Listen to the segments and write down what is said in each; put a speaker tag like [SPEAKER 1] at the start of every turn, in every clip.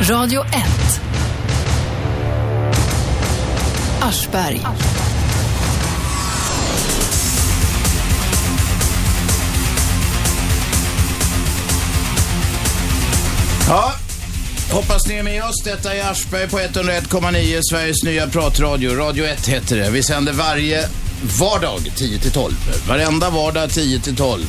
[SPEAKER 1] Radio 1. Aschberg.
[SPEAKER 2] Ja, hoppas ni är med oss. Detta är Aschberg på 101,9, Sveriges nya pratradio. Radio 1 heter det. Vi sänder varje vardag 10 till 12. Varenda vardag 10 till 12.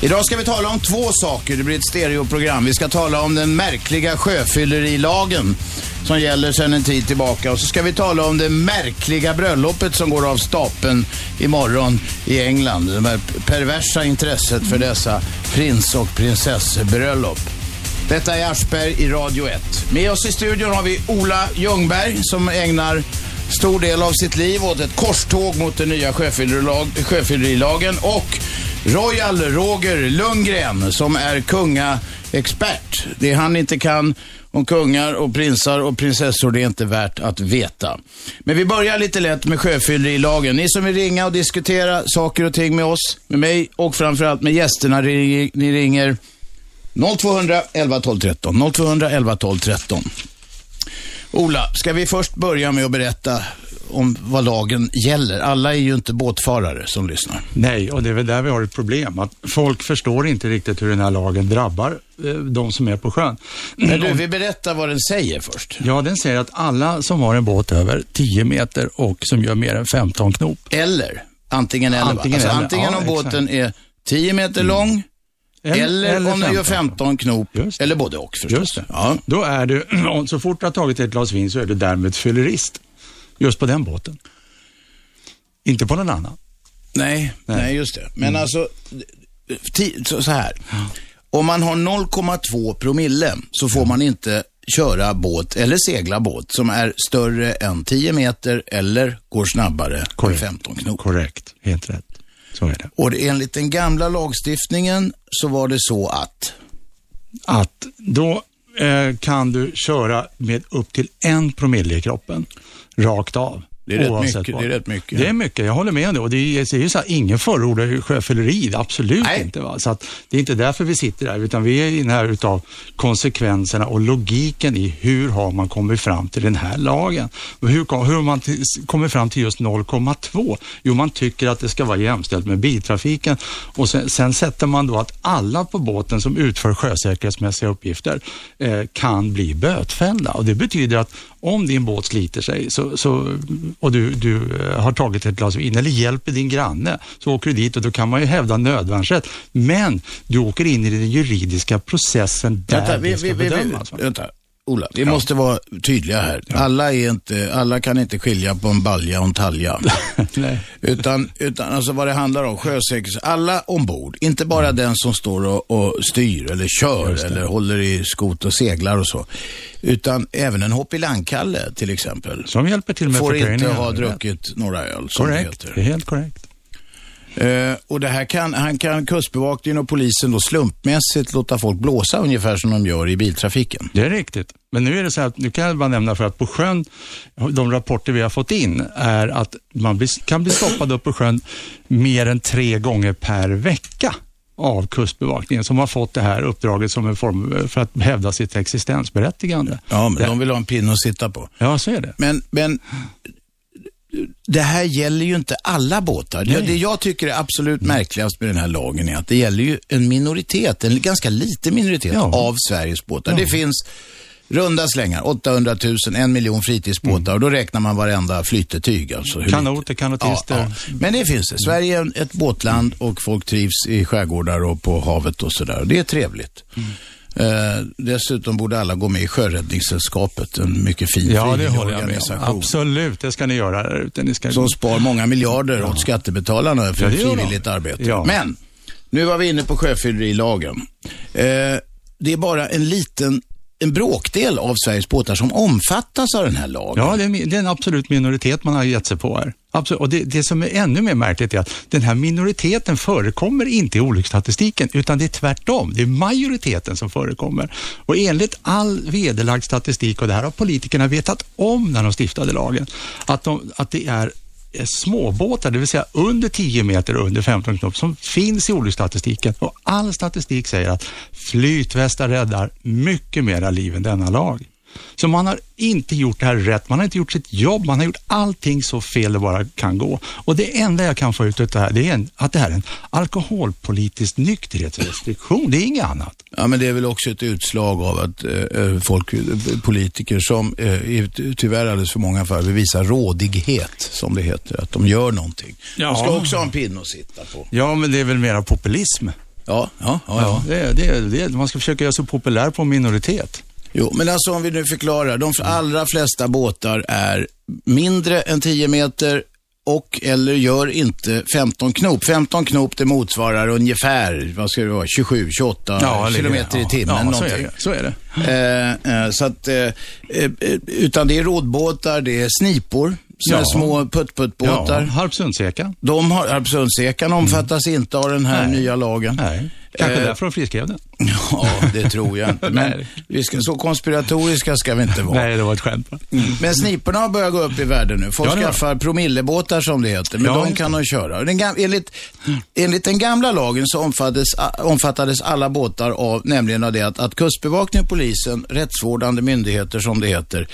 [SPEAKER 2] Idag ska vi tala om två saker. Det blir ett stereoprogram. Vi ska tala om den märkliga sjöfyllerilagen som gäller sedan en tid tillbaka. Och så ska vi tala om det märkliga bröllopet som går av stapeln imorgon i England. Det här perversa intresset för dessa prins och prinsessbröllop. Detta är Aschberg i Radio 1. Med oss i studion har vi Ola Ljungberg som ägnar stor del av sitt liv åt ett korståg mot den nya sjöfyllerilag- sjöfyllerilagen och Royal Roger Lundgren som är kungaexpert. Det han inte kan om kungar och prinsar och prinsessor, det är inte värt att veta. Men vi börjar lite lätt med sjöfyllerilagen. Ni som vill ringa och diskutera saker och ting med oss, med mig och framförallt med gästerna, ni ni ringer 0200 11 12 13. 0200 11 12 13. Ola, ska vi först börja med att berätta om vad lagen gäller? Alla är ju inte båtfarare som lyssnar.
[SPEAKER 3] Nej, och det är väl där vi har ett problem. Att folk förstår inte riktigt hur den här lagen drabbar eh, de som är på sjön.
[SPEAKER 2] Men
[SPEAKER 3] Mm.
[SPEAKER 2] du, vi berättar vad den säger först.
[SPEAKER 3] Ja, den säger att alla som har en båt över 10 meter och som gör mer än 15 knop.
[SPEAKER 2] Eller, antingen eller. Antingen,
[SPEAKER 3] Antingen
[SPEAKER 2] alltså,
[SPEAKER 3] eller,
[SPEAKER 2] antingen
[SPEAKER 3] ja,
[SPEAKER 2] om
[SPEAKER 3] exakt. Mm.
[SPEAKER 2] båten är 10 meter lång, eller, om den gör 15 knop,
[SPEAKER 3] Just det.
[SPEAKER 2] eller både och förstås.
[SPEAKER 3] Just det.
[SPEAKER 2] Ja.
[SPEAKER 3] Då är du, så fort du har tagit ett glas vin så är du därmed fyllerist. Just på den båten. Inte på någon annan. Mm.
[SPEAKER 2] Nej, nej, just det. Men alltså, ti- så så här. Om man har 0,2 promille så får man inte köra båt eller segla båt som är större än 10 meter eller går snabbare än 15 knop.
[SPEAKER 3] Korrekt, helt rätt. Så är det.
[SPEAKER 2] Och enligt den gamla lagstiftningen så var det så att
[SPEAKER 3] att då eh, kan du köra med upp till en promille i kroppen, rakt av.
[SPEAKER 2] Det är rätt
[SPEAKER 3] oavsett
[SPEAKER 2] mycket,
[SPEAKER 3] vad.
[SPEAKER 2] det är rätt mycket.
[SPEAKER 3] Det är mycket, jag håller med om det. Och det är, det är ju så här, ingen förordar ju sjöfylleri, absolut
[SPEAKER 2] Nej.
[SPEAKER 3] inte. Va? Så att, det är inte därför vi sitter här, utan vi är inne här utav konsekvenserna och logiken i hur har man kommit fram till den här lagen. Och hur, kom- hur har man till, kommit fram till just 0,2? Jo, man tycker att det ska vara jämställt med biltrafiken och sen, sen sätter man då att alla på båten som utför sjösäkerhetsmässiga uppgifter eh, kan bli bötfällda och det betyder att om din båt sliter sig så, så, och du, du eh, har tagit ett glas vin eller hjälper din granne så åker du dit och då kan man ju hävda nödvärnsrätt. Men du åker in i den juridiska processen där
[SPEAKER 2] Vänta, vi,
[SPEAKER 3] det ska
[SPEAKER 2] vi, vi, vi,
[SPEAKER 3] bedömas. va?
[SPEAKER 2] vänta. Ola, vi måste vara tydliga här. Alla, är inte, alla kan inte skilja på en balja och en talja.
[SPEAKER 3] Nej.
[SPEAKER 2] Utan, utan alltså vad det handlar om, sjösäkerhet. Alla ombord, inte bara
[SPEAKER 3] Mm.
[SPEAKER 2] den som står och, och styr eller kör eller håller i skot och seglar och så. Utan även en hoppilangkalle till exempel.
[SPEAKER 3] Som hjälper till med
[SPEAKER 2] Får inte
[SPEAKER 3] förtöjningar.
[SPEAKER 2] ha druckit några öl som
[SPEAKER 3] Korrekt,
[SPEAKER 2] det
[SPEAKER 3] det är
[SPEAKER 2] heter.
[SPEAKER 3] helt korrekt.
[SPEAKER 2] Eh, och det här kan, han kan kustbevakningen och polisen då slumpmässigt låta folk blåsa ungefär som de gör i biltrafiken.
[SPEAKER 3] Det är riktigt. Men nu är det så här, att- nu kan jag bara nämna för att på sjön, de rapporter vi har fått in är att man blir, kan bli stoppad upp på sjön mer än tre gånger per vecka av Kustbevakningen som har fått det här uppdraget som en form för att hävda sitt existensberättigande.
[SPEAKER 2] Ja, men de vill ha en pinne att sitta på.
[SPEAKER 3] Ja, så är det.
[SPEAKER 2] Men, men det här gäller ju inte alla båtar. Det, det jag tycker är absolut märkligast med den här lagen är att det gäller ju en minoritet, en ganska liten minoritet
[SPEAKER 3] Ja.
[SPEAKER 2] av Sveriges båtar. Det finns runda slängar, 800 000, en miljon fritidsbåtar
[SPEAKER 3] Mm.
[SPEAKER 2] och då räknar man varenda flytetyg. Alltså, hur lite-
[SPEAKER 3] Kanoter,
[SPEAKER 2] Ja,
[SPEAKER 3] kanotister.
[SPEAKER 2] ja. Men det finns det. Sverige är en- ett båtland och folk trivs i skärgårdar och på havet och sådär. Det är trevligt. Eh, dessutom borde alla gå med i Sjöräddningssällskapet, en mycket fin
[SPEAKER 3] Ja, det håller jag med om.
[SPEAKER 2] frivilligorganisation.
[SPEAKER 3] Absolut, det ska ni göra där ute. Ni ska...
[SPEAKER 2] Som spar många miljarder åt skattebetalarna för
[SPEAKER 3] Ja, det gör de.
[SPEAKER 2] frivilligt arbete.
[SPEAKER 3] Ja.
[SPEAKER 2] Men, nu var vi inne på sjöfyllerilagen. Eh, det är bara en liten, en bråkdel av Sveriges båtar som omfattas av den här lagen.
[SPEAKER 3] Ja, det är, det är en absolut minoritet man har gett sig på här. Absolut. Och det, det som är ännu mer märkligt är att den här minoriteten förekommer inte i olycksstatistiken, utan det är tvärtom. Det är majoriteten som förekommer. Och enligt all vederlagd statistik, och det här har politikerna vetat om när de stiftade lagen, att, de, att det är eh, småbåtar, det vill säga under 10 meter och under 15 knop, som finns i olycksstatistiken. Och all statistik säger att flytvästar räddar mycket mera liv än denna lag. Så man har inte gjort det här rätt, man har inte gjort sitt jobb, man har gjort allting så fel det bara kan gå. Och det enda jag kan få ut av det här, det är en, att det här är en alkoholpolitisk nykterhetsrestriktion, det är inget annat.
[SPEAKER 4] Ja, men det är väl också ett utslag av att eh, folk, politiker som eh, i tyvärr alldeles för många fall visar rådighet, som det heter, att de gör någonting.
[SPEAKER 2] Ja. ska också ha en pinne att sitta på.
[SPEAKER 3] Ja, men det är väl mera populism.
[SPEAKER 4] Ja, ja, ja. ja.
[SPEAKER 3] Det, det, det, man ska försöka göra sig populär på en minoritet.
[SPEAKER 2] Jo, men alltså om vi nu förklarar. De allra flesta båtar är mindre än 10 meter och eller gör inte 15 knop. 15 knop det motsvarar ungefär, vad ska det vara, 27, 28
[SPEAKER 3] Ja, eller-
[SPEAKER 2] kilometer i
[SPEAKER 3] ja.
[SPEAKER 2] timmen.
[SPEAKER 3] Ja, så är
[SPEAKER 2] någonting.
[SPEAKER 3] det. Så är det.
[SPEAKER 2] Eh, eh, så att, eh, eh, utan det är rådbåtar, det är snipor, sådana
[SPEAKER 3] Ja.
[SPEAKER 2] små putt-putt-båtar.
[SPEAKER 3] Ja, Harpsundsekan.
[SPEAKER 2] De har, Harpsundsekan omfattas inte av den här nya lagen.
[SPEAKER 3] Nej, kanske
[SPEAKER 2] Eh.
[SPEAKER 3] därför de friskrev den.
[SPEAKER 2] Ja, det tror jag inte. Men
[SPEAKER 3] Nej.
[SPEAKER 2] vi ska, så konspiratoriska ska vi inte vara. Mm.
[SPEAKER 3] Nej, det var ett skämt. va?
[SPEAKER 2] Men sniporna har börjat gå upp i värde nu. Folk
[SPEAKER 3] Ja, det har de.
[SPEAKER 2] skaffar promillebåtar som det heter, men
[SPEAKER 3] Ja,
[SPEAKER 2] de
[SPEAKER 3] just
[SPEAKER 2] kan de köra. Och Den gam- enligt, enligt den gamla lagen så omfattades, omfattades alla båtar av, nämligen av det att, att kustbevakningen, polisen, rättsvårdande myndigheter som det heter,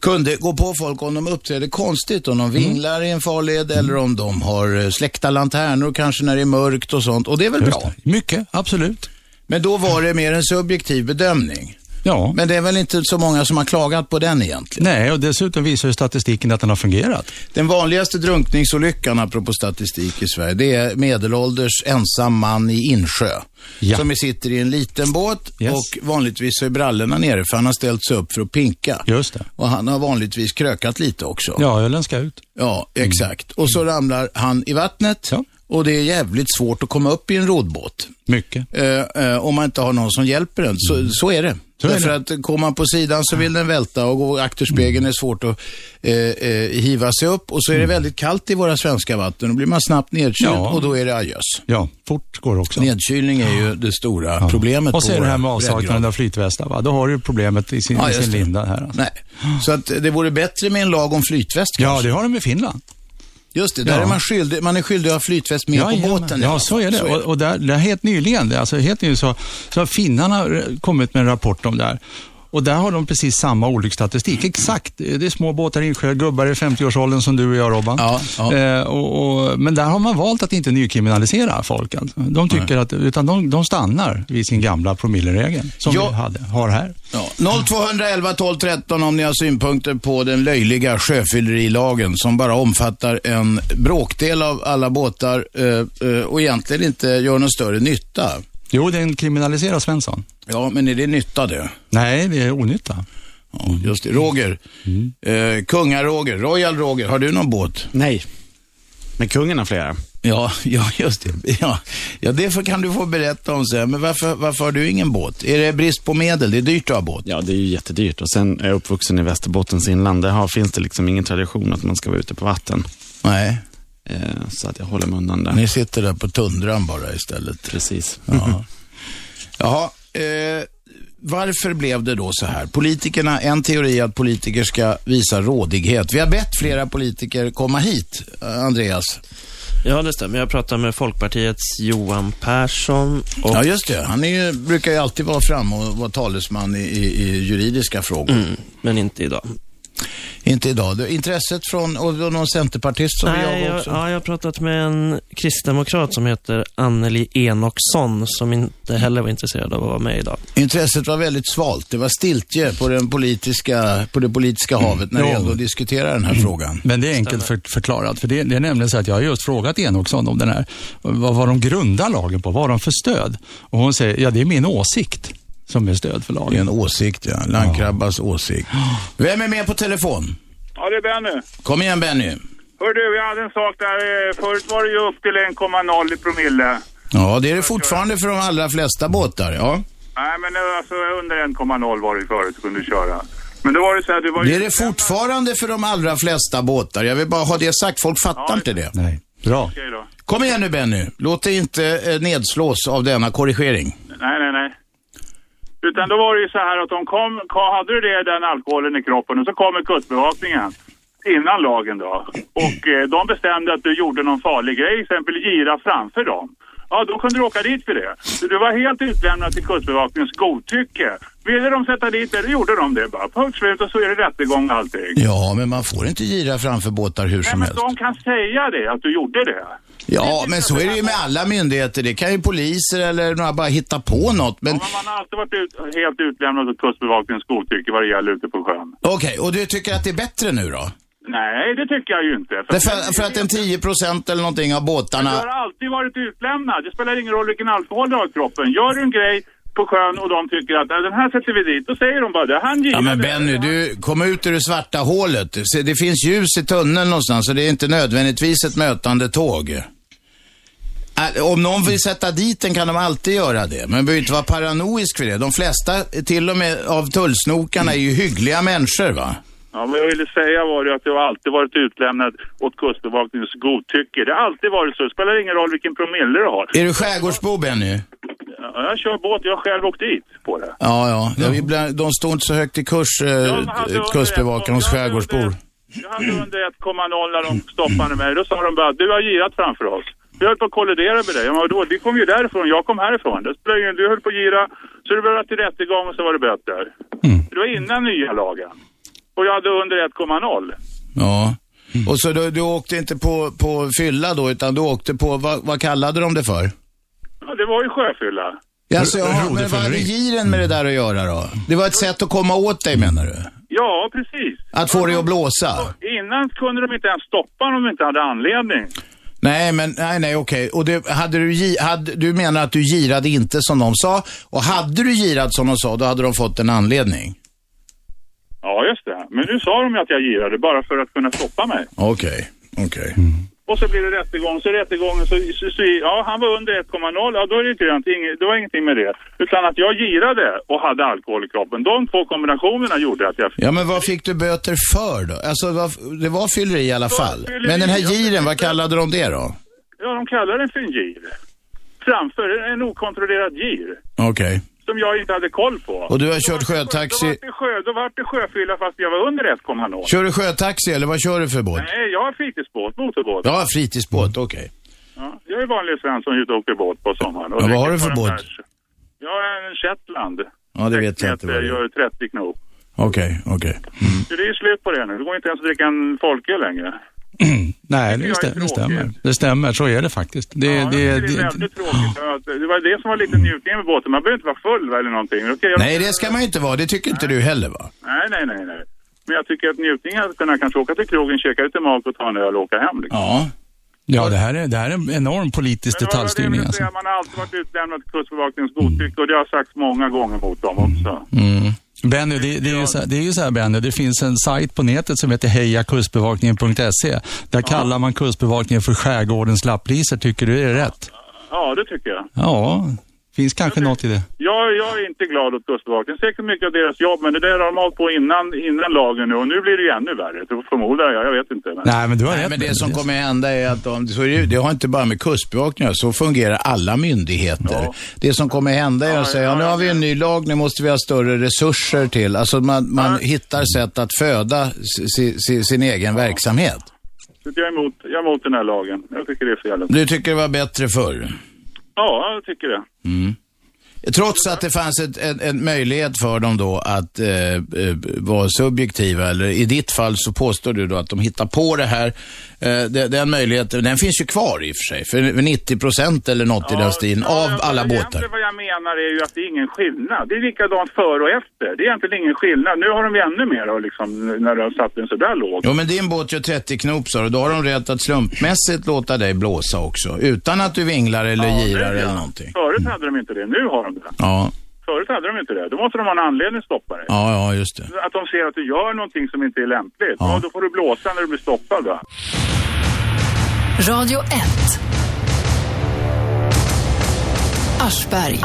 [SPEAKER 2] kunde gå på folk om de uppträdde konstigt, om de
[SPEAKER 3] Mm.
[SPEAKER 2] vinglar i en farled eller om de har eh, släckta lanternor kanske när det är mörkt och sånt. Och det är väl bra.
[SPEAKER 3] Mycket, absolut.
[SPEAKER 2] Men då var det mer en subjektiv bedömning.
[SPEAKER 3] Ja.
[SPEAKER 2] Men det är väl inte så många som har klagat på den egentligen.
[SPEAKER 3] Nej, och dessutom visar ju statistiken att den har fungerat.
[SPEAKER 2] Den vanligaste drunkningsolyckan, apropå statistik i Sverige, det är medelålders ensam man i insjö.
[SPEAKER 3] Ja.
[SPEAKER 2] Som sitter i en liten båt
[SPEAKER 3] Yes.
[SPEAKER 2] och vanligtvis så är brallorna nere för han har ställt sig upp för att pinka.
[SPEAKER 3] Just det.
[SPEAKER 2] Och han har vanligtvis krökat lite också.
[SPEAKER 3] Ja, ölen ska ut.
[SPEAKER 2] Ja, exakt. Och så ramlar han i vattnet
[SPEAKER 3] Mm. Ja.
[SPEAKER 2] och det är jävligt svårt att komma upp i en roddbåt.
[SPEAKER 3] Mycket. Mm.
[SPEAKER 2] Eh, eh, om man inte har någon som hjälper en. Så, så är det.
[SPEAKER 3] Så är
[SPEAKER 2] Därför att kommer man på sidan så vill den välta och gå
[SPEAKER 3] Mm.
[SPEAKER 2] akterspegeln är svårt att eh, eh, hiva sig upp. Och så är det väldigt kallt i våra svenska vatten. Då blir man snabbt nedkyld
[SPEAKER 3] Ja.
[SPEAKER 2] och då är det adjös.
[SPEAKER 3] Ja, fort går det också.
[SPEAKER 2] Nedkylning är ju det stora problemet.
[SPEAKER 3] Och så
[SPEAKER 2] på
[SPEAKER 3] är det
[SPEAKER 2] våra
[SPEAKER 3] här med avsaknaden
[SPEAKER 2] breddgrader.
[SPEAKER 3] av flytvästar. Va? Då har du ju problemet i sin,
[SPEAKER 2] Ja,
[SPEAKER 3] i
[SPEAKER 2] just
[SPEAKER 3] sin
[SPEAKER 2] det.
[SPEAKER 3] linda här. Alltså.
[SPEAKER 2] Nej. Så att det vore bättre med en lag om flytväst
[SPEAKER 3] Ja,
[SPEAKER 2] kanske.
[SPEAKER 3] det har de i Finland.
[SPEAKER 2] Just det, där
[SPEAKER 3] Ja.
[SPEAKER 2] är man skyldig. Man är skyldig att ha flytväst med på
[SPEAKER 3] Jajamän.
[SPEAKER 2] båten. i alla
[SPEAKER 3] Ja,
[SPEAKER 2] fall.
[SPEAKER 3] så är det. Och, och där, där helt nyligen, det är alltså helt nyligen så, så har finnarna r- kommit med en rapport om det här. Och där har de precis samma olycksstatistik. Exakt. Det är små båtar i insjö, gubbar i 50-årsåldern som du och jag Robban.
[SPEAKER 2] Ja, ja.
[SPEAKER 3] Eh, och, och, men där har man valt att inte nykriminalisera folk. Alltså. De tycker att, utan de, de stannar vid sin gamla promilleregel som
[SPEAKER 2] Ja.
[SPEAKER 3] vi hade, har här.
[SPEAKER 2] Ja, 0211 12 13 om ni har synpunkter på den löjliga sjöfyllerilagen som bara omfattar en bråkdel av alla båtar eh, eh, och egentligen inte gör någon större nytta.
[SPEAKER 3] Jo, den kriminaliserar Svensson.
[SPEAKER 2] Ja, men är det nytta det?
[SPEAKER 3] Nej, det är onytta.
[SPEAKER 2] Ja, just det. Roger, eh, Kungar-Roger, Royal Roger, har du någon båt?
[SPEAKER 5] Nej. Men kungen har flera.
[SPEAKER 2] Ja, ja just det. Ja, ja det får- kan du få berätta om sen. Men varför, varför har du ingen båt? Är det brist på medel? Det är dyrt att ha båt.
[SPEAKER 5] Ja, det är ju jättedyrt. Och sen är jag uppvuxen i Västerbottens inland. Där har, finns det liksom ingen tradition att man ska vara ute på vatten.
[SPEAKER 2] Nej,
[SPEAKER 5] Eh, så att jag håller mig undan där.
[SPEAKER 2] ni sitter där på tundran bara istället.
[SPEAKER 5] Precis.
[SPEAKER 2] Ja. Jaha. Eh, varför blev det då så här? Politikerna, en teori är att politiker ska visa rådighet. Vi har bett flera politiker komma hit, eh, Andreas.
[SPEAKER 6] Ja, det stämmer. Jag pratade med Folkpartiets Johan Persson. Och,
[SPEAKER 2] Ja, just det. Han är ju, brukar ju alltid vara fram och vara talesman i, i, i juridiska frågor.
[SPEAKER 6] mm, men inte idag.
[SPEAKER 2] Inte idag. Det, intresset från, och då någon centerpartist som
[SPEAKER 6] Nej,
[SPEAKER 2] jag
[SPEAKER 6] jag,
[SPEAKER 2] också.
[SPEAKER 6] ja, jag har pratat med en kristdemokrat som heter Anneli Enoksson som inte heller var intresserad av att vara med idag.
[SPEAKER 2] Intresset var väldigt svalt. Det var stiltje på, den politiska, på det politiska havet när det
[SPEAKER 3] Ja. Mm.
[SPEAKER 2] gällde att diskutera den här frågan.
[SPEAKER 3] Men det är enkelt för, förklarat, för det, det är nämligen så att jag har just frågat Enoksson om den här, vad, vad de grundar lagen på, vad har de för stöd? Och hon säger, ja det är min åsikt som är stöd för
[SPEAKER 2] Det är
[SPEAKER 3] lagen.
[SPEAKER 2] en åsikt, ja. Landkrabbas åsikt. Vem är med på telefon?
[SPEAKER 7] Ja, det är Benny.
[SPEAKER 2] Kom igen Benny.
[SPEAKER 7] Hör du, vi hade en sak där. eh, Förut var det ju upp till 1,0 i promille.
[SPEAKER 2] Ja, det är det fortfarande för de allra flesta båtar, ja.
[SPEAKER 7] Nej, men eh, alltså under 1,0 var det förut du kunde köra. Men då var det så här, du var
[SPEAKER 2] Det är det fortfarande för de allra flesta båtar. Jag vill bara ha det sagt, folk fattar
[SPEAKER 7] Ja.
[SPEAKER 2] inte det.
[SPEAKER 3] Nej. Bra.
[SPEAKER 7] Okej då.
[SPEAKER 2] Kom igen nu Benny, låt dig inte eh, nedslås av denna korrigering.
[SPEAKER 7] Nej, nej, nej. Utan då var det ju så här att de kom, kom hade du det, den alkoholen i kroppen och så kommer kustbevakningen. Innan lagen då. Och eh, de bestämde att du gjorde någon farlig grej, till exempel gira framför dem. Ja, då kunde du åka dit för det. Så du var helt utlämnad till Kustbevakningens godtycke. Ville de sätta dit det, då gjorde de det bara. Punkt slut och så är det rättegång och allting.
[SPEAKER 4] Ja, men man får inte gira framför båtar hur
[SPEAKER 7] Nej,
[SPEAKER 4] som
[SPEAKER 7] men
[SPEAKER 4] helst.
[SPEAKER 7] de kan säga det, att du gjorde det.
[SPEAKER 4] Ja, men så är det ju med alla myndigheter. Det kan ju poliser eller några bara hitta på något. Men
[SPEAKER 7] Men man har alltid varit ut, helt utlämnad åt Kustbevakningens godtycke vad det gäller ute på sjön.
[SPEAKER 2] Okej, och du tycker att det är bättre nu då?
[SPEAKER 7] Nej, det tycker jag ju inte.
[SPEAKER 2] Det är för, för att en 10 eller någonting av
[SPEAKER 7] Du
[SPEAKER 2] båtarna...
[SPEAKER 7] har alltid varit utlämnad. Det spelar ingen roll vilken alkohol du har i kroppen. Gör du en grej på sjön och de tycker att "Ja, den här sätter vi dit, då säger de bara det. Han
[SPEAKER 2] Ja,
[SPEAKER 7] gillade
[SPEAKER 2] men Benny, du kom ut ur det svarta hålet. Se, det finns ljus i tunneln någonstans så det är inte nödvändigtvis ett mötande tåg. Äh, Om någon vill sätta dit den kan de alltid göra det. Men behöver inte vara paranoisk för det. De flesta, till och med av tullsnokarna, är ju hyggliga människor va?
[SPEAKER 7] Ja, vad jag ville säga var ju att jag har alltid varit utlämnad åt Kustbevakningens godtycke. Det har alltid varit så. Det spelar ingen roll vilken promille du har.
[SPEAKER 2] Är du skärgårdsbo Benny?
[SPEAKER 7] Ja, jag kör båt, jag har själv åkt dit på det.
[SPEAKER 2] Ja, ja. ja. Ibland, de står inte så högt i kurs, eh,
[SPEAKER 7] men hade under
[SPEAKER 2] kustbevakarna hos
[SPEAKER 7] ett- jag hade under
[SPEAKER 2] skärgårdsbor.
[SPEAKER 7] Jag hade under 1,0 när de stoppade mig. Då sa de bara, du har girat framför oss. Vi höll på att kollidera med dig. Jag bara, då, vi kom ju därifrån, jag kom härifrån. Det spelar ingen- du höll på att gira, så det blev till rättegång och så var det böter.
[SPEAKER 2] Mm.
[SPEAKER 7] Det var innan nya lagen. Och jag hade under 1,0.
[SPEAKER 2] Ja. Och så du, du åkte inte på, på fylla då, utan du åkte på, vad, vad kallade de det för?
[SPEAKER 7] Ja, det var ju sjöfylla.
[SPEAKER 2] Alltså, ja, men vad hade
[SPEAKER 4] Rodefylleri.
[SPEAKER 2] giren med det där att göra då? Det var ett sätt att komma åt dig menar du?
[SPEAKER 7] Ja, precis.
[SPEAKER 2] Att få dig att blåsa?
[SPEAKER 7] Innan kunde de inte ens stoppa om de inte hade anledning.
[SPEAKER 2] Nej, men nej, nej, okej. Och det, hade du, gi- hade, du menar att du girade inte som de sa? Och hade du girat som de sa, då hade de fått en anledning?
[SPEAKER 7] Ja, just det. Men nu sa de ju att jag girade bara för att kunna stoppa mig.
[SPEAKER 2] Okej, okej.
[SPEAKER 7] Och så blir det rättegång, så rättegången så, så, så ja han var under 1,0, ja då är det grönt, Inge, det var ingenting med det. Utan att jag girade och hade alkohol i kroppen. De två kombinationerna gjorde att jag...
[SPEAKER 2] Ja, men vad fick du böter för då? Alltså, vad, det var fylleri i alla fall.
[SPEAKER 7] fylleri,
[SPEAKER 2] Men den här
[SPEAKER 7] ja.
[SPEAKER 2] giren, vad kallade de det då?
[SPEAKER 7] Ja, de kallar det för en gir. Framför en okontrollerad gir.
[SPEAKER 2] Okej.
[SPEAKER 7] Som jag inte hade koll på.
[SPEAKER 2] Och du har kört
[SPEAKER 7] Då
[SPEAKER 2] sjötaxi.
[SPEAKER 7] vart det, sjö, då var det sjöfylla fast jag var under 1,0.
[SPEAKER 2] Kör du sjötaxi eller vad kör du för båt?
[SPEAKER 7] Nej, jag har fritidsbåt, motorbåt.
[SPEAKER 2] Ja, fritidsbåt, okej.
[SPEAKER 7] Ja, jag är vanlig svensson ute och åker båt på sommaren. Och
[SPEAKER 2] Ja, vad har
[SPEAKER 7] dricker
[SPEAKER 2] du för
[SPEAKER 7] bara
[SPEAKER 2] båt?
[SPEAKER 7] bärs. Jag har en Shetland.
[SPEAKER 2] Ja, det vet jag inte vad det
[SPEAKER 7] Jag
[SPEAKER 2] är.
[SPEAKER 7] gör 30 knop.
[SPEAKER 2] Okej, okej.
[SPEAKER 7] Så det är slut på det nu. Det går inte ens att dricka en folköl längre.
[SPEAKER 3] Nej, det,
[SPEAKER 7] jag är
[SPEAKER 3] stäm, det
[SPEAKER 7] tråkigt.
[SPEAKER 3] stämmer. Det stämmer, så är det faktiskt. Det,
[SPEAKER 7] Ja,
[SPEAKER 3] det,
[SPEAKER 7] det,
[SPEAKER 3] det,
[SPEAKER 7] är väldigt tråkigt. Att det var det som var lite njutningen med båten. Man behöver inte vara full eller någonting. Okej, jag,
[SPEAKER 2] Nej, det ska man ju inte vara. Det tycker inte du heller va?
[SPEAKER 7] nej, nej, nej, nej. Men jag tycker att njutningen är att kunna kanske åka till krogen, käka lite mat och ta en öl och åka hem. Liksom.
[SPEAKER 2] Ja.
[SPEAKER 3] ja, det här är, det här är en enorm politisk
[SPEAKER 7] Men det var det jag
[SPEAKER 3] detaljstyrning
[SPEAKER 7] ville
[SPEAKER 3] alltså.
[SPEAKER 7] säga. Man har alltid varit utlämnad till Kustbevakningens godtycke och det har sagts många gånger mot dem också.
[SPEAKER 3] Mm. Benny, det, det, är ju så här, det är ju så här Benny, det finns en sajt på nätet som heter hejakustbevakningen.se. Där kallar man kustbevakningen för skärgårdens lappliser. Tycker du det är rätt?
[SPEAKER 7] Ja, det tycker jag.
[SPEAKER 3] Ja, finns kanske något i det.
[SPEAKER 7] Jag, jag är inte glad åt Kustbevakningen. Säkert mycket av deras jobb, men det där har de hållit på innan, innan lagen nu och nu blir det ju ännu värre. Det förmodar jag, jag vet inte. Men...
[SPEAKER 3] Nej, men du har
[SPEAKER 2] Nej,
[SPEAKER 3] rätt.
[SPEAKER 2] men det
[SPEAKER 3] Benny.
[SPEAKER 2] som kommer hända är att de, så är det, ju- det har inte bara med kustbevakningen att göra, så fungerar alla myndigheter. Det som kommer hända är att säga, ja, nu har vi en ny lag, nu måste vi ha större resurser till. Alltså man, man hittar sätt att föda si, si, si, sin egen verksamhet.
[SPEAKER 7] Så att jag, är emot, jag är emot den här lagen. Jag tycker det är fel.
[SPEAKER 2] Du tycker det var bättre förr?
[SPEAKER 7] Ja, jag tycker det.
[SPEAKER 2] Mm. Trots att det fanns ett, en, en möjlighet för dem då att eh, eh, vara subjektiva, eller i ditt fall så påstår du då att de hittar på det här. Eh, de, den möjligheten, den finns ju kvar i och för sig, för 90 procent eller något i den stilen
[SPEAKER 7] Ja,
[SPEAKER 2] av
[SPEAKER 7] men
[SPEAKER 2] alla
[SPEAKER 7] egentligen
[SPEAKER 2] båtar.
[SPEAKER 7] Vad jag menar är ju att det är ingen skillnad. Det är likadant före och efter. Det är egentligen ingen skillnad. Nu har de ju ännu mer då, liksom, när de har satt den så där låg.
[SPEAKER 2] Jo, men din båt gör 30 knop sa du. Då har de rätt att slumpmässigt låta dig blåsa också. Utan att du vinglar eller girar
[SPEAKER 7] det är
[SPEAKER 2] eller
[SPEAKER 7] det.
[SPEAKER 2] någonting.
[SPEAKER 7] Förut hade de inte det. Nu har de det.
[SPEAKER 2] Ja,
[SPEAKER 7] Förut hade de inte det. Då måste de ha en anledning att stoppa dig.
[SPEAKER 2] ja, ja just det.
[SPEAKER 7] Att de ser att du gör någonting som inte är lämpligt. Ja. då får du blåsa när du blir stoppad va.
[SPEAKER 1] Radio 1. Aschberg.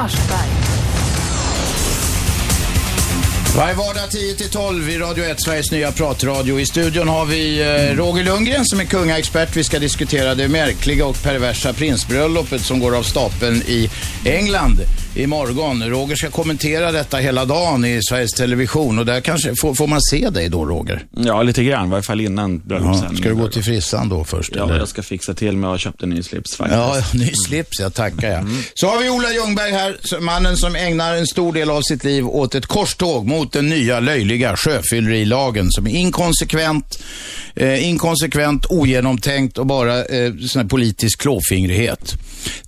[SPEAKER 2] Varje vardag 10-12 i Radio 1, Sveriges nya pratradio. I studion har vi eh, Roger Lundgren som är kungaexpert. Vi ska diskutera det märkliga och perversa prinsbröllopet som går av stapeln i England imorgon. Roger ska kommentera detta hela dagen i Sveriges Television och där kanske, får, får man se dig då Roger?
[SPEAKER 5] Ja, lite grann. I varje fall innan bröllopssändningen.
[SPEAKER 2] Ska du gå till frissan då först?
[SPEAKER 5] Ja,
[SPEAKER 2] eller?
[SPEAKER 5] jag ska fixa till mig och köpt en ny slips faktiskt. Mm.
[SPEAKER 2] Ja, ny slips, jag tackar jag. Så har vi Ola Ljungberg här, som- mannen som ägnar en stor del av sitt liv åt ett korståg mot den nya löjliga sjöfyllerilagen som är inkonsekvent, eh, inkonsekvent, ogenomtänkt och bara eh, sån här politisk klåfingrighet.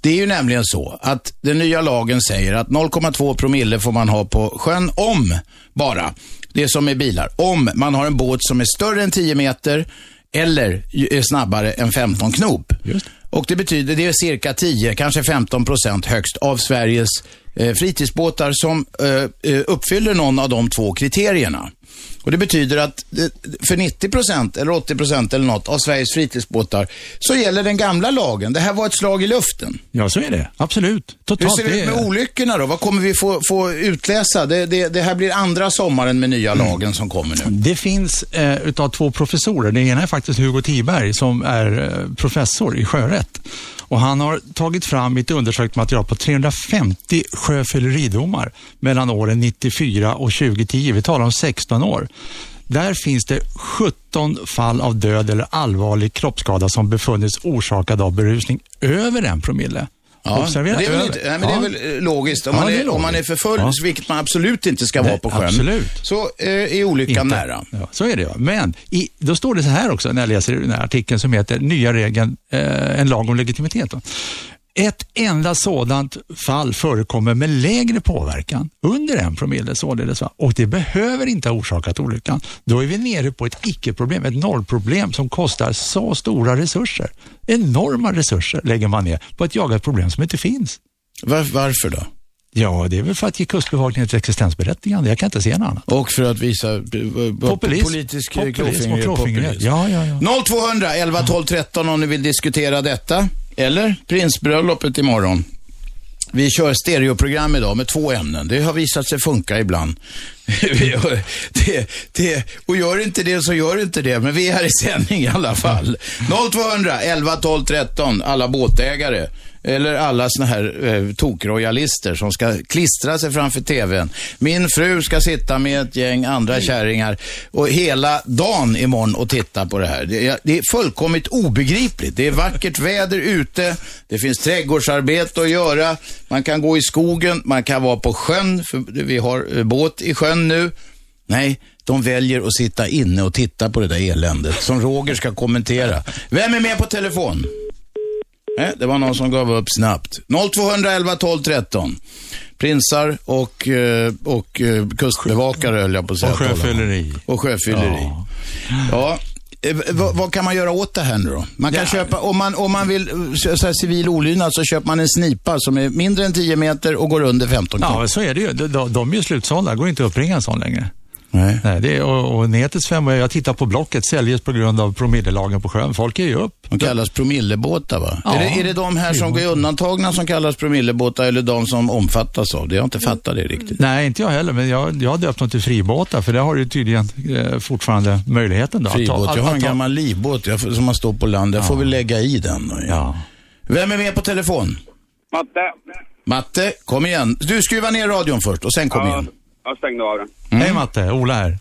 [SPEAKER 2] Det är ju nämligen så att den nya lagen säger att 0,2 promille får man ha på sjön om bara, det är som med bilar, om man har en båt som är större än 10 meter eller ju- är snabbare än 15 knop. Och det betyder, det är cirka 10, kanske 15 procent högst av Sveriges eh, fritidsbåtar som eh, eh, uppfyller någon av de två kriterierna. Och det betyder att eh, för 90 procent eller 80 procent eller något av Sveriges fritidsbåtar så gäller den gamla lagen. Det här var ett slag i luften.
[SPEAKER 3] Ja, så är det. Absolut.
[SPEAKER 2] Hur
[SPEAKER 3] Totalt.
[SPEAKER 2] ser det ut
[SPEAKER 3] är-
[SPEAKER 2] med olyckorna då? Vad kommer vi få, få utläsa? Det, det, det här blir andra sommaren med nya lagen som kommer nu.
[SPEAKER 3] Det finns eh, utav två professorer, den ena är faktiskt Hugo Tiberg som är eh, professor i sjörätt. Och han har tagit fram ett undersökt material på 350 sjöfylleridomar mellan åren 94 och 2010. Vi talar om 16 år. Där finns det 17 fall av död eller allvarlig kroppsskada som befunnits orsakad av berusning över en promille.
[SPEAKER 2] Ja, men det,
[SPEAKER 3] Observera,
[SPEAKER 2] är väl
[SPEAKER 3] över.
[SPEAKER 2] inte, nej, men det är
[SPEAKER 3] Ja.
[SPEAKER 2] väl eh, logiskt. Om,
[SPEAKER 3] Ja,
[SPEAKER 2] man,
[SPEAKER 3] det
[SPEAKER 2] är,
[SPEAKER 3] är
[SPEAKER 2] om man är
[SPEAKER 3] logiskt.
[SPEAKER 2] förföljd,
[SPEAKER 3] Ja.
[SPEAKER 2] vilket man absolut inte ska vara
[SPEAKER 3] Nej,
[SPEAKER 2] på sjön,
[SPEAKER 3] absolut.
[SPEAKER 2] så eh, är olyckan
[SPEAKER 3] Inte.
[SPEAKER 2] nära.
[SPEAKER 3] Ja, så är det ja. Men i, då står det så här också när jag läser den här artikeln som heter Nya regeln, eh, en lag om legitimitet. Då. Ett enda sådant fall förekommer med lägre påverkan, under en promille således, va? och det behöver inte ha orsakat olyckan. Då är vi nere på ett icke-problem, ett nollproblem som kostar så stora resurser. Enorma resurser lägger man ner på att jaga ett problem som inte finns.
[SPEAKER 2] Var, varför då?
[SPEAKER 3] Ja, det är väl för att ge Kustbevakningen ett existensberättigande. Jag kan inte se något annat.
[SPEAKER 2] Och för att visa eh, vad-
[SPEAKER 3] Populism,
[SPEAKER 2] politisk eh,
[SPEAKER 3] populism och
[SPEAKER 2] klåfingrighet.
[SPEAKER 3] klåfingrighet.
[SPEAKER 2] populism.
[SPEAKER 3] Ja, ja, ja.
[SPEAKER 2] 0200 11 12 13 om ni vill diskutera detta. Eller prinsbröllopet imorgon. Vi kör stereoprogram idag med två ämnen. Det har visat sig funka ibland. Vi gör- det, det, och gör inte det så gör inte det, men vi är här i sändning i alla fall. 0200 11 12 13, alla båtägare. Eller alla såna här eh, tokrojalister som ska klistra sig framför TVn. Min fru ska sitta med ett gäng andra kärringar och hela dagen imorgon och titta på det här. Det är, det är fullkomligt obegripligt. Det är vackert väder ute, det finns trädgårdsarbete att göra, man kan gå i skogen, man kan vara på sjön, för vi har eh, båt i sjön nu. Nej, de väljer att sitta inne och titta på det där eländet som Roger ska kommentera. Vem är med på telefon? Nej, det var någon som gav upp snabbt. 0211 12 13. Prinsar och, eh, och eh, kustbevakare höll jag på att säga.
[SPEAKER 3] Och sjöfylleri.
[SPEAKER 2] Och sjöfylleri. Ja. Eh, v- vad, vad kan man göra åt det här nu då? Man kan köpa, om man, om man vill eh, så så här, civil olydnad så köper man en snipa som är mindre än 10 meter och går under 15 knop.
[SPEAKER 3] Ja, så är det ju. De, de, de är ju slutsålda. går inte att uppringa en sån längre.
[SPEAKER 2] Nej.
[SPEAKER 3] Nej, det är, och, och nätets fem, jag tittar på Blocket, säljes på grund av promillelagen på sjön. Folk är ju upp.
[SPEAKER 2] De kallas promillebåtar va?
[SPEAKER 3] Ja.
[SPEAKER 2] Är, det, är det de här som går undantagna som kallas promillebåtar eller de som omfattas av det? Jag har inte fattat det riktigt.
[SPEAKER 3] Nej, inte jag heller, men jag, jag har döpt dem till fribåtar, för det har du tydligen eh, fortfarande möjligheten. Då, att ta-
[SPEAKER 2] Fribåt.
[SPEAKER 3] att-
[SPEAKER 2] Jag har en
[SPEAKER 3] att ta-
[SPEAKER 2] gammal livbåt jag, får- som man står på land. Jag får väl lägga i den. Då,
[SPEAKER 3] Ja.
[SPEAKER 2] Vem är med på telefon?
[SPEAKER 8] Matte.
[SPEAKER 2] Matte, kom igen. Du skruvar ner radion först och sen kom
[SPEAKER 8] Ja,
[SPEAKER 2] igen.
[SPEAKER 8] jag stängde av den.
[SPEAKER 3] Hej Matte, Ola här.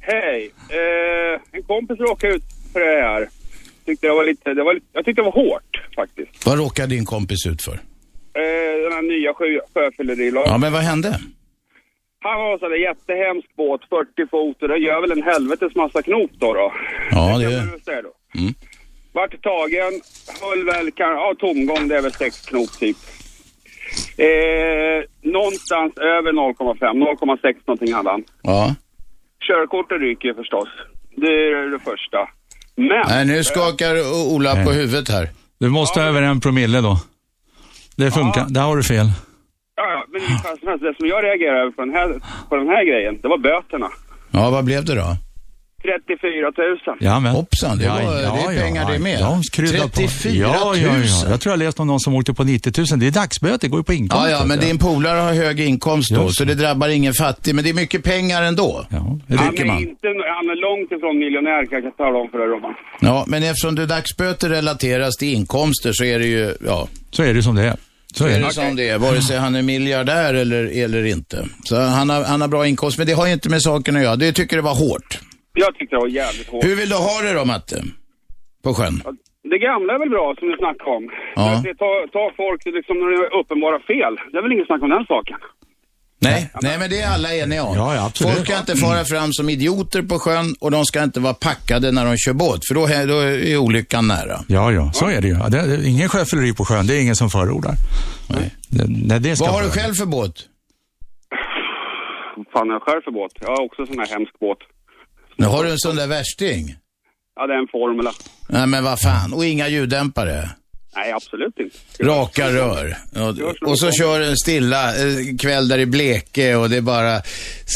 [SPEAKER 8] Hej! Eh, en kompis råkade ut för det här. Tyckte det var lite, det var lite, jag tyckte det var hårt faktiskt.
[SPEAKER 2] Vad råkar din kompis ut för?
[SPEAKER 8] Eh, den här nya sjö, sjöfyllerilagen.
[SPEAKER 2] Ja, men vad hände?
[SPEAKER 8] Han har en sån där jättehemsk båt, 40 fot, och det gör väl en helvetes massa knop då. då.
[SPEAKER 2] Ja, det
[SPEAKER 8] kan man
[SPEAKER 2] är...
[SPEAKER 8] väl säga då.
[SPEAKER 2] Mm.
[SPEAKER 8] Vart tagen, höll väl kan, ja, tomgång, det är väl 6 knop typ. Eh, någonstans över 0,5, 0,6 någonting hade han.
[SPEAKER 2] Ja.
[SPEAKER 8] Körkortet ryker ju förstås. Det är det första. Men...
[SPEAKER 2] Nej, nu skakar O- Ola på
[SPEAKER 3] Nej.
[SPEAKER 2] huvudet här.
[SPEAKER 3] Du måste över en promille då. Det funkar, där har du fel.
[SPEAKER 8] Ja, ja, men i fall som helst, det som jag reagerar över på den, här, på den här grejen, det var böterna.
[SPEAKER 2] Ja, vad blev det då?
[SPEAKER 8] 34 000.
[SPEAKER 3] Ja, men.
[SPEAKER 2] Hoppsan, det var- det är pengar det med.
[SPEAKER 3] De kryddar
[SPEAKER 2] 34 000.
[SPEAKER 3] på. Ja, ja, ja. Jag tror jag läste om någon som åkte på 90 000. Det är dagsböter, det går ju på inkomst.
[SPEAKER 2] Ja, ja, men din polare har hög inkomst då,
[SPEAKER 3] Just
[SPEAKER 2] så det drabbar ingen fattig. Men det är mycket pengar ändå.
[SPEAKER 3] Ja,
[SPEAKER 8] Han
[SPEAKER 2] Rycker
[SPEAKER 8] är,
[SPEAKER 2] man.
[SPEAKER 8] inte, han är långt ifrån miljonär kan jag tala om för dig Robban.
[SPEAKER 2] Ja, men eftersom det dagsböter relateras till inkomster så är det ju, ja.
[SPEAKER 3] så är det som det är.
[SPEAKER 2] Så är det som det är, vare sig han är miljardär eller, eller inte. Så han har, han har bra inkomst, men det har ju inte med saken att göra. Du tycker det var hårt.
[SPEAKER 8] Jag tyckte det var jävligt hårt.
[SPEAKER 2] Hur vill du ha det då, Matte? På sjön?
[SPEAKER 8] Det gamla är väl bra som du snackade om.
[SPEAKER 2] Ja.
[SPEAKER 8] Att det tar, tar folk till liksom när det är uppenbara fel. Det är väl inget snack om den saken.
[SPEAKER 2] Nej, nej men det är alla eniga om.
[SPEAKER 3] Ja, ja, absolut.
[SPEAKER 2] Folk ska inte fara fram som idioter på sjön och de ska inte vara packade när de kör båt, för då, är- då är olyckan nära.
[SPEAKER 3] Ja, ja, så är det ju. Ja, det, det- ingen sjöfylleri på sjön, det är ingen som förordar.
[SPEAKER 2] Nej.
[SPEAKER 3] Det, nej, det ska
[SPEAKER 2] Vad har du
[SPEAKER 3] vara.
[SPEAKER 2] själv för båt?
[SPEAKER 8] Vad Fan, jag själv för båt. Jag har också sån här hemsk båt.
[SPEAKER 2] Nu har du en sån där värsting.
[SPEAKER 8] Ja, det är en formula.
[SPEAKER 2] Nej men vad fan, och inga ljuddämpare.
[SPEAKER 8] Nej, absolut inte.
[SPEAKER 2] Raka rör. Och, och så kör du en stilla eh, kväll där i Bleke och det är bara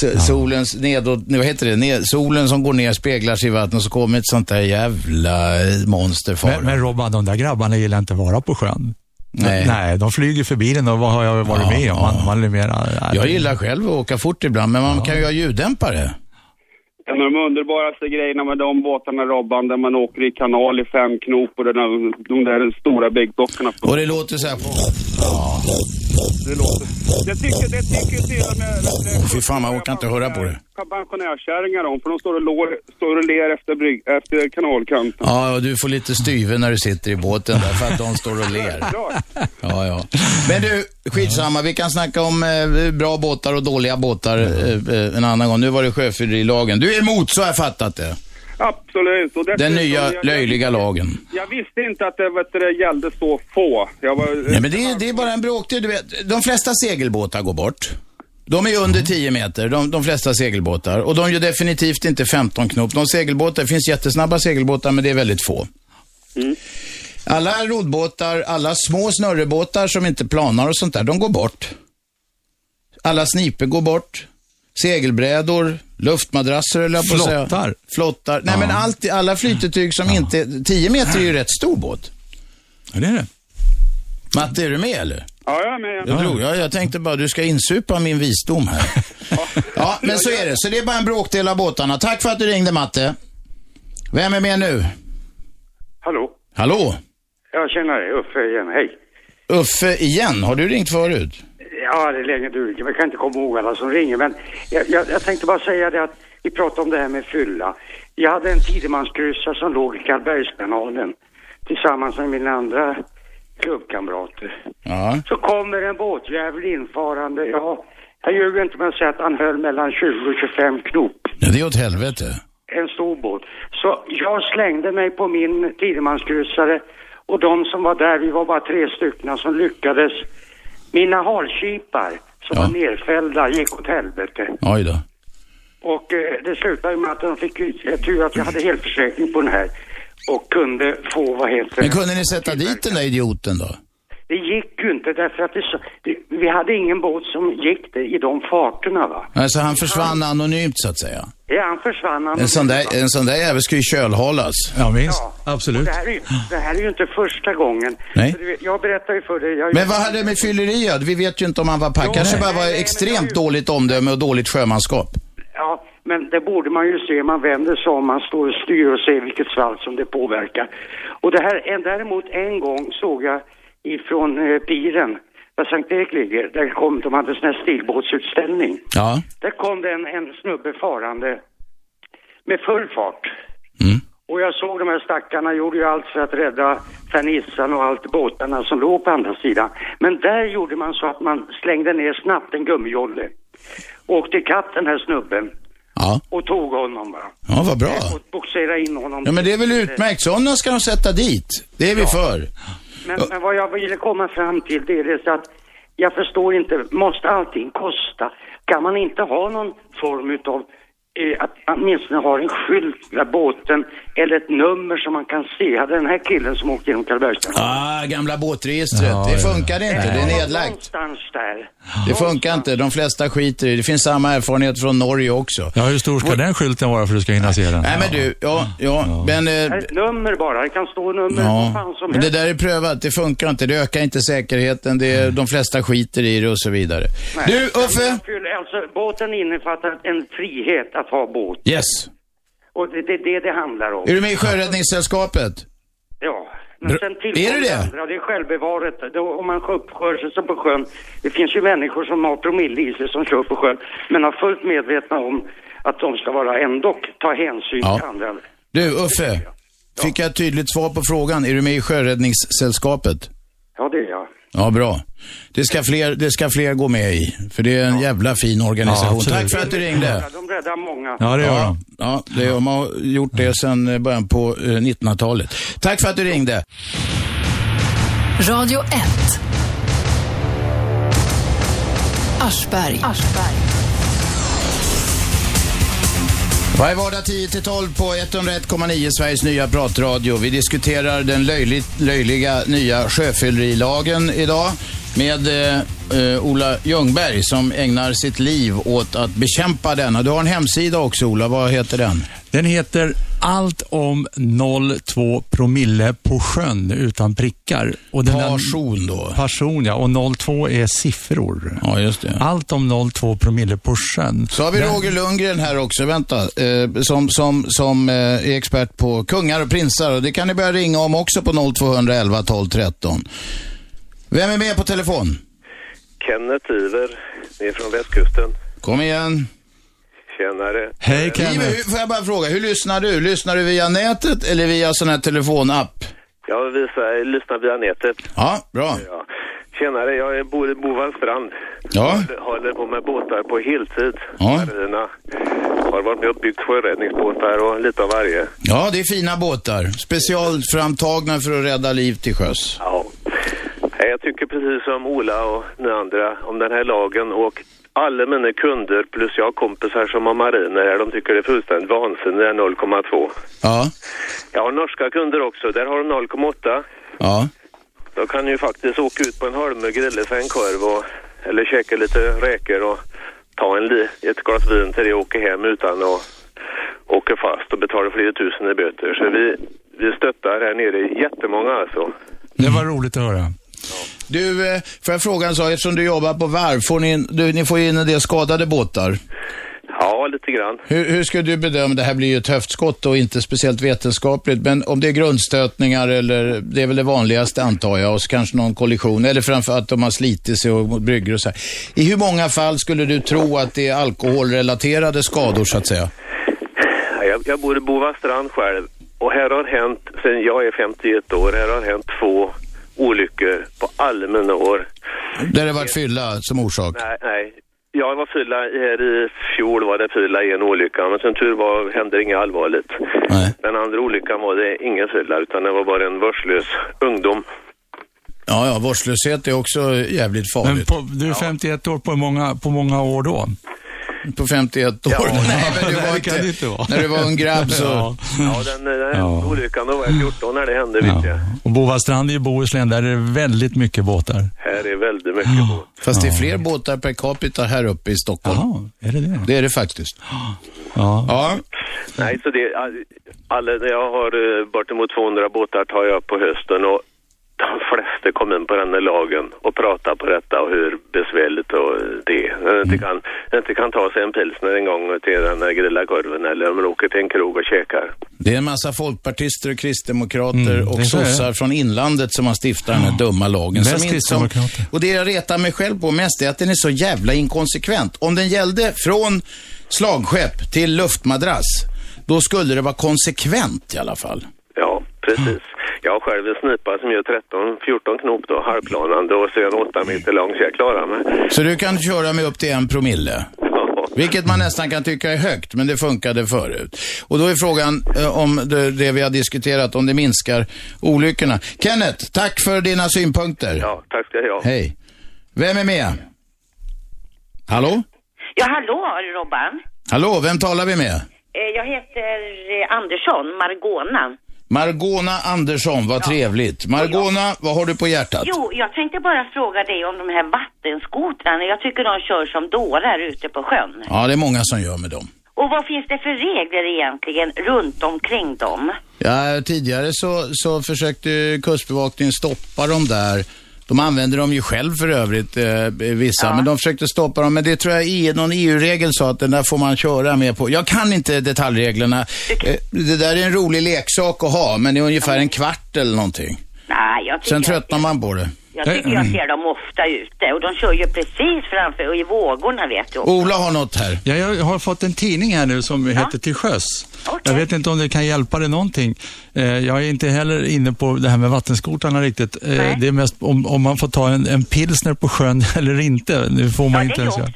[SPEAKER 2] so- solens nedåt, nej, vad heter det, ned, solen som går ner speglar sig i vattnet och så kommer ett sånt där jävla eh, monster
[SPEAKER 3] Men, men
[SPEAKER 2] fara.
[SPEAKER 3] Robban, de där grabbarna gillar inte att vara på sjön.
[SPEAKER 2] Nej.
[SPEAKER 3] Nej, de flyger förbi den och vad har jag varit
[SPEAKER 2] Ja,
[SPEAKER 3] med om?
[SPEAKER 2] ja.
[SPEAKER 3] Man, man är mera,
[SPEAKER 2] Jag gillar själv att åka fort ibland, men man kan ju ha ljuddämpare.
[SPEAKER 8] En av de underbaraste grejerna med de båtarna, Robban, där man åker i kanal i fem knop och den där, de där stora bäggdockorna.
[SPEAKER 2] Och det låter så här...
[SPEAKER 8] Det låter... Det tycker, det tycker till och med... vet du,
[SPEAKER 2] Fy fan, man orkar inte höra på det.
[SPEAKER 8] Pensionärskärringar om, för de står och, lår, står och ler efter, brygg, efter kanalkanten.
[SPEAKER 2] Ja, och du får lite styve när du sitter i båten där för att de står och ler.
[SPEAKER 8] Klart.
[SPEAKER 2] Ja, ja. Men du, skitsamma. Vi kan snacka om eh, bra båtar och dåliga båtar eh, eh, en annan gång. Nu var det sjöfyllerilagen. Du är emot, så har jag fattat det.
[SPEAKER 8] Absolut. Och
[SPEAKER 2] Den
[SPEAKER 8] dessutom-
[SPEAKER 2] nya
[SPEAKER 8] jag-
[SPEAKER 2] löjliga lagen.
[SPEAKER 8] Jag visste inte att det, vet du, det gällde så få. Jag var,
[SPEAKER 2] Nej, men det, är- det är bara en bråkdel. Du vet, de flesta segelbåtar går bort. De är
[SPEAKER 3] Mm.
[SPEAKER 2] under 10 meter, de, de flesta segelbåtar. Och de gör definitivt inte 15 knop. De segelbåtar, det finns jättesnabba segelbåtar, men det är väldigt få.
[SPEAKER 3] Mm.
[SPEAKER 2] Alla roddbåtar, alla små snurrebåtar som inte planar och sånt där, de går bort. Alla sniper går bort. Segelbrädor, luftmadrasser eller på att säga.
[SPEAKER 3] Flottar.
[SPEAKER 2] Flottar. Nej, men allt, alla flytetyg som inte... 10 meter är ju rätt stor båt.
[SPEAKER 3] Ja, det är det.
[SPEAKER 2] Matte, är du med eller?
[SPEAKER 8] Ja, jag är med.
[SPEAKER 2] Jag, drog, ja, jag tänkte bara du ska insupa min visdom här. ja, men så är det. Så det är bara en bråkdel av båtarna. Tack för att du ringde Matte. Vem är med nu?
[SPEAKER 9] Hallå?
[SPEAKER 2] Hallå?
[SPEAKER 9] Ja, tjenare, Uffe igen, hej.
[SPEAKER 2] Uffe igen. Har du ringt förut?
[SPEAKER 9] Ja, det är länge du, jag kan inte komma ihåg alla som ringer, men jag, jag, jag tänkte bara säga det att vi pratade om det här med fylla. Jag hade en tidemanskryssare som låg i Karlbergskanalen tillsammans med mina andra klubbkamrater.
[SPEAKER 2] Ja.
[SPEAKER 9] Så kommer en båtjävel infarande, ja, jag ljuger inte men säger att han höll mellan 20 och 25 knop.
[SPEAKER 2] ja det är åt helvete.
[SPEAKER 9] en stor båt. Så jag slängde mig på min Tidemanskryssare och de som var där, vi var bara tre stycken som lyckades. Mina halkipar som
[SPEAKER 2] Ja.
[SPEAKER 9] var nerfällda gick åt helvete.
[SPEAKER 2] Oj då.
[SPEAKER 9] Och eh, det slutade ju med att de fick ju- eh, tur att jag hade helförsäkring på den här och kunde få, vad heter
[SPEAKER 2] Men
[SPEAKER 9] det?
[SPEAKER 2] kunde ni sätta dit den där idioten då?
[SPEAKER 9] Det gick ju inte därför att det, så- det, vi hade ingen båt som gick det i de farterna va.
[SPEAKER 2] Alltså han försvann anonymt så att säga.
[SPEAKER 9] Ja, han försvann. Han
[SPEAKER 2] En sån där, en sån där jävel ska ju kölhalas.
[SPEAKER 3] Ja, minst.
[SPEAKER 9] Ja, och
[SPEAKER 3] Absolut.
[SPEAKER 9] Det här, är, ju- det här är ju inte första gången.
[SPEAKER 2] Nej.
[SPEAKER 9] Så du- Jag berättar ju för dig. Jag,
[SPEAKER 2] Men vad hade det med fylleri att göra? Vi vet ju inte om han var packad. Kanske bara var extremt dåligt omdöme och dåligt sjömanskap.
[SPEAKER 9] Ja, men det borde man ju se. Man vänder sig om, man står och styr och ser vilket svall som det påverkar. Och det här, en- däremot en gång såg jag ifrån eh, piren, där Sankt Erik ligger, där kom, de hade sån här stilbåtsutställning.
[SPEAKER 2] Ja.
[SPEAKER 9] Där kom det en, en snubbe farande med full fart. Och jag såg de här stackarna gjorde ju allt för att rädda fernissan och allt båtarna som låg på andra sidan. Men där gjorde man så att man slängde ner snabbt en gummijolle. Åkte ikapp den här snubben
[SPEAKER 2] Ja.
[SPEAKER 9] och tog honom va.
[SPEAKER 2] Ja, vad bra.
[SPEAKER 9] Och boxerade in honom.
[SPEAKER 2] Ja, men det är väl utmärkt. Sådana ska de sätta dit. Det är vi för.
[SPEAKER 9] Men, men vad jag ville komma fram till det är det så att jag förstår inte, måste allting kosta? Kan man inte ha någon form utav eh, att man åtminstone har en skylt där båten eller ett nummer som man kan se. Hade den här killen som åkte genom Karlbergskanalen.
[SPEAKER 2] Ah, gamla båtregistret. Ah, det funkar inte. Det är nedlagt.
[SPEAKER 9] Någonstans där.
[SPEAKER 2] Det funkar inte. De flesta skiter i det. Det finns samma erfarenhet från Norge också.
[SPEAKER 3] Ja, hur stor ska den skylten vara för att du ska hinna se den?
[SPEAKER 2] Nej, men du. Ja, ja. Men, eh,
[SPEAKER 9] Ett nummer bara, det kan stå nummer vad
[SPEAKER 2] ja.
[SPEAKER 9] fan som
[SPEAKER 2] men det
[SPEAKER 9] helst.
[SPEAKER 2] där är prövat. Det funkar inte. Det ökar inte säkerheten. Det är, de flesta skiter i det och så vidare. Du, Uffe.
[SPEAKER 9] Alltså, båten innefattar en frihet att ha båt.
[SPEAKER 2] Yes.
[SPEAKER 9] Och det är det, det det handlar om.
[SPEAKER 2] Är du med i Sjöräddningssällskapet?
[SPEAKER 9] Ja. Men sen tillkommer
[SPEAKER 2] är det det?
[SPEAKER 9] andra, det är självbevaret. Då, om man uppskör sig så på sjön. Det finns ju människor som har promille i sig som kör på sjön, men har fullt medvetna om att de ska vara ändock ta hänsyn
[SPEAKER 4] Ja.
[SPEAKER 9] till andra.
[SPEAKER 4] Du, Uffe. Fick jag ett tydligt svar på frågan? Är du med i Sjöräddningssällskapet?
[SPEAKER 9] Ja, det är jag.
[SPEAKER 4] Ja, bra. Det ska fler, det ska fler gå med i, för det är en jävla fin organisation. Tack för att du ringde.
[SPEAKER 9] De räddar många.
[SPEAKER 4] ja, ja, det har man gjort det sedan eh, början på eh, 1900-talet. Tack för att du ringde.
[SPEAKER 1] Radio 1. Aschberg.
[SPEAKER 2] Varje vardag 10-12 på 101,9 Sveriges nya pratradio. Vi diskuterar den löjligt, löjliga nya sjöfyllerilagen idag med eh, eh, Ola Ljungberg som ägnar sitt liv åt att bekämpa denna. Du har en hemsida också Ola, vad heter den?
[SPEAKER 3] Den heter Allt om 0,2 promille på sjön utan prickar. Och den
[SPEAKER 4] Person då?
[SPEAKER 3] Person ja, och 0,2 är siffror.
[SPEAKER 4] Ja, just det.
[SPEAKER 3] Allt om 0,2 promille på sjön.
[SPEAKER 2] Så har vi
[SPEAKER 3] Den-
[SPEAKER 2] Roger Lundgren här också, vänta, eh, som, som, som eh, är expert på kungar och prinsar. Och det kan ni börja ringa om också på 0211 12 13. Vem är med på telefon?
[SPEAKER 10] Kenneth Iver, ni är från västkusten.
[SPEAKER 2] Kom igen.
[SPEAKER 10] Tjenare. Eh,
[SPEAKER 3] Hej
[SPEAKER 2] Iver, hur, får jag bara fråga, hur lyssnar du? Lyssnar du via nätet eller via sån här telefonapp?
[SPEAKER 10] Jag visar, lyssnar eh, via nätet.
[SPEAKER 2] Ja, bra.
[SPEAKER 10] Ja. Tjenare, jag är- bor i Bovallstrand.
[SPEAKER 2] Ja.
[SPEAKER 10] Håller- Håller på med båtar på heltid.
[SPEAKER 2] Ja.
[SPEAKER 10] Marina. Har varit med och byggt sjöräddningsbåtar och lite av varje.
[SPEAKER 2] Ja, det är fina båtar. Specialframtagna för att rädda liv till sjöss.
[SPEAKER 10] Ja. Nej, Jag tycker precis som Ola och ni andra om den här lagen och alla mina kunder plus jag har kompisar som har mariner här, de tycker det är fullständigt vansinne, det är 0,2.
[SPEAKER 2] Ja,
[SPEAKER 10] Jag har norska kunder också, där har de 0,8.
[SPEAKER 2] ja.
[SPEAKER 10] Då kan ni ju faktiskt åka ut på en holme och grilla sig en korv och, eller käka lite räkor och ta en li, ett glas vin till det och åka hem utan att åka fast och betala flera tusen i böter. Så vi, vi stöttar här nere jättemånga alltså.
[SPEAKER 3] Det var roligt att höra.
[SPEAKER 2] Du, eh, får jag fråga en sak? Eftersom du jobbar på varv, får ni, in, du, ni får in en del skadade båtar.
[SPEAKER 10] Ja, lite grann.
[SPEAKER 2] Hur, hur skulle du bedöma, det här blir ju ett höftskott och inte speciellt vetenskapligt, men om det är grundstötningar eller, det är väl det vanligaste antar jag, och så kanske någon kollision, eller framför att de har slitit sig och mot bryggor och så här. I hur många fall skulle du tro att det är alkoholrelaterade skador så att säga?
[SPEAKER 10] Jag, jag bor i Bovastrand själv och här har hänt, sen jag är 51 år, här har hänt två olyckor på alla mina år.
[SPEAKER 2] Där det varit fylla som orsak?
[SPEAKER 10] Nej, nej. Jag var fylla här i fjol var det fylla i en olycka, men som tur var hände inget allvarligt.
[SPEAKER 2] Nej.
[SPEAKER 10] Den andra olyckan var det ingen fylla, utan det var bara en vörslös ungdom.
[SPEAKER 2] Ja, ja, vårdslöshet är också jävligt
[SPEAKER 3] Men
[SPEAKER 2] farligt.
[SPEAKER 3] på, du är 51 år på många, på många år då.
[SPEAKER 2] På 51 år. nej, men du
[SPEAKER 3] nej,
[SPEAKER 2] var
[SPEAKER 3] det kan
[SPEAKER 2] inte,
[SPEAKER 3] det inte vara.
[SPEAKER 2] när du var ung grabb så...
[SPEAKER 3] Ja.
[SPEAKER 10] Ja, den, den
[SPEAKER 3] Ja.
[SPEAKER 10] eh, olyckan, då var jag 14 när det hände, vet jag.
[SPEAKER 3] Och Bovastrand är ju Bohuslän, där är det väldigt mycket båtar.
[SPEAKER 10] Här är väldigt mycket båt.
[SPEAKER 2] Fast det är fler båtar per capita här uppe i Stockholm.
[SPEAKER 3] Jaha, är det det?
[SPEAKER 2] Det är det faktiskt.
[SPEAKER 3] Ja.
[SPEAKER 2] Ja,
[SPEAKER 10] Nej, så det, alla, jag har eh, bortemot 200 båtar tar jag på hösten och de flesta kom in på den här lagen och pratar på detta och hur besvärligt och det är.
[SPEAKER 11] Mm.
[SPEAKER 10] När de inte kan, inte kan ta sig en pilsner en gång till den här grilla korven eller om de åker till en krog och käkar.
[SPEAKER 2] Det är en massa folkpartister och kristdemokrater
[SPEAKER 3] Mm, det är
[SPEAKER 2] och
[SPEAKER 3] så det är.
[SPEAKER 2] sossar från inlandet som har stiftat den här dumma lagen.
[SPEAKER 3] Mest
[SPEAKER 2] Som inte-
[SPEAKER 3] kristdemokrater.
[SPEAKER 2] och det jag retar mig själv på mest är att den är så jävla inkonsekvent. Om den gällde från slagskepp till luftmadrass, då skulle det vara konsekvent i alla fall.
[SPEAKER 10] Ja, precis.
[SPEAKER 11] Mm.
[SPEAKER 10] Jag har själv en snipa som gör 13-14 knop då, halvplanande och så är den 8 meter lång så jag klarar mig.
[SPEAKER 2] Så du kan köra med upp till en promille.
[SPEAKER 10] Ja.
[SPEAKER 2] Vilket man nästan kan tycka är högt, men det funkade förut. Och då är frågan eh, om det, det vi har diskuterat, om det minskar olyckorna. Kenneth, tack för dina synpunkter.
[SPEAKER 10] Ja, tack ska jag ha.
[SPEAKER 2] Hej. Vem är med? Hallå?
[SPEAKER 12] Ja, hallå Robban.
[SPEAKER 2] Hallå, vem talar vi med?
[SPEAKER 12] Eh, Jag heter eh, Andersson, Margona.
[SPEAKER 2] Margona Andersson, vad trevligt. Margona, vad har du på hjärtat?
[SPEAKER 12] Jo, jag tänkte bara fråga dig om de här vattenskotrarna. Jag tycker de kör som dårar ute på sjön.
[SPEAKER 2] Ja, det är många som gör med dem.
[SPEAKER 12] Och vad finns det för regler egentligen runt omkring dem?
[SPEAKER 2] Ja, tidigare så, så försökte Kustbevakningen stoppa dem där. De använder dem ju själv för övrigt, eh, vissa, men de försökte stoppa dem. Men det tror jag är någon EU-regel sa att den där får man köra med på. Jag kan inte detaljreglerna. Eh, det där är en rolig leksak att ha, men det är ungefär en kvart eller någonting.
[SPEAKER 12] Nej, jag tycker
[SPEAKER 2] Sen Eh, mm. tröttnar man på det.
[SPEAKER 12] Jag tycker jag ser dem ofta ute och de kör ju precis framför och i vågorna vet du.
[SPEAKER 2] har något här.
[SPEAKER 3] Ja, jag har fått en tidning här nu som heter Till sjöss. Jag vet inte om det kan hjälpa dig någonting. Eh, Jag är inte heller inne på det här med vattenskotrarna riktigt. Eh, Det är mest om, om man får ta en, en pilsner på sjön eller inte. Nu får man inte ens göra.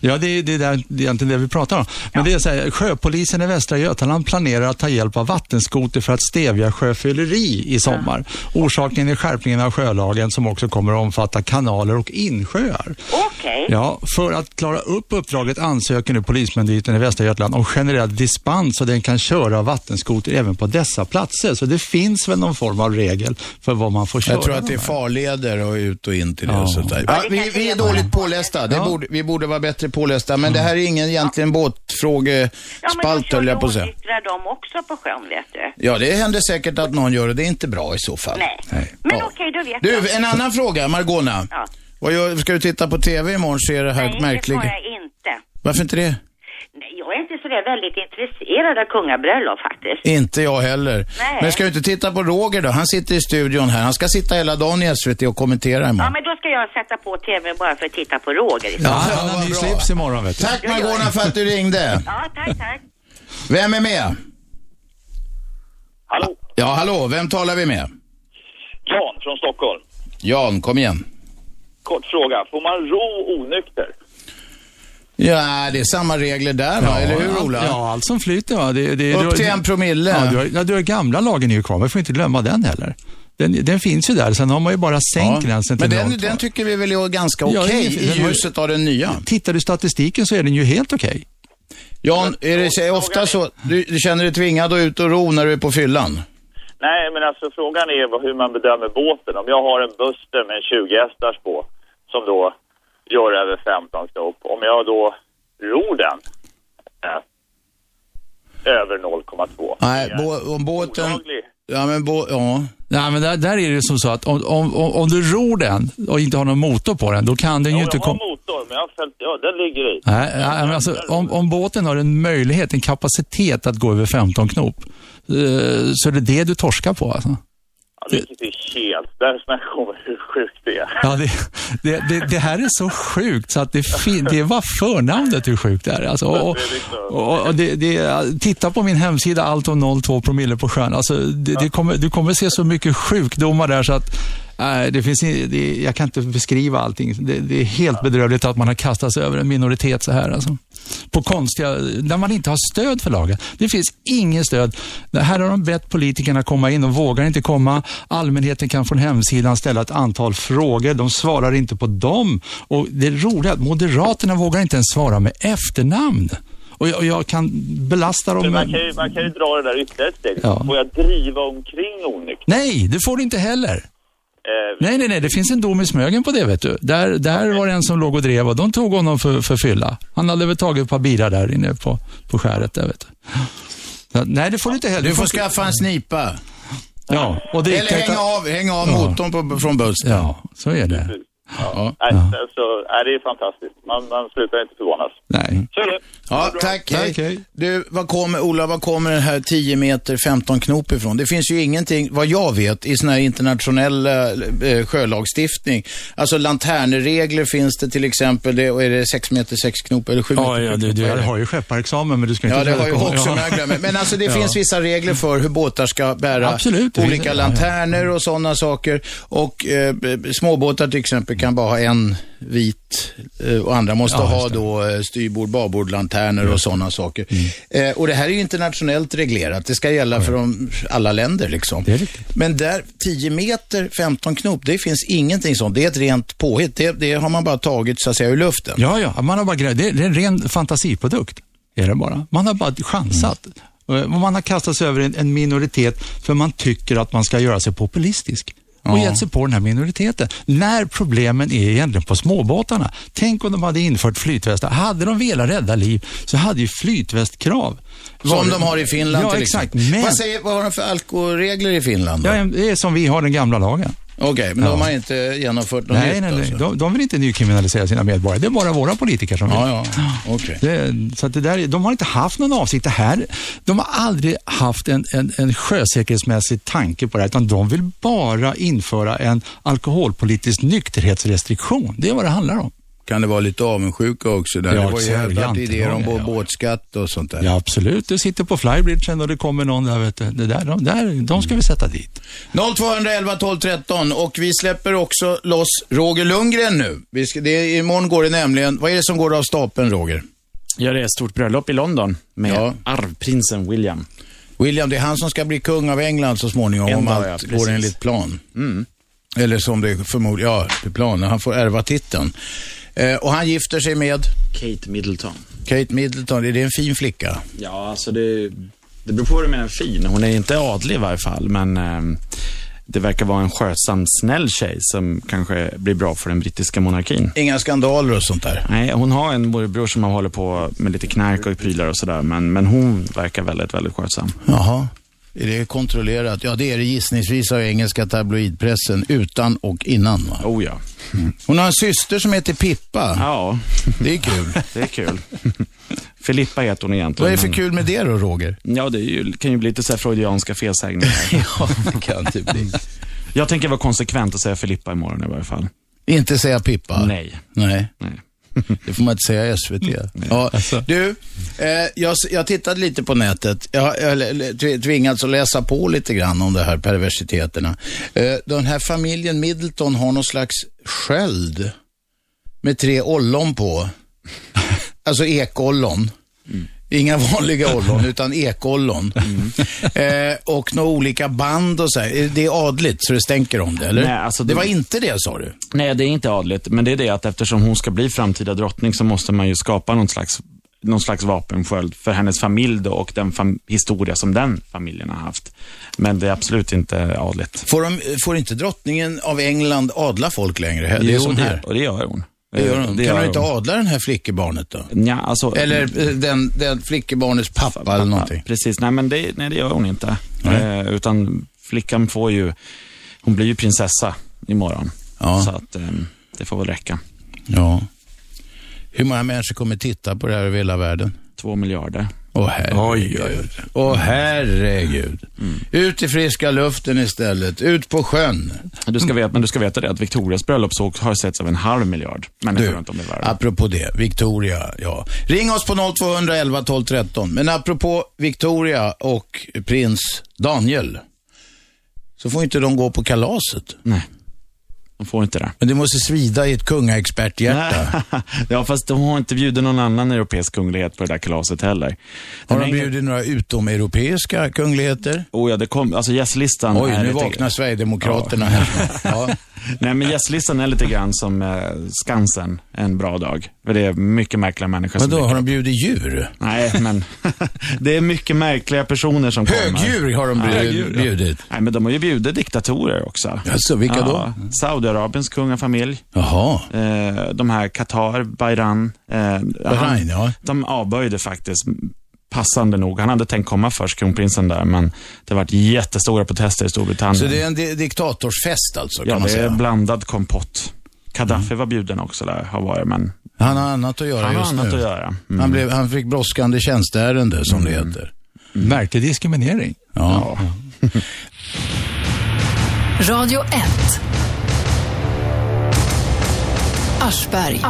[SPEAKER 3] Ja, det är, det, är där, det är egentligen det vi pratar om. Men det är så här, sjöpolisen i Västra Götaland planerar att ta hjälp av vattenskoter för att stävja sjöfylleri i sommar. Orsaken är skärpningen av sjölagen som också kommer att omfatta kanaler och insjöar.
[SPEAKER 12] Okej.
[SPEAKER 3] Ja, för att klara upp uppdraget ansöker nu Polismyndigheten i Västra Götaland om generell dispens så den kan köra vattenskoter även på dessa platser. Så det finns väl någon form av regel för vad man får köra.
[SPEAKER 4] Jag tror att det är
[SPEAKER 3] med.
[SPEAKER 4] farleder och ut och in till det.
[SPEAKER 3] Ja.
[SPEAKER 4] Och sånt där.
[SPEAKER 2] Ja, vi, vi är dåligt pålästa. Det borde, vi borde vara bättre pålästa. Men det här är ingen egentligen båtfrågespalt, höll jag på att säga.
[SPEAKER 12] Cyklar de också på sjön vet du.
[SPEAKER 2] Ja, det händer säkert att någon gör det. Det är inte bra i så fall.
[SPEAKER 12] Nej. Men okej, då vet jag.
[SPEAKER 2] Du, en annan fråga, Margona.
[SPEAKER 12] Ja.
[SPEAKER 2] Vad gör, ska du titta på TV imorgon så är det här
[SPEAKER 12] Nej,
[SPEAKER 2] märkliga...
[SPEAKER 12] det får jag inte.
[SPEAKER 2] Varför inte det?
[SPEAKER 12] Nej, jag är inte så där väldigt intresserad av kungabröllop faktiskt.
[SPEAKER 2] Inte jag heller.
[SPEAKER 12] Nej.
[SPEAKER 2] Men ska du inte titta på Roger då? Han sitter i studion här. Han ska sitta hela dagen i SVT och kommentera
[SPEAKER 12] Ja,
[SPEAKER 2] imorgon.
[SPEAKER 12] men då ska jag sätta på tvn bara för att titta på Roger istället.
[SPEAKER 2] han har ny slips
[SPEAKER 3] imorgon vet
[SPEAKER 2] du. Tack Margona för att du ringde.
[SPEAKER 12] Ja, tack, tack.
[SPEAKER 2] Vem är med?
[SPEAKER 11] Hallå?
[SPEAKER 2] Ja, hallå. Vem talar vi med?
[SPEAKER 11] Jan från Stockholm.
[SPEAKER 2] Jan, kom igen.
[SPEAKER 11] Kort fråga. Får man ro onykter?
[SPEAKER 2] Ja, det är samma regler där va? Eller hur Ola?
[SPEAKER 3] Ja, allt som flyter. Va? Det, det,
[SPEAKER 2] Upp
[SPEAKER 3] du-
[SPEAKER 2] till en promille.
[SPEAKER 3] Ja, du har, ja, du har gamla lagen är ju kvar. Man får inte glömma den heller. Den, den finns ju där. Sen har man ju bara sänkt gränsen till
[SPEAKER 2] Men den,
[SPEAKER 3] noll.
[SPEAKER 2] den tycker vi väl är ganska okej
[SPEAKER 3] Ja, ingen-
[SPEAKER 2] i
[SPEAKER 3] den har ju-
[SPEAKER 2] ljuset av den nya.
[SPEAKER 3] Tittar du i statistiken så är den ju helt okej.
[SPEAKER 2] Jan, är det så- ofta så du, du känner dig tvingad att ut och ro när du är på fyllan?
[SPEAKER 11] Nej, men alltså frågan är vad- hur man bedömer båten. Om jag har en Buster med en 20 hästars på som då gör över 15 knop. Om jag då ror den eh, över 0,2.
[SPEAKER 2] Nej, bå, om båten... Ja, men bå, ja.
[SPEAKER 3] Nej, men där, där är det som så att om, om, om om du ror den och inte har någon motor på den, då kan den ju inte
[SPEAKER 11] Jag har
[SPEAKER 3] komma...
[SPEAKER 11] motor, men jag har följt, ja, den ligger i.
[SPEAKER 3] Nej, nej, men alltså, om, om båten har en möjlighet, en kapacitet att gå över 15 knop, eh, så är det det du torskar på. Alltså.
[SPEAKER 11] Ja, vilket är helt... Där snackar om hur sjukt det är.
[SPEAKER 3] Ja, det, det, det, det här är så sjukt så att det, fin- det var förnamnet hur sjukt det är. Alltså, och, och, och det, det, titta på min hemsida, allt om 0,2 promille på sjön. Alltså, det, det kommer, du kommer se så mycket sjukdomar där så att nej, det finns, i- det, jag kan inte beskriva allting. Det, det är helt bedrövligt att man har kastat sig över en minoritet så här. Alltså. På konstiga, när man inte har stöd för lagen. Det finns inget stöd. Det här har de bett politikerna komma in, de vågar inte komma. Allmänheten kan från hemsidan ställa ett antal frågor, de svarar inte på dem. Och det roliga är att Moderaterna vågar inte ens svara med efternamn. Och jag, och jag kan belasta dem
[SPEAKER 11] Men man, kan
[SPEAKER 3] med...
[SPEAKER 11] ju, man kan ju dra det där ytterligare ett steg.
[SPEAKER 3] Ja.
[SPEAKER 11] Får jag driva omkring onykter?
[SPEAKER 3] Nej, det får du inte heller.
[SPEAKER 11] Eh,
[SPEAKER 3] Nej, nej, nej, det finns en dom i Smögen på det vet du. Där, där var det en som låg och drev och de tog honom för, för fylla. Han hade väl tagit ett par bilar där inne på, på skäret där vet du. Så, nej, det får du inte heller.
[SPEAKER 2] Du får
[SPEAKER 3] inte-
[SPEAKER 2] skaffa en snipa.
[SPEAKER 3] Ja, och det
[SPEAKER 2] Eller
[SPEAKER 3] kan-
[SPEAKER 2] hänga av, hänga av
[SPEAKER 3] Ja.
[SPEAKER 2] motorn på, från bussen.
[SPEAKER 3] Ja, så är det.
[SPEAKER 2] Ja.
[SPEAKER 11] Nej, alltså, nej, det är fantastiskt. Man, man slutar inte förvånas.
[SPEAKER 3] Nej.
[SPEAKER 11] Så är det.
[SPEAKER 2] Mm. Ja, tack. Hej. Du, vad kommer, Ola, vad kommer den här 10 meter, 15 knop ifrån? Det finns ju ingenting, vad jag vet, i sån här internationell eh, sjölagstiftning. Alltså lanterneregler finns det till exempel, det, och är det 6 meter, 6 knop eller 7
[SPEAKER 3] Ja,
[SPEAKER 2] meter?
[SPEAKER 3] ja,
[SPEAKER 2] sju
[SPEAKER 3] du,
[SPEAKER 2] knop?
[SPEAKER 3] du
[SPEAKER 2] Vad är det?
[SPEAKER 3] har ju skepparexamen men du ska inte...
[SPEAKER 2] Ja, det har jag
[SPEAKER 3] komma-
[SPEAKER 2] också,
[SPEAKER 3] Ja.
[SPEAKER 2] men jag glömmer. Men alltså det
[SPEAKER 3] Ja.
[SPEAKER 2] finns vissa regler för hur båtar ska bära
[SPEAKER 3] Absolut, det finns
[SPEAKER 2] olika
[SPEAKER 3] det.
[SPEAKER 2] lanterner och sådana saker. Och eh, b- småbåtar till exempel kan bara ha en vit eh, och andra måste
[SPEAKER 4] Ja,
[SPEAKER 2] ha
[SPEAKER 4] just det.
[SPEAKER 2] då eh, styrbord, babord, lanterner och sådana saker.
[SPEAKER 5] Mm.
[SPEAKER 2] Eh, och det här är ju internationellt reglerat. Det ska gälla för de, alla länder liksom. Men där, 10 meter, 15 knop, det finns ingenting sånt. Det är ett rent påhitt. Det, det har man bara tagit så att säga ur luften.
[SPEAKER 3] Ja, ja, man har bara grejat. Det är det är en ren fantasiprodukt. Är det bara. Man har bara chansat.
[SPEAKER 2] Mm.
[SPEAKER 3] Eh, och Man har kastat sig över en, en minoritet för man tycker att man ska göra sig populistisk. Och
[SPEAKER 13] Ja.
[SPEAKER 3] gett sig på den här minoriteten. När problemen är egentligen på småbåtarna. Tänk om de hade infört flytvästar. Hade de velat rädda liv så hade ju flytvästkrav.
[SPEAKER 2] Som de har i Finland
[SPEAKER 3] ja,
[SPEAKER 2] till
[SPEAKER 3] exakt.
[SPEAKER 2] exempel.
[SPEAKER 3] Men,
[SPEAKER 2] Vad, säger, vad har de för alkoholregler i Finland?
[SPEAKER 3] ja, det är som vi har den gamla lagen.
[SPEAKER 2] Okej, men
[SPEAKER 3] Ja.
[SPEAKER 2] de har inte genomfört något
[SPEAKER 3] Nej,
[SPEAKER 2] nytt
[SPEAKER 3] nej,
[SPEAKER 2] alltså?
[SPEAKER 3] nej. De, de vill inte nykriminalisera sina medborgare. Det är bara våra politiker som vill.
[SPEAKER 2] Ja, ja.
[SPEAKER 3] Det, så att det där, är- de har inte haft någon avsikt. Det här, de har aldrig haft en, en, en sjösäkerhetsmässig tanke på det här, utan de vill bara införa en alkoholpolitisk nykterhetsrestriktion. Det är vad det handlar om.
[SPEAKER 4] Kan det vara lite avundsjuka också? Där?
[SPEAKER 3] Ja,
[SPEAKER 4] det var ju hävdat
[SPEAKER 3] särjant,
[SPEAKER 4] idéer
[SPEAKER 3] det
[SPEAKER 4] om
[SPEAKER 3] var det,
[SPEAKER 4] ja. båtskatt och sånt där.
[SPEAKER 3] Ja, absolut. Du sitter på flybridgen och det kommer någon där, vet du. Det där, de, där, de ska vi sätta dit.
[SPEAKER 2] 0211 12 13 och vi släpper också loss Roger Lundgren nu. Vi ska, det, är- imorgon går det nämligen, vad är det som går av stapeln Roger?
[SPEAKER 5] Ja, det är ett stort bröllop i London med arvprinsen William.
[SPEAKER 2] William, det är han som ska bli kung av England så småningom
[SPEAKER 5] En
[SPEAKER 2] om
[SPEAKER 5] dag,
[SPEAKER 2] allt
[SPEAKER 5] ja,
[SPEAKER 2] går
[SPEAKER 5] precis.
[SPEAKER 2] enligt plan.
[SPEAKER 5] Mm.
[SPEAKER 2] Eller som det förmodligen, ja, det är planen. Han får ärva titeln. Eh, och han gifter sig med?
[SPEAKER 5] Kate Middleton.
[SPEAKER 2] Kate Middleton, är det en fin flicka?
[SPEAKER 5] Ja, alltså det, det beror på vad du menar fin. Hon är inte adlig i varje fall, men eh, det verkar vara en skötsam, snäll tjej som kanske blir bra för den brittiska monarkin.
[SPEAKER 2] Inga skandaler och sånt där?
[SPEAKER 5] Nej, hon har en morbror som håller på med lite knark och prylar och sådär, men, men hon verkar väldigt, väldigt skötsam.
[SPEAKER 2] Jaha. Är det kontrollerat? Ja, det är det gissningsvis av engelska tabloidpressen, utan och innan va?
[SPEAKER 5] Oh ja.
[SPEAKER 2] Hon har en syster som heter Pippa.
[SPEAKER 5] Ja.
[SPEAKER 2] Det är kul.
[SPEAKER 5] Det är kul. Filippa heter hon egentligen.
[SPEAKER 2] Vad är det för
[SPEAKER 5] men-
[SPEAKER 2] kul med det då, Roger?
[SPEAKER 5] Ja, det är ju, kan ju bli lite så här freudianska felsägningar.
[SPEAKER 2] ja, det kan det bli.
[SPEAKER 5] Jag tänker vara konsekvent och säga Filippa imorgon i varje fall.
[SPEAKER 2] Inte säga Pippa?
[SPEAKER 5] Nej. Alltså.
[SPEAKER 2] Nej. Det får man inte säga i SVT. Ja. Du, eh, jag, s- jag tittade lite på nätet. Jag har eller- eller tv- tvingats att läsa på lite grann om de här perversiteterna. Eh, den här familjen Middleton har någon slags sköld med tre ollon på. Alltså ekollon.
[SPEAKER 5] Mm.
[SPEAKER 2] Inga vanliga ollon, utan ekollon.
[SPEAKER 5] Mm.
[SPEAKER 2] Eh, och några olika band och så här. Eh, Det är adligt, så det stänker om det, eller?
[SPEAKER 5] Nej, alltså,
[SPEAKER 2] det...
[SPEAKER 5] det-
[SPEAKER 2] var inte det, sa du?
[SPEAKER 5] Nej, det är inte adligt, men det är det att eftersom hon ska bli framtida drottning så måste man ju skapa någon slags, någon slags vapensköld för hennes familj då och den fam- historia som den familjen har haft. Men det är absolut inte adligt.
[SPEAKER 2] Får, de, får inte drottningen av England adla folk längre? Det är
[SPEAKER 5] Jo,
[SPEAKER 2] som
[SPEAKER 5] det-
[SPEAKER 2] här.
[SPEAKER 5] Och det gör hon.
[SPEAKER 2] Det gör hon. kan
[SPEAKER 5] gör
[SPEAKER 2] hon inte adla den här flickebarnet då?
[SPEAKER 5] Nja, alltså,
[SPEAKER 2] Eller eh, den, den flickebarnets pappa, eller någonting?
[SPEAKER 5] Precis, nej men det, nej, det gör hon inte. Eh, utan flickan får ju, hon blir ju prinsessa imorgon. Så att eh, det får väl räcka.
[SPEAKER 2] Ja. Hur många människor kommer titta på det här över hela världen?
[SPEAKER 5] Två miljarder.
[SPEAKER 2] Åh herregud. Oj, Åh herregud.
[SPEAKER 5] Mm.
[SPEAKER 2] Ut i friska luften istället. Ut på sjön.
[SPEAKER 5] Du ska veta, men du ska veta det att Victorias bröllop så har setts av en halv miljard människor
[SPEAKER 2] Du,
[SPEAKER 5] runt om i världen.
[SPEAKER 2] apropå det. Victoria, ja. Ring oss på 0211 12 13. Men apropå Victoria och prins Daniel. Så får inte de gå på kalaset.
[SPEAKER 5] Nej. De får inte det.
[SPEAKER 2] Men det måste svida i ett kungaexperthjärta.
[SPEAKER 5] ja, fast de har inte bjudit någon annan europeisk kunglighet på det där kalaset heller.
[SPEAKER 2] Har de bjudit några utomeuropeiska kungligheter?
[SPEAKER 5] Oh ja, det kom, alltså gästlistan
[SPEAKER 2] Oj,
[SPEAKER 5] är
[SPEAKER 2] nu
[SPEAKER 5] lite-
[SPEAKER 2] vaknar Sverigedemokraterna här.
[SPEAKER 5] Nej, men gästlistan är lite grann som eh, Skansen en bra dag. För det är mycket märkliga människor som
[SPEAKER 2] Vadå,
[SPEAKER 5] dyker
[SPEAKER 2] har de bjudit djur?
[SPEAKER 5] Nej, men det är mycket märkliga personer som kommer.
[SPEAKER 2] Högdjur har de bjud-
[SPEAKER 5] Högdjur, ja.
[SPEAKER 2] bjudit.
[SPEAKER 5] Nej, men de har ju bjudit diktatorer också.
[SPEAKER 2] Jaså, vilka då?
[SPEAKER 5] Saudiarabiens kungafamilj.
[SPEAKER 2] Jaha.
[SPEAKER 5] Eh, de här Qatar, Bayran. Eh, han-
[SPEAKER 2] ja.
[SPEAKER 5] De avböjde faktiskt, passande nog. Han hade tänkt komma först, kronprinsen där, men det har varit jättestora protester i Storbritannien.
[SPEAKER 2] Så det är en di- diktatorsfest alltså, kan
[SPEAKER 5] ja,
[SPEAKER 2] man
[SPEAKER 5] det är
[SPEAKER 2] säga. Mm.
[SPEAKER 5] blandad kompott. Gaddafi var bjuden också där, har varit, men
[SPEAKER 2] Han har annat att göra
[SPEAKER 5] han har
[SPEAKER 2] just
[SPEAKER 5] annat
[SPEAKER 2] nu.
[SPEAKER 5] att göra. Mm.
[SPEAKER 2] Han, blev, han fick brådskande tjänsteärende, som det heter.
[SPEAKER 3] Märklig diskriminering.
[SPEAKER 2] Ja.
[SPEAKER 1] Radio 1. Aschberg.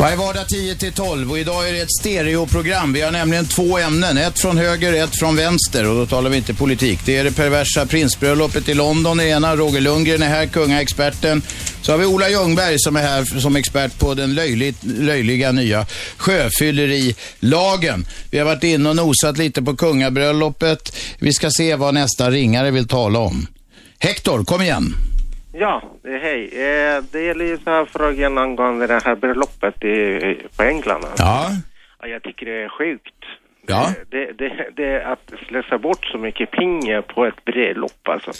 [SPEAKER 2] Varje vardag 10 till 12 och idag är det ett stereoprogram. Vi har nämligen två ämnen, ett från höger, ett från vänster och då talar vi inte politik. Det är det perversa prinsbröllopet i London i ena, Roger Lundgren är här, kungaexperten. Så har vi Ola Ljungberg som är här f- som expert på den löjligt, löjliga nya sjöfyllerilagen. Vi har varit inne och nosat lite på kungabröllopet. Vi ska se vad nästa ringare vill tala om. Hector, kom igen.
[SPEAKER 13] Ja, eh, hej. Eh, Det gäller ju så här frågan angående det här bröllopet i, på England.
[SPEAKER 2] Ja.
[SPEAKER 13] Ja, Jag tycker det är sjukt.
[SPEAKER 2] Ja.
[SPEAKER 13] Det, det, det är att slösa bort så mycket pengar på ett bröllop alltså.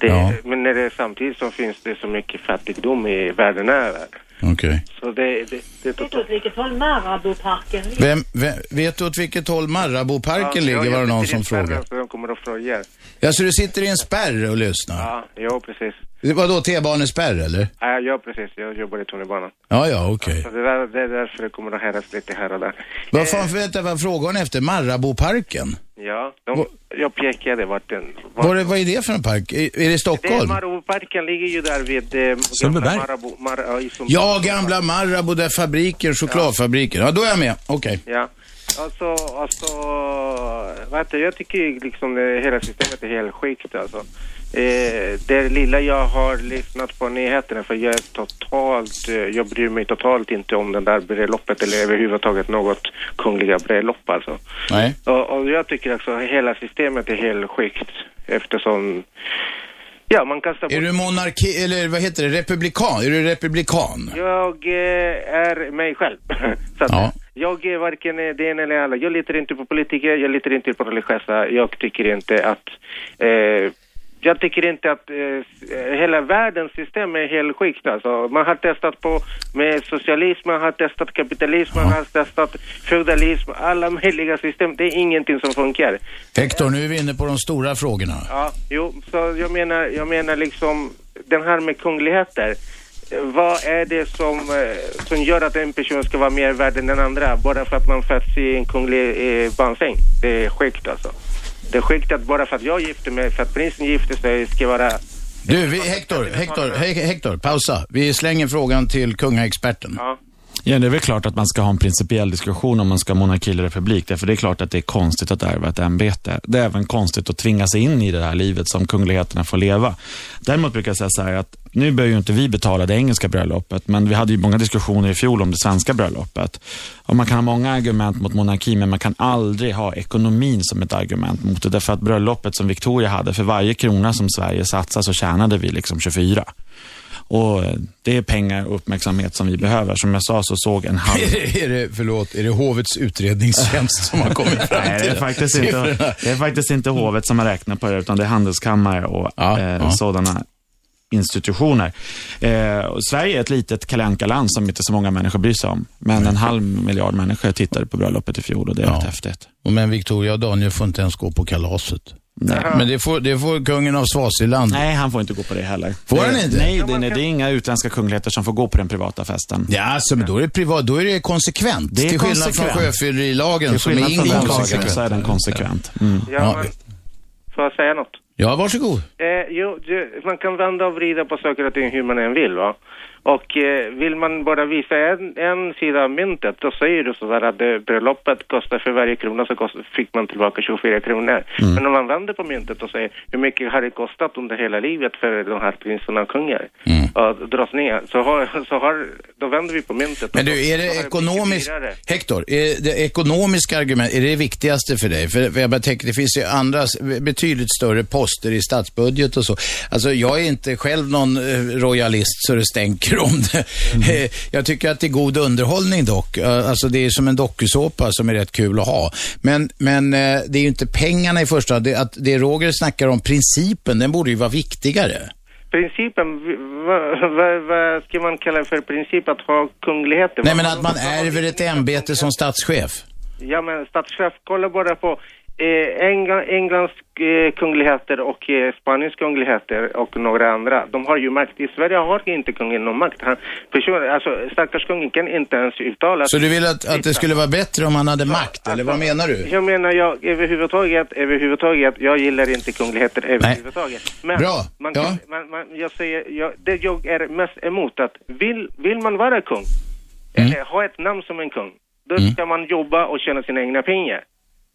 [SPEAKER 13] Det,
[SPEAKER 4] Ja.
[SPEAKER 13] Men när det är samtidigt så finns det så mycket fattigdom i världen över.
[SPEAKER 4] Okej.
[SPEAKER 13] Så det, det, det är totalt...
[SPEAKER 14] vilket håll Marabouparken
[SPEAKER 2] Vem, vem, vet du åt vilket håll
[SPEAKER 13] alltså,
[SPEAKER 2] Marabouparken ligger var det någon som frågade.
[SPEAKER 13] Så de kommer att fråga.
[SPEAKER 2] Ja, så du sitter i en spärr och lyssnar?
[SPEAKER 13] Ja, jo precis.
[SPEAKER 2] Ja. Vadå, T-banespärr eller?
[SPEAKER 13] Ja, jag precis. Jag jobbar i tunnelbanan.
[SPEAKER 2] Ja, ja, okej.
[SPEAKER 13] Så det, där, det är därför det kommer att höras lite här och där.
[SPEAKER 2] Vad fan, vänta, vad frågar hon efter? Marabouparken?
[SPEAKER 13] Ja, de, jag pekade vart den...
[SPEAKER 2] Vad, är- vad är det för en park? Är, är det i
[SPEAKER 13] Det är
[SPEAKER 2] Stockholm?
[SPEAKER 13] Marabouparken ligger ju där vid... eh,
[SPEAKER 2] Sundbyberg?
[SPEAKER 13] gamla Marabou, Mar, ja, i Sundbyberg.
[SPEAKER 2] Ja, gamla Marabou, där fabriker, chokladfabriker. Ja, då är jag med. Okej.
[SPEAKER 13] Ja. Alltså, alltså, vet du, jag tycker ju liksom det, hela systemet är helt sjukt alltså. Eh, det lilla jag har lyssnat på nyheterna, för jag är totalt, eh, jag bryr mig totalt inte om den där bröllopet eller överhuvudtaget något kungliga bröllop alltså.
[SPEAKER 2] Nej.
[SPEAKER 13] Och, och jag tycker alltså hela systemet är helt sjukt eftersom, ja man kastar
[SPEAKER 2] Är du monarki, eller vad heter det, republikan? Är du republikan?
[SPEAKER 13] jag eh, är mig själv. Så att, Jag är varken eh, det ena eller alla. Jag litar inte på politiker, jag litar inte på religiösa. Jag tycker inte att... Eh, jag tycker inte att eh, hela världens system är helt skikt. Alltså, man har testat på med socialism, man har testat kapitalism, man har testat feudalism, alla möjliga system. Det är ingenting som funkar.
[SPEAKER 2] Hector, nu är vi inne på de stora frågorna.
[SPEAKER 13] Ja, jo, så jag menar, jag menar liksom den här med kungligheter. Eh, Vad är det som, eh, som gör att en person ska vara mer värd än den andra bara för att man föds i en kunglig eh, barnsäng? Det är sjukt alltså. Det är sjukt att bara för att jag gifte mig, för att prinsen gifte sig, ska vara...
[SPEAKER 2] Du, vi, Hector, Hector, He- Hector, pausa. Vi slänger frågan till kungaexperten.
[SPEAKER 5] Ja, det är väl klart att man ska ha en principiell diskussion om man ska ha monarki eller republik. Därför det är klart att det är konstigt att ärva ett ämbete. Det är även konstigt att tvinga sig in i det här livet som kungligheterna får leva. Däremot brukar jag säga så här att nu bör ju inte vi betala det engelska bröllopet, men vi hade ju många diskussioner i fjol om det svenska bröllopet. Och man kan ha många argument mot monarki, men man kan aldrig ha ekonomin som ett argument mot det. Därför att bröllopet som Victoria hade, för varje krona som Sverige satsar så tjänade vi liksom 24. Och eh, det är pengar och uppmärksamhet som vi behöver. Som jag sa så såg en halv...
[SPEAKER 2] Är det, är det, förlåt, är det hovets utredningstjänst som har kommit fram till
[SPEAKER 5] Nej, det är, faktiskt inte,
[SPEAKER 2] siffrorna?
[SPEAKER 5] det är faktiskt inte hovet som har räknat på det, utan det är handelskammare och eh, sådana institutioner. Eh, och Sverige är ett litet kalle land som inte så många människor bryr sig om. Men en halv miljard människor tittade på bröllopet i fjol och det är rätt häftigt.
[SPEAKER 2] Och Men Victoria och Daniel får inte ens gå på kalaset. Men det får, det får kungen av Swaziland.
[SPEAKER 5] Nej, han får inte gå på det heller.
[SPEAKER 2] Får
[SPEAKER 5] Det-
[SPEAKER 2] han inte?
[SPEAKER 5] Nej, det, nej, det är inga utländska kungligheter som får gå på den privata festen.
[SPEAKER 2] Ja, alltså, men då är det privat, då är det konsekvent.
[SPEAKER 5] Det är
[SPEAKER 2] till skillnad
[SPEAKER 5] konsekvent.
[SPEAKER 2] från sjöfyllerilagen
[SPEAKER 5] Till
[SPEAKER 2] som är
[SPEAKER 5] skillnad från den
[SPEAKER 2] inkonsekvent.
[SPEAKER 5] lagen så är den konsekvent. Mm.
[SPEAKER 13] Ja, men, får jag säga något?
[SPEAKER 2] Ja, varsågod.
[SPEAKER 13] Eh, jo, ju- man kan vända och vrida på saker och ting hur man än vill. Va? Och eh, vill man bara visa en, en sida av myntet, då säger du sådär att eh, bröllopet kostar för varje krona så kost, fick man tillbaka 24 kronor.
[SPEAKER 2] Mm.
[SPEAKER 13] Men om man vänder på myntet och säger hur mycket har det kostat under hela livet för de här prinsarna och kungar
[SPEAKER 2] Mm.
[SPEAKER 13] och drottningar, så, har, så har, då vänder vi på myntet.
[SPEAKER 2] Men
[SPEAKER 13] Och
[SPEAKER 2] du,
[SPEAKER 13] då-
[SPEAKER 2] är
[SPEAKER 13] då har
[SPEAKER 2] det
[SPEAKER 13] blivit
[SPEAKER 2] ekonomiskt,
[SPEAKER 13] dyrare.
[SPEAKER 2] Hector, är det ekonomiska argument, är det viktigaste för dig? För för jag bara tänker, det finns ju andra, s- betydligt större poster i statsbudget och så. Alltså, jag är inte själv någon eh, royalist så det stänker om det. Eh, Jag tycker att det är god underhållning dock. Eh, Alltså, det är som en dokusåpa som är rätt kul att ha. Men, men eh, det är ju inte pengarna i första hand, det, att det Roger snackar om, principen, den borde ju vara viktigare.
[SPEAKER 13] Principen, v- vad vad- vad ska man kalla för princip att ha kungligheter?
[SPEAKER 2] Nej, men att man ärver ett ämbete som statschef.
[SPEAKER 13] Ja, men statschef, kolla bara på eh, England, Englands eh, kungligheter och eh, Spaniens kungligheter och några andra. De har ju makt. I Sverige har inte kungen någon makt. Han, personer, alltså, stackars kungen kan inte ens uttala
[SPEAKER 2] Så du vill att, att det skulle vara bättre om han hade makt, eller vad menar du?
[SPEAKER 13] Jag menar, jag, överhuvudtaget, överhuvudtaget, jag gillar inte kungligheter överhuvudtaget. Men
[SPEAKER 2] Bra.
[SPEAKER 13] Man kan,
[SPEAKER 2] Ja.
[SPEAKER 13] man, man, jag säger, jag, det jag är mest emot att vill, vill man vara kung,
[SPEAKER 2] Mm.
[SPEAKER 13] eller ha ett namn som en kung, då ska man jobba och tjäna sina egna pengar.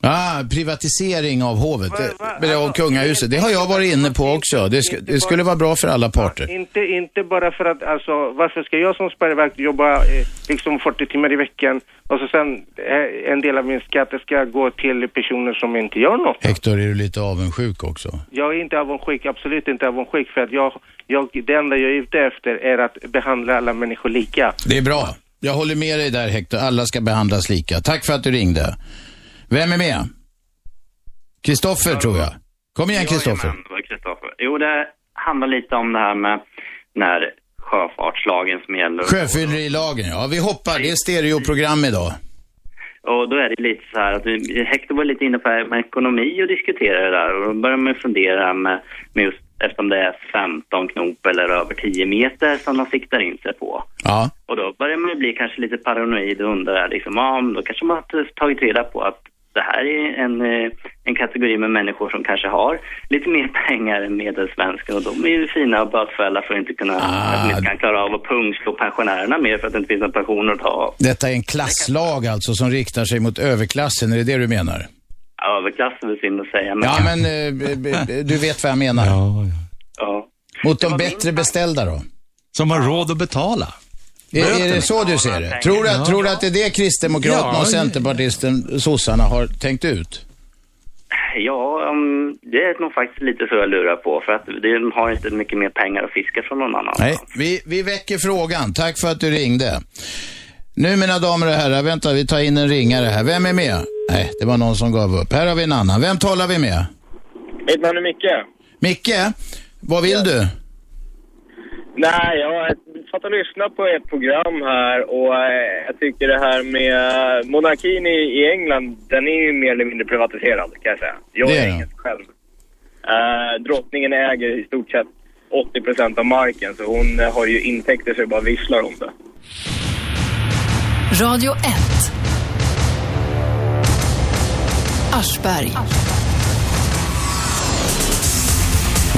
[SPEAKER 2] Ah, privatisering av hovet, det- eller av kungahuset. Det har jag varit inne på också. Det, sk- det skulle vara bra för alla parter.
[SPEAKER 13] Inte, inte bara för att, alltså, varför ska jag som spärrvakt jobba eh, liksom 40 timmar i veckan och så sen eh, en del av min skatt ska gå till personer som inte gör något?
[SPEAKER 2] Hector, är du lite avundsjuk också?
[SPEAKER 13] Jag är inte avundsjuk, absolut inte avundsjuk, för att jag, jag, det enda jag är ute efter är att behandla alla människor lika.
[SPEAKER 2] Det är bra. Jag håller med dig där Hector. Alla ska behandlas lika. Tack för att du ringde. Vem är med? Kristoffer tror jag. Kom igen Kristoffer.
[SPEAKER 15] Jajamän, det var Kristoffer. Jo, det handlar lite om det här med den här sjöfartslagen som gäller.
[SPEAKER 2] Sjöfyllerilagen, ja. Vi hoppar. Det är stereoprogram idag.
[SPEAKER 15] Och då är det lite så här att vi- Hector var lite inne på det här med ekonomi och diskuterade det där. Och då börjar man ju fundera med, med just eftersom det är 15 knop eller över 10 meter som de siktar in sig på.
[SPEAKER 2] Ja.
[SPEAKER 15] Och då börjar man ju bli kanske lite paranoid och undra liksom, ja, men då kanske man har tagit reda på att det här är en, eh, en kategori med människor som kanske har lite mer pengar än medelsvensken och de är ju fina att bötfälla för att inte kunna, att de
[SPEAKER 2] Ah.
[SPEAKER 15] inte kan klara av att pungslå pensionärerna mer för att det inte finns några pensioner att ta av.
[SPEAKER 2] Detta är en klasslag alltså som riktar sig mot överklassen. Är det det du menar?
[SPEAKER 15] Överklassen är synd att säga, men...
[SPEAKER 2] Ja, men eh, b- b- du vet vad jag menar.
[SPEAKER 15] Ja.
[SPEAKER 2] Mot de bättre beställda då?
[SPEAKER 3] Som har råd att betala.
[SPEAKER 2] Är, är
[SPEAKER 3] Böterna.
[SPEAKER 2] det så du ser det? Tror du,
[SPEAKER 3] Ja.
[SPEAKER 2] tror du att det är det Kristdemokraterna
[SPEAKER 15] Ja,
[SPEAKER 2] och
[SPEAKER 15] det-
[SPEAKER 2] Centerpartisten, sossarna, har tänkt ut?
[SPEAKER 15] Ja, um, det är nog faktiskt lite så jag lurar på för att de har inte mycket mer pengar att fiska från någon annan.
[SPEAKER 2] Nej, vi, vi väcker frågan. Tack för att du ringde. Nu mina damer och herrar, vänta vi tar in en ringare här. Vem är med? Nej, det var någon som gav upp. Här har vi en annan. Vem talar vi med?
[SPEAKER 16] Mitt namn är Micke.
[SPEAKER 2] Micke, vad vill du?
[SPEAKER 16] Nej, jag satt och lyssnade på ert program här och eh, jag tycker det här med monarkin i, i England, den är ju mer eller mindre privatiserad kan jag säga. Jag
[SPEAKER 2] Det
[SPEAKER 16] är
[SPEAKER 2] är
[SPEAKER 16] engelsk själv. Eh, drottningen äger i stort sett 80 procent av marken så hon eh, har ju intäkter så det bara visslar om det.
[SPEAKER 1] Radio 1. Aschberg.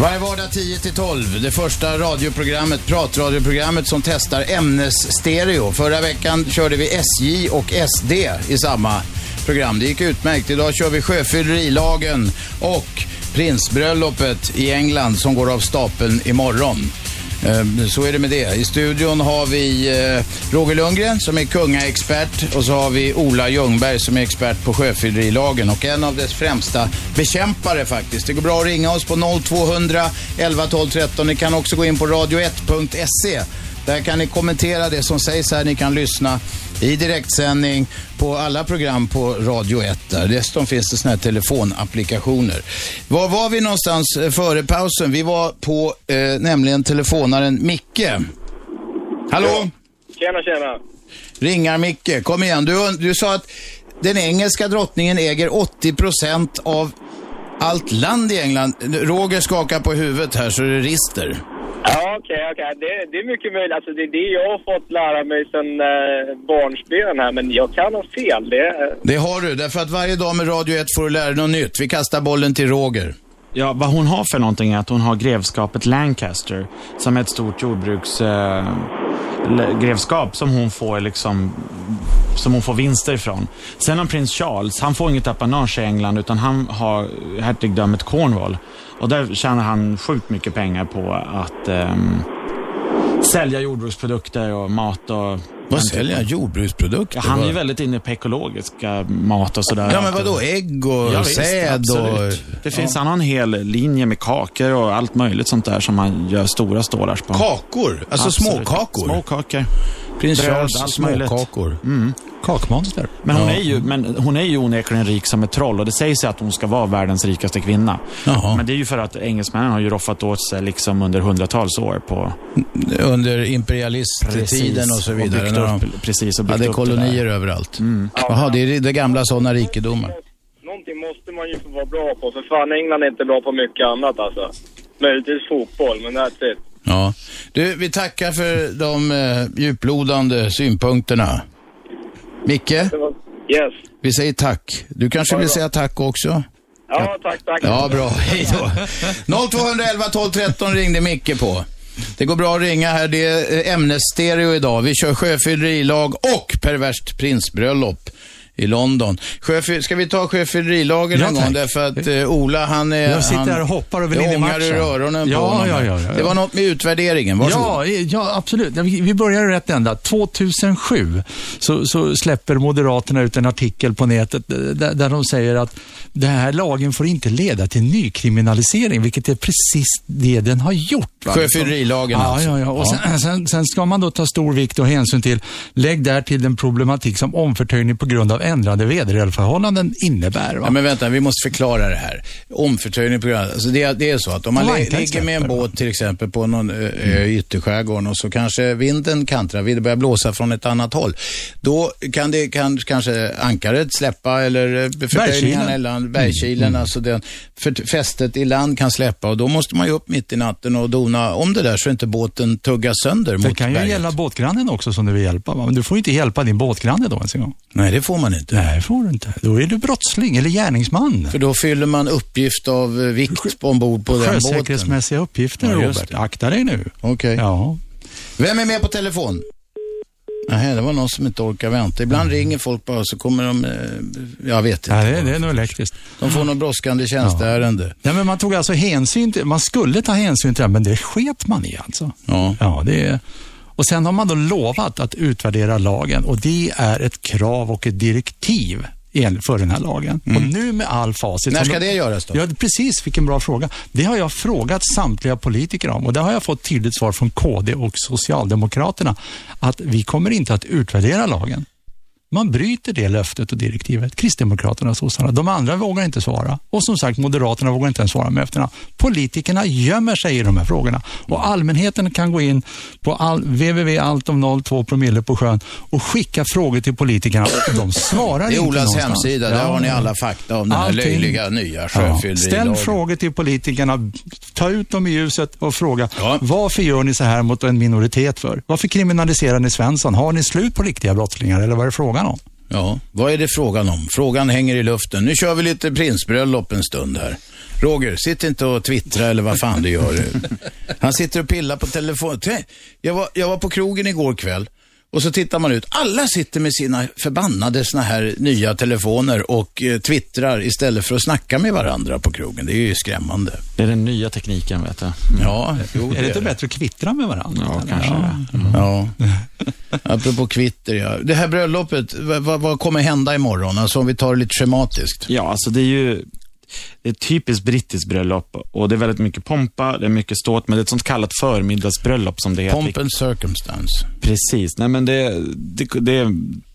[SPEAKER 2] Varje vardag 10-12, det första radioprogrammet, pratradioprogrammet som testar ämnesstereo. Förra veckan körde vi SJ och SD i samma program. Det gick utmärkt. Idag kör vi sjöfyllerilagen och prinsbröllopet i England som går av stapeln imorgon. Ehm, Så är det med det. I studion har vi eh, Roger Lundgren som är kungaexpert och så har vi Ola Ljungberg som är expert på sjöfyllerilagen och en av dess främsta bekämpare faktiskt. Det går bra att ringa oss på 0200 11 12 13. Ni kan också gå in på radio1.se. Där kan ni kommentera det som sägs här. Ni kan lyssna i direktsändning på alla program på Radio 1. Där. Dessutom finns det såna här telefonapplikationer. Var var vi någonstans eh, före pausen? Vi var på eh, nämligen telefonaren Micke. Hallå?
[SPEAKER 16] Tjena, tjena!
[SPEAKER 2] Ringar Micke, kom igen. Du, du sa att den engelska drottningen äger 80% av allt land i England. Roger skakar på huvudet här så det rister.
[SPEAKER 16] Ja, okej, okej. Det, det är mycket möjligt. Alltså, det är det jag har fått lära mig sedan eh, barnsben här, men jag kan ha fel. Det,
[SPEAKER 2] Det har du, därför att varje dag med Radio 1 får du lära dig något nytt. Vi kastar bollen till Roger.
[SPEAKER 5] Ja, vad hon har för någonting är att hon har grevskapet Lancaster, som är ett stort jordbruks... Eh, le- grevskap som hon får liksom som hon får vinster ifrån. Sen har prins Charles, han får inget apanage i England utan han har hertigdömet Cornwall. Och där tjänar han sjukt mycket pengar på att ehm, sälja jordbruksprodukter och mat och...
[SPEAKER 2] Vad säljer han? Jordbruksprodukter?
[SPEAKER 5] Ja, han är ju
[SPEAKER 2] Vad-
[SPEAKER 5] väldigt inne på ekologiska mat och sådär.
[SPEAKER 2] Ja, men vadå? Ägg och
[SPEAKER 5] Ja, visst,
[SPEAKER 2] säd
[SPEAKER 5] absolut.
[SPEAKER 2] och-
[SPEAKER 5] Det
[SPEAKER 2] Ja.
[SPEAKER 5] finns, han har en hel linje med kakor och allt möjligt sånt där som han gör stora stålars på.
[SPEAKER 2] Kakor? Alltså
[SPEAKER 5] Absolut.
[SPEAKER 2] småkakor?
[SPEAKER 5] Småkakor.
[SPEAKER 2] Prins
[SPEAKER 5] Bröd,
[SPEAKER 2] Charles
[SPEAKER 5] allt möjligt.
[SPEAKER 2] småkakor.
[SPEAKER 5] Mm.
[SPEAKER 3] Kakmonster.
[SPEAKER 5] Men hon,
[SPEAKER 2] Ja.
[SPEAKER 5] är ju, men hon är ju onekligen rik som ett troll och det sägs ju att hon ska vara världens rikaste kvinna. Men det är ju för att engelsmännen har ju roffat åt sig liksom under hundratals år på...
[SPEAKER 2] Under imperialisttiden
[SPEAKER 5] Precis,
[SPEAKER 2] och så
[SPEAKER 5] och
[SPEAKER 2] vidare.
[SPEAKER 5] byggt
[SPEAKER 2] när de
[SPEAKER 5] upp- precis, och byggt
[SPEAKER 2] hade
[SPEAKER 5] upp det där. Mm.
[SPEAKER 2] kolonier överallt. Jaha, det är det gamla sådana rikedomar.
[SPEAKER 16] någonting måste man ju få vara bra på. För fan, England är inte bra på mycket annat alltså. Möjligtvis fotboll, men that's it.
[SPEAKER 2] Ja. Du, vi tackar för de eh, djuplodande synpunkterna. Micke,
[SPEAKER 16] Yes.
[SPEAKER 2] vi säger tack. Du kanske vill säga tack också?
[SPEAKER 16] Ja, tack, tack.
[SPEAKER 2] Ja, bra. Hej då. 0211 12 13 ringde Micke på. Det går bra att ringa här. Det är eh, ämnesstereo idag. Vi kör sjöfyllerilag och perverst prinsbröllop i London. Sjöfy- Ska vi ta sjöfyllerilagen
[SPEAKER 3] Ja,
[SPEAKER 2] någon gång?
[SPEAKER 3] tack.
[SPEAKER 2] Därför att eh, Ola, han är...
[SPEAKER 3] Jag sitter
[SPEAKER 2] han,
[SPEAKER 3] här och hoppar över
[SPEAKER 2] Det
[SPEAKER 3] linjen i
[SPEAKER 2] ångar ur
[SPEAKER 3] matchen.
[SPEAKER 2] öronen på
[SPEAKER 3] Ja,
[SPEAKER 2] honom.
[SPEAKER 3] ja, ja, ja.
[SPEAKER 2] Det var något med utvärderingen. Varsågod.
[SPEAKER 3] Ja, eh, ja, absolut. Ja, Vi vi börjar i rätt ända. 2007 så, så släpper Moderaterna ut en artikel på nätet eh, där, där de säger att den här lagen får inte leda till nykriminalisering, vilket är precis det den har gjort. va?
[SPEAKER 2] Sjöfyllerilagen
[SPEAKER 3] ja,
[SPEAKER 2] alltså.
[SPEAKER 3] Ja, ja. Och
[SPEAKER 2] Ja.
[SPEAKER 3] sen, Sen, sen ska man då ta stor vikt och hänsyn till, lägg där till den problematik som omförtöjning på grund av ändrade väderförhållanden innebär. Va?
[SPEAKER 2] Ja, men vänta, vi måste förklara det här. Omförtöjning på grund av- alltså det, det är så att om man
[SPEAKER 3] Planka
[SPEAKER 2] li- ligger
[SPEAKER 3] exempel,
[SPEAKER 2] med en båt till exempel på någon ö, ö i ytterskärgården och så kanske vinden kantrar, vinden börjar blåsa från ett annat håll. Då kan det kan, kanske ankaret släppa eller eh, förtöjningarna i land, bergkilen, alltså den, för, fästet i land kan släppa och då måste man ju upp mitt i natten och dona om det där så inte båten tuggas sönder
[SPEAKER 3] Det
[SPEAKER 2] mot
[SPEAKER 3] kan ju
[SPEAKER 2] berget.
[SPEAKER 3] gälla båtgrannen också som du vill hjälpa. Va? Men du får ju inte hjälpa din båtgranne då ens en gång.
[SPEAKER 2] Nej, det får man inte.
[SPEAKER 3] Nej, det får du inte. Då är du brottsling eller gärningsman.
[SPEAKER 2] För då fyller man uppgift av eh, vikt på- ombord på den båten.
[SPEAKER 3] Sjösäkerhetsmässiga uppgifter,
[SPEAKER 2] Ja, just
[SPEAKER 3] Robert. Akta dig nu.
[SPEAKER 2] Okej.
[SPEAKER 3] Ja.
[SPEAKER 2] Vem är med på telefon? Nej, det var någon som inte orkar vänta. Ibland ringer folk bara så kommer de, eh, jag vet inte.
[SPEAKER 3] Mm. Ja, det, det är nog elektriskt.
[SPEAKER 2] De får något brådskande tjänsteärende.
[SPEAKER 3] Nej, men man tog alltså hänsyn till, man skulle ta hänsyn till det, här, men det sket man i alltså.
[SPEAKER 2] Ja.
[SPEAKER 3] ja det är, och sen har man då lovat att utvärdera lagen och det är ett krav och ett direktiv en- för den här lagen. Och nu med all facit...
[SPEAKER 2] Mm. När
[SPEAKER 3] som
[SPEAKER 2] ska
[SPEAKER 3] de-
[SPEAKER 2] det göras då?
[SPEAKER 3] Ja, precis. Vilken bra fråga. Det har jag frågat samtliga politiker om och där har jag fått tydligt svar från KD och Socialdemokraterna att vi kommer inte att utvärdera lagen. Man bryter det löftet och direktivet. Kristdemokraterna och sossarna. De andra vågar inte svara. Och som sagt, Moderaterna vågar inte ens svara med efternamn. Politikerna gömmer sig i de här frågorna. Och
[SPEAKER 2] Mm.
[SPEAKER 3] allmänheten kan gå in på all, www.alltom02 promille på sjön och skicka frågor till politikerna. Och de svarar
[SPEAKER 2] Det är
[SPEAKER 3] inte
[SPEAKER 2] Olas
[SPEAKER 3] någonstans.
[SPEAKER 2] hemsida, där har ni alla fakta om den här
[SPEAKER 3] Allting.
[SPEAKER 2] löjliga nya
[SPEAKER 3] Ja.
[SPEAKER 2] sjöfyllerilagen.
[SPEAKER 3] Ställ frågor till politikerna, ta ut dem i ljuset och fråga varför gör ni så här mot en minoritet för? Varför kriminaliserar ni Svensson? Har ni slut på riktiga brottslingar eller vad är det frågan om?
[SPEAKER 2] Ja, vad är det frågan om? Frågan hänger i luften. Nu kör vi lite prinsbröllop en stund här. Roger, sitt inte och twittra eller vad fan du gör. Han sitter och pillar på telefonen. Jag var, jag var på krogen igår kväll och så tittar man ut. Alla sitter med sina förbannade såna här nya telefoner och eh, twittrar istället för att snacka med varandra på krogen. Det är ju skrämmande.
[SPEAKER 5] Det är den nya tekniken, vet du.
[SPEAKER 2] Ja, jo,
[SPEAKER 3] är det inte bättre att kvittra med varandra?
[SPEAKER 5] Ja, kanske det.
[SPEAKER 2] Ja. Mm. Apropå kvitter, ja. Det här bröllopet, vad, vad- vad kommer hända imorgon? Alltså om vi tar det lite schematiskt.
[SPEAKER 5] Ja, alltså det är ju det är ett typiskt brittiskt bröllop och det är väldigt mycket pompa, det är mycket ståt, men det är ett sånt kallat förmiddagsbröllop som det heter.
[SPEAKER 2] Pomp and circumstance.
[SPEAKER 5] Precis. Nej, men det, det, det,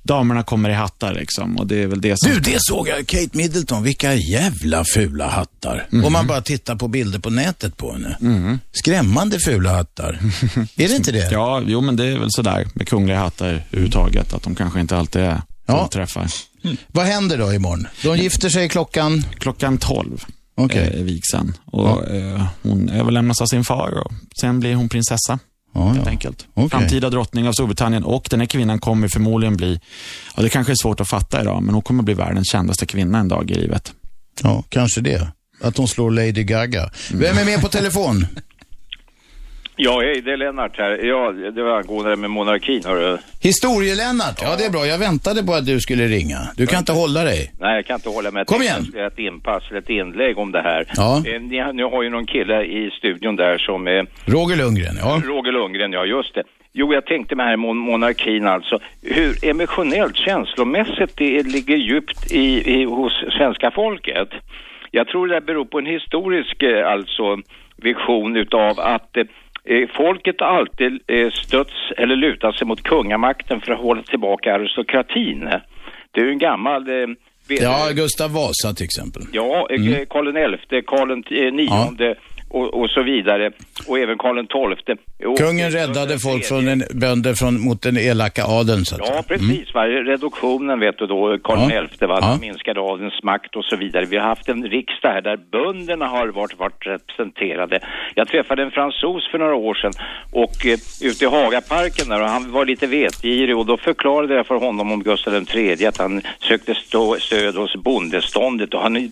[SPEAKER 5] damerna kommer i hattar liksom och det är väl det som...
[SPEAKER 2] Du, det såg jag. Kate Middleton, vilka jävla fula hattar. Om man bara tittar på bilder på nätet på henne.
[SPEAKER 5] Mm.
[SPEAKER 2] Skrämmande fula hattar. är det inte det?
[SPEAKER 5] Ja, jo men det är väl sådär med kungliga hattar överhuvudtaget, att de kanske inte alltid är
[SPEAKER 2] Ja.
[SPEAKER 5] ja. träffar.
[SPEAKER 2] Vad händer då imorgon? De gifter sig klockan?
[SPEAKER 5] Klockan 12
[SPEAKER 2] Okej.
[SPEAKER 5] eh, vigs han. Och, eh, hon överlämnas av sin far och sen blir hon prinsessa. helt enkelt.
[SPEAKER 2] Okej.
[SPEAKER 5] Framtida drottning av Storbritannien och den här kvinnan kommer förmodligen bli, ja det kanske är svårt att fatta idag, men hon kommer bli världens kändaste kvinna en dag i livet.
[SPEAKER 2] Ja, kanske det. Att hon slår Lady Gaga. Vem är med på telefon?
[SPEAKER 17] Ja, hej, det är Lennart här. Ja, det var angående det med monarkin, hörru.
[SPEAKER 2] Historielennart. Ja, det är bra. Jag väntade på att du skulle ringa. Du kan inte hålla dig.
[SPEAKER 17] Nej, jag kan inte hålla med.
[SPEAKER 2] Kom
[SPEAKER 17] Jag
[SPEAKER 2] igen.
[SPEAKER 17] tänkte Ett inpass, eller ett inlägg om det här.
[SPEAKER 2] Ja.
[SPEAKER 17] Eh, Ni, har- ni har ju någon kille i studion där som... Eh,
[SPEAKER 2] Roger Lundgren, ja.
[SPEAKER 17] Roger Lundgren, ja just det. Jo, jag tänkte med här mon- monarkin alltså. Hur emotionellt, känslomässigt det är- ligger djupt i, i, hos svenska folket. Jag tror det beror på en historisk eh, alltså vision utav att eh, folket har alltid eh, stötts eller lutat sig mot kungamakten för att hålla tillbaka aristokratin. Det är ju en gammal... Eh, ve-
[SPEAKER 2] Ja, Gustav Vasa till exempel.
[SPEAKER 17] Ja, eh,
[SPEAKER 2] Mm.
[SPEAKER 17] Karl XI, Karl IX och, och så vidare. Och även Karl XII. Och-
[SPEAKER 2] Kungen räddade folk från en, bönder från, mot den elaka adeln, så att Mm.
[SPEAKER 17] Ja, precis. Va? Reduktionen, vet du då, Karl
[SPEAKER 2] Ja.
[SPEAKER 17] XI, va?
[SPEAKER 2] Ja.
[SPEAKER 17] Den minskade adelns makt och så vidare. Vi har haft en riksdag här där bönderna har varit, varit representerade. Jag träffade en fransos för några år sedan och eh, ute i Hagaparken där och han var lite vetgirig och då förklarade jag för honom om Gustav III att han sökte stå, stöd hos bondeståndet och han eh,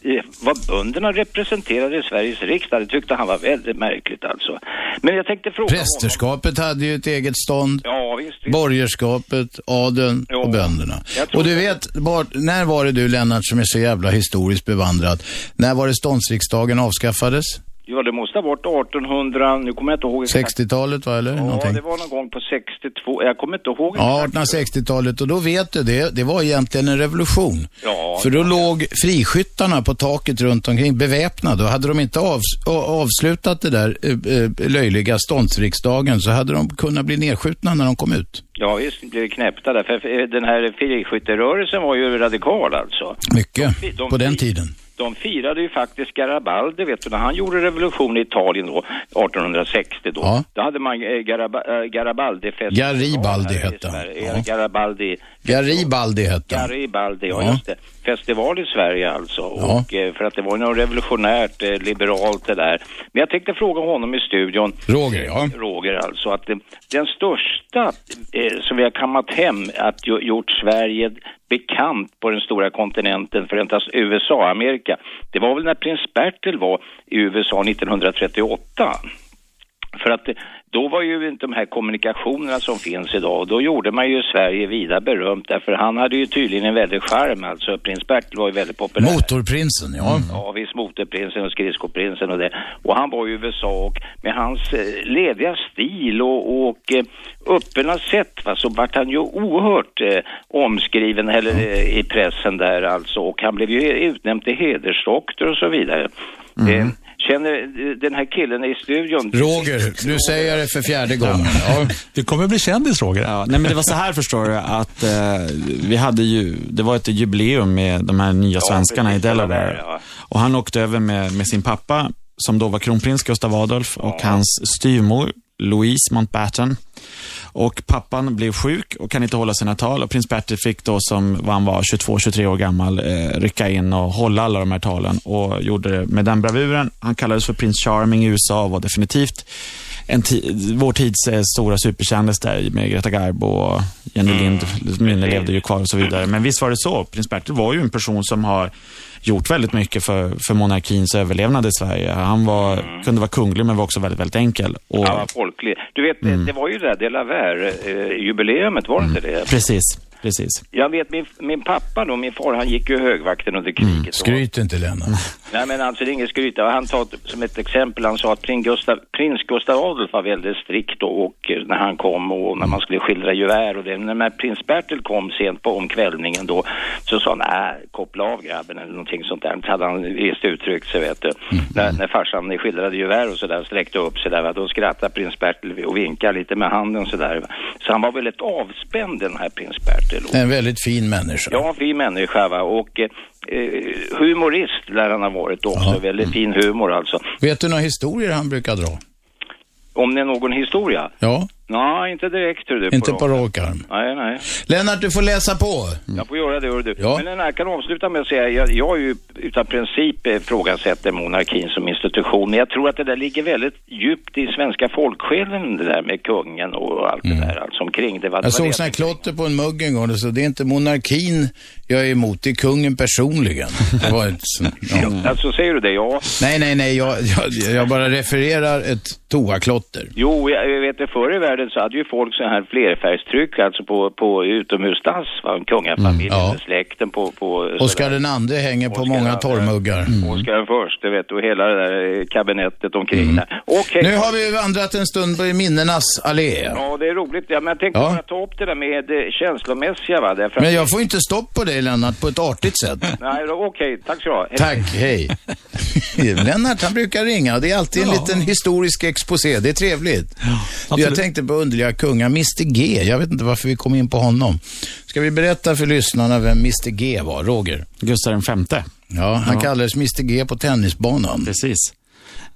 [SPEAKER 17] var bönderna representerade i Sveriges riksdag. Det tyckte han var väldigt märkligt alltså. Men jag tänkte fråga
[SPEAKER 2] Prästerskapet hade ju ett eget stånd.
[SPEAKER 17] Ja, visst,
[SPEAKER 2] Borgerskapet, adeln och bönderna. Och du vet, var, när var det du Lennart som är så jävla historiskt bevandrad? När var det ståndsriksdagen avskaffades?
[SPEAKER 17] Ja, det måste ha varit 1800, nu kommer jag inte ihåg exakt.
[SPEAKER 2] 60-talet va, eller?
[SPEAKER 17] Ja,
[SPEAKER 2] Någonting.
[SPEAKER 17] det var någon gång på 62, jag kommer inte ihåg.
[SPEAKER 2] Ja, 1860-talet och då vet du, det, det var egentligen en revolution.
[SPEAKER 17] Ja,
[SPEAKER 2] För då låg friskyttarna på taket runt omkring beväpnade och hade de inte avs- a- avslutat det där eh, eh, löjliga ståndsriksdagen så hade de kunnat bli nedskjutna när de kom ut.
[SPEAKER 17] ja visst det blev knäppta där, för eh, den här friskytterörelsen var ju radikal alltså.
[SPEAKER 2] Mycket
[SPEAKER 17] De- de-
[SPEAKER 2] på den tiden.
[SPEAKER 17] De firade ju faktiskt Garibaldi, vet du, när han gjorde revolution i Italien då, 1860 då.
[SPEAKER 2] Ja.
[SPEAKER 17] Då hade man eh, Garab- eh, Garibaldi-fest.
[SPEAKER 2] Garibaldi hette han.
[SPEAKER 17] Ja. Garibaldi,
[SPEAKER 2] Garibaldi hette han.
[SPEAKER 17] Garibaldi, ja,
[SPEAKER 2] Ja.
[SPEAKER 17] just det. Festival i Sverige alltså.
[SPEAKER 2] Ja.
[SPEAKER 17] Och, eh, för att det var ju något revolutionärt, eh, liberalt det där. Men jag tänkte fråga honom i studion.
[SPEAKER 2] Roger, ja.
[SPEAKER 17] Roger alltså, att eh, den största eh, som vi har kammat hem, att ju, gjort Sverige bekant på den stora kontinenten, Förenta USA, Amerika. Det var väl när prins Bertil var i USA 1938. För att eh, då var ju inte de här kommunikationerna som finns idag och då gjorde man ju Sverige vida berömt därför han hade ju tydligen en väldig charm alltså. Prins Bertil var ju väldigt populär. Mm.
[SPEAKER 2] Motorprinsen, ja.
[SPEAKER 17] Ja, visst motorprinsen och skridskoprinsen och det. Och han var i USA och med hans eh, lediga stil och, och eh, öppna sätt va, så vart han ju oerhört eh, omskriven eller, eh, i pressen där alltså. Och han blev ju utnämnd till hedersdoktor och så vidare.
[SPEAKER 5] Mm.
[SPEAKER 17] Eh, känner eh, den här killen i studion...
[SPEAKER 2] Mm. Roger, du säger det för fjärde gången. Ja.
[SPEAKER 5] Du kommer bli kändis Roger. Ja, nej, men det var så här förstår du att eh, vi hade ju, det var ett jubileum med de här nya svenskarna i Delaware. Och han åkte över med, med sin pappa som då var kronprins Gustav Adolf och hans styvmor Louise Mountbatten. Och pappan blev sjuk och kan inte hålla sina tal och prins Bertil fick då som vad han var 22-23 år gammal eh, rycka in och hålla alla de här talen och gjorde det med den bravuren. Han kallades för prins Charming i USA och var definitivt en ti- vår tids eh, stora superkändis där med Greta Garbo och Jenny Lind. Minne levde ju kvar och så vidare. Men visst var det så. Prins Bertil var ju en person som har gjort väldigt mycket för, för monarkins överlevnad i Sverige. Han var, kunde vara kunglig men var också väldigt, väldigt enkel. Och,
[SPEAKER 17] Han var folklig. Du vet, eh,
[SPEAKER 5] Mm.
[SPEAKER 17] det var ju det där Delaware-jubileumet, eh, var det inte det?
[SPEAKER 5] Precis, precis.
[SPEAKER 17] Jag vet min, min pappa då, min far, han gick ju högvakten under
[SPEAKER 5] Mm.
[SPEAKER 17] kriget. då.
[SPEAKER 2] Skryt inte Lennart.
[SPEAKER 17] Nej men alltså det är inget skryt. Han tar som ett exempel, han sa att prins Gustav, prins Gustav Adolf var väldigt strikt och, och eh, när han kom och när man skulle skildra gevär och det. Men när prins Bertil kom sent på omkvällningen då så sa han nej, koppla av grabben eller någonting sånt där. Så hade han visst uttryckt sig vet du. När, när farsan skildrade gevär och sådär sträckte upp sig där va, då skrattade prins Bertil och vinkade lite med handen sådär. va. Så han var väldigt avspänd den här prins Bertil.
[SPEAKER 2] En väldigt fin människa.
[SPEAKER 17] Ja, fin människa va. Och eh, eh, humorist lär han ha varit också.
[SPEAKER 2] Mm.
[SPEAKER 17] Väldigt fin humor alltså.
[SPEAKER 2] Vet du några historier han brukar dra?
[SPEAKER 17] Om det är någon historia?
[SPEAKER 2] Ja,
[SPEAKER 17] Nej, inte direkt hur du.
[SPEAKER 2] inte
[SPEAKER 17] rak-
[SPEAKER 2] på rak arm.
[SPEAKER 17] Nej, nej.
[SPEAKER 2] Lennart, du får läsa på.
[SPEAKER 17] Jag får göra det, hör du.
[SPEAKER 2] Ja.
[SPEAKER 17] Men den här kan avsluta med att säga, jag, jag är ju utan princip eh, ifrågasätter monarkin som institution. Men jag tror att det där ligger väldigt djupt i svenska folksjälen, det där med kungen och allt det där alltså omkring. Det var, det
[SPEAKER 2] Mm. Jag
[SPEAKER 17] var
[SPEAKER 2] såg
[SPEAKER 17] det-
[SPEAKER 2] sån här klotter på en mugg en gång och så det är inte monarkin jag är emot, det är kungen personligen. Det var ett, sånt- ja.
[SPEAKER 17] Alltså säger du det? Ja.
[SPEAKER 2] Nej, nej, nej, jag, jag, jag bara refererar ett toaklotter.
[SPEAKER 17] Jo, jag jag vet det, förr i världen så hade ju folk så här flerfärgstryck, alltså på, på utomhusdass, va, kungafamiljen,
[SPEAKER 2] Mm, ja.
[SPEAKER 17] eller släkten på... på
[SPEAKER 2] Oskar den andre hänger på många torrmuggar. Mm.
[SPEAKER 17] Oskar den förste, vet du, och hela det där eh, kabinettet omkring där. Okej.
[SPEAKER 2] Nu har vi vandrat en stund på minnenas allé.
[SPEAKER 17] Ja, det är roligt. Ja, men jag tänkte
[SPEAKER 2] Ja.
[SPEAKER 17] bara ta upp det där med det känslomässiga, va. Därför
[SPEAKER 2] Men
[SPEAKER 17] att-
[SPEAKER 2] jag får inte stopp på dig Lennart på ett artigt sätt.
[SPEAKER 17] Nej, då- okej. Tack så du ha. Hej.
[SPEAKER 2] Tack, hej. Lennart, han brukar ringa. Det är alltid en liten historisk exposé. Det är trevligt. jag tänkte på underliga kungar. Mr G. Jag vet inte varför vi kom in på honom. Ska vi berätta för lyssnarna vem Mr G var? Roger?
[SPEAKER 5] Gustav den femte.
[SPEAKER 2] Ja, han
[SPEAKER 5] Ja.
[SPEAKER 2] kallades Mr G på tennisbanan.
[SPEAKER 5] Precis.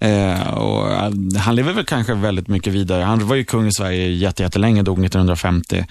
[SPEAKER 5] Eh, och han- han lever väl kanske väldigt mycket vidare. Han var ju kung i Sverige jätte- jättelänge, dog 1950.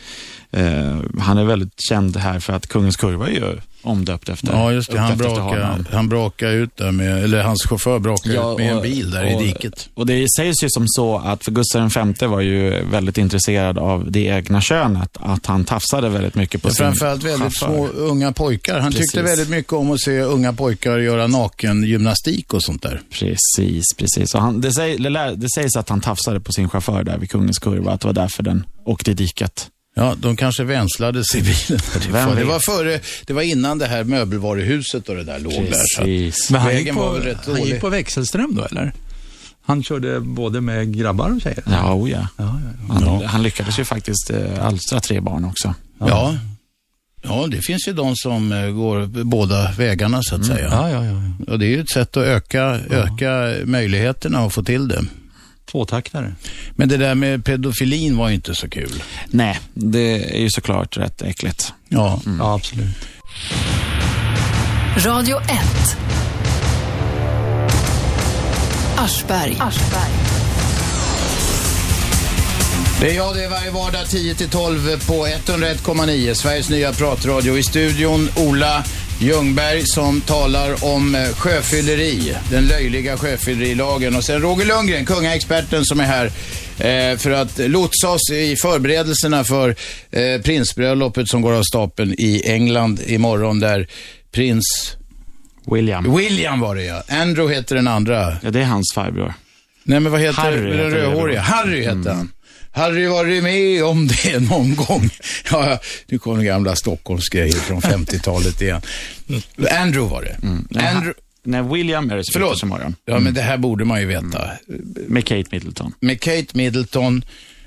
[SPEAKER 5] Eh, han är väldigt känd här för att kungens kurva är ju omdöpt efter
[SPEAKER 2] Ja, just det. Han
[SPEAKER 5] uppdöpt efter
[SPEAKER 2] brakade,
[SPEAKER 5] honom.
[SPEAKER 2] han brakade ut där med, eller hans chaufför brakade ut med en bil där i diket.
[SPEAKER 5] Och det sägs ju som så att för Gustav V var ju väldigt intresserad av det egna könet. Att han tafsade väldigt mycket på
[SPEAKER 2] Och
[SPEAKER 5] sin
[SPEAKER 2] framförallt väldigt
[SPEAKER 5] chaufför.
[SPEAKER 2] små unga pojkar. Han tyckte
[SPEAKER 5] Precis.
[SPEAKER 2] väldigt mycket om att se unga pojkar göra naken gymnastik och sånt där.
[SPEAKER 5] Precis, precis. Och han, det, säg, det, lär, det sägs att han tafsade på sin chaufför där vid Kungens kurva, att det var därför den åkte i diket.
[SPEAKER 2] Ja, de kanske vänslades i bilen.
[SPEAKER 5] Vem
[SPEAKER 2] det, var
[SPEAKER 5] vet?
[SPEAKER 2] före, det var innan det här möbelvaruhuset och det där låg där. Så att
[SPEAKER 5] Precis.
[SPEAKER 2] vägen var väl rätt
[SPEAKER 3] han
[SPEAKER 2] dålig.
[SPEAKER 3] gick på växelström då eller? Han körde både med grabbar och tjejer?
[SPEAKER 5] Ja, oh ja. Han, han lyckades ju faktiskt eh, alstra tre barn också.
[SPEAKER 4] Ja. Ja, det finns ju de som eh, går båda vägarna så att
[SPEAKER 5] Mm.
[SPEAKER 4] säga.
[SPEAKER 3] Ja, ja, ja.
[SPEAKER 4] Och det är ju ett sätt att öka, öka möjligheterna att få till det.
[SPEAKER 3] Tvåtaktare.
[SPEAKER 4] Men det där med pedofilin var ju inte så kul.
[SPEAKER 5] Nej, det är ju såklart rätt äckligt. Mm.
[SPEAKER 4] Ja,
[SPEAKER 3] ja absolut.
[SPEAKER 1] Radio 1. Aschberg.
[SPEAKER 2] Det är jag, det är varje vardag 10-12 på 101,9. Sveriges nya pratradio. I studion Ola Ljungberg som talar om eh, sjöfylleri, den löjliga sjöfyllerilagen. Och sen Roger Lundgren, kungaexperten som är här eh, för att lotsa oss i förberedelserna för eh, prinsbröllopet som går av stapeln i England imorgon där prins
[SPEAKER 5] William.
[SPEAKER 2] William var det ja. Andrew heter den andra.
[SPEAKER 5] Ja, det är hans farbror.
[SPEAKER 2] Nej, men vad heter
[SPEAKER 5] Harry
[SPEAKER 2] den
[SPEAKER 5] heter Mm. det.
[SPEAKER 2] rödhåriga? Harry heter han. Harry varit med om det någon gång. Ja, ja, nu kommer gamla Stockholmsgrejer från 50-talet igen. Andrew var det. Andrew...
[SPEAKER 5] Mm. Nej, William är det som
[SPEAKER 2] Förlåt.
[SPEAKER 5] heter imorgon.
[SPEAKER 2] Ja, men det här borde man ju veta.
[SPEAKER 5] Med Kate Middleton.
[SPEAKER 2] Med Kate Middleton,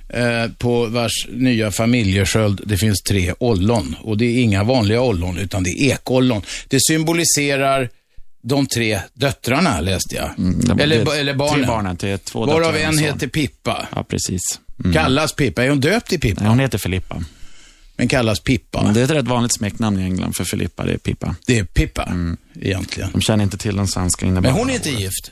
[SPEAKER 2] eh, på vars nya familjesköld det finns tre ollon. Och det är inga vanliga ollon, utan det är ekollon. Det symboliserar de tre döttrarna, läste jag.
[SPEAKER 5] Mm, Det-
[SPEAKER 2] eller,
[SPEAKER 5] det-
[SPEAKER 2] eller barnen.
[SPEAKER 5] Tre barnen till två
[SPEAKER 2] Varav
[SPEAKER 5] döttrar och
[SPEAKER 2] en
[SPEAKER 5] son.
[SPEAKER 2] heter Pippa. Mm.
[SPEAKER 5] Ja, precis.
[SPEAKER 2] Kallas Pippa. Är hon döpt till Pippa?
[SPEAKER 5] Nej, hon heter Filippa.
[SPEAKER 2] Men kallas Pippa?
[SPEAKER 5] Det är ett rätt vanligt smeknamn i England för Filippa, det är Pippa. Mm.
[SPEAKER 2] Det är Pippa, egentligen.
[SPEAKER 5] De känner inte till den svenska
[SPEAKER 2] Men
[SPEAKER 5] innebörden.
[SPEAKER 2] hon är inte gift.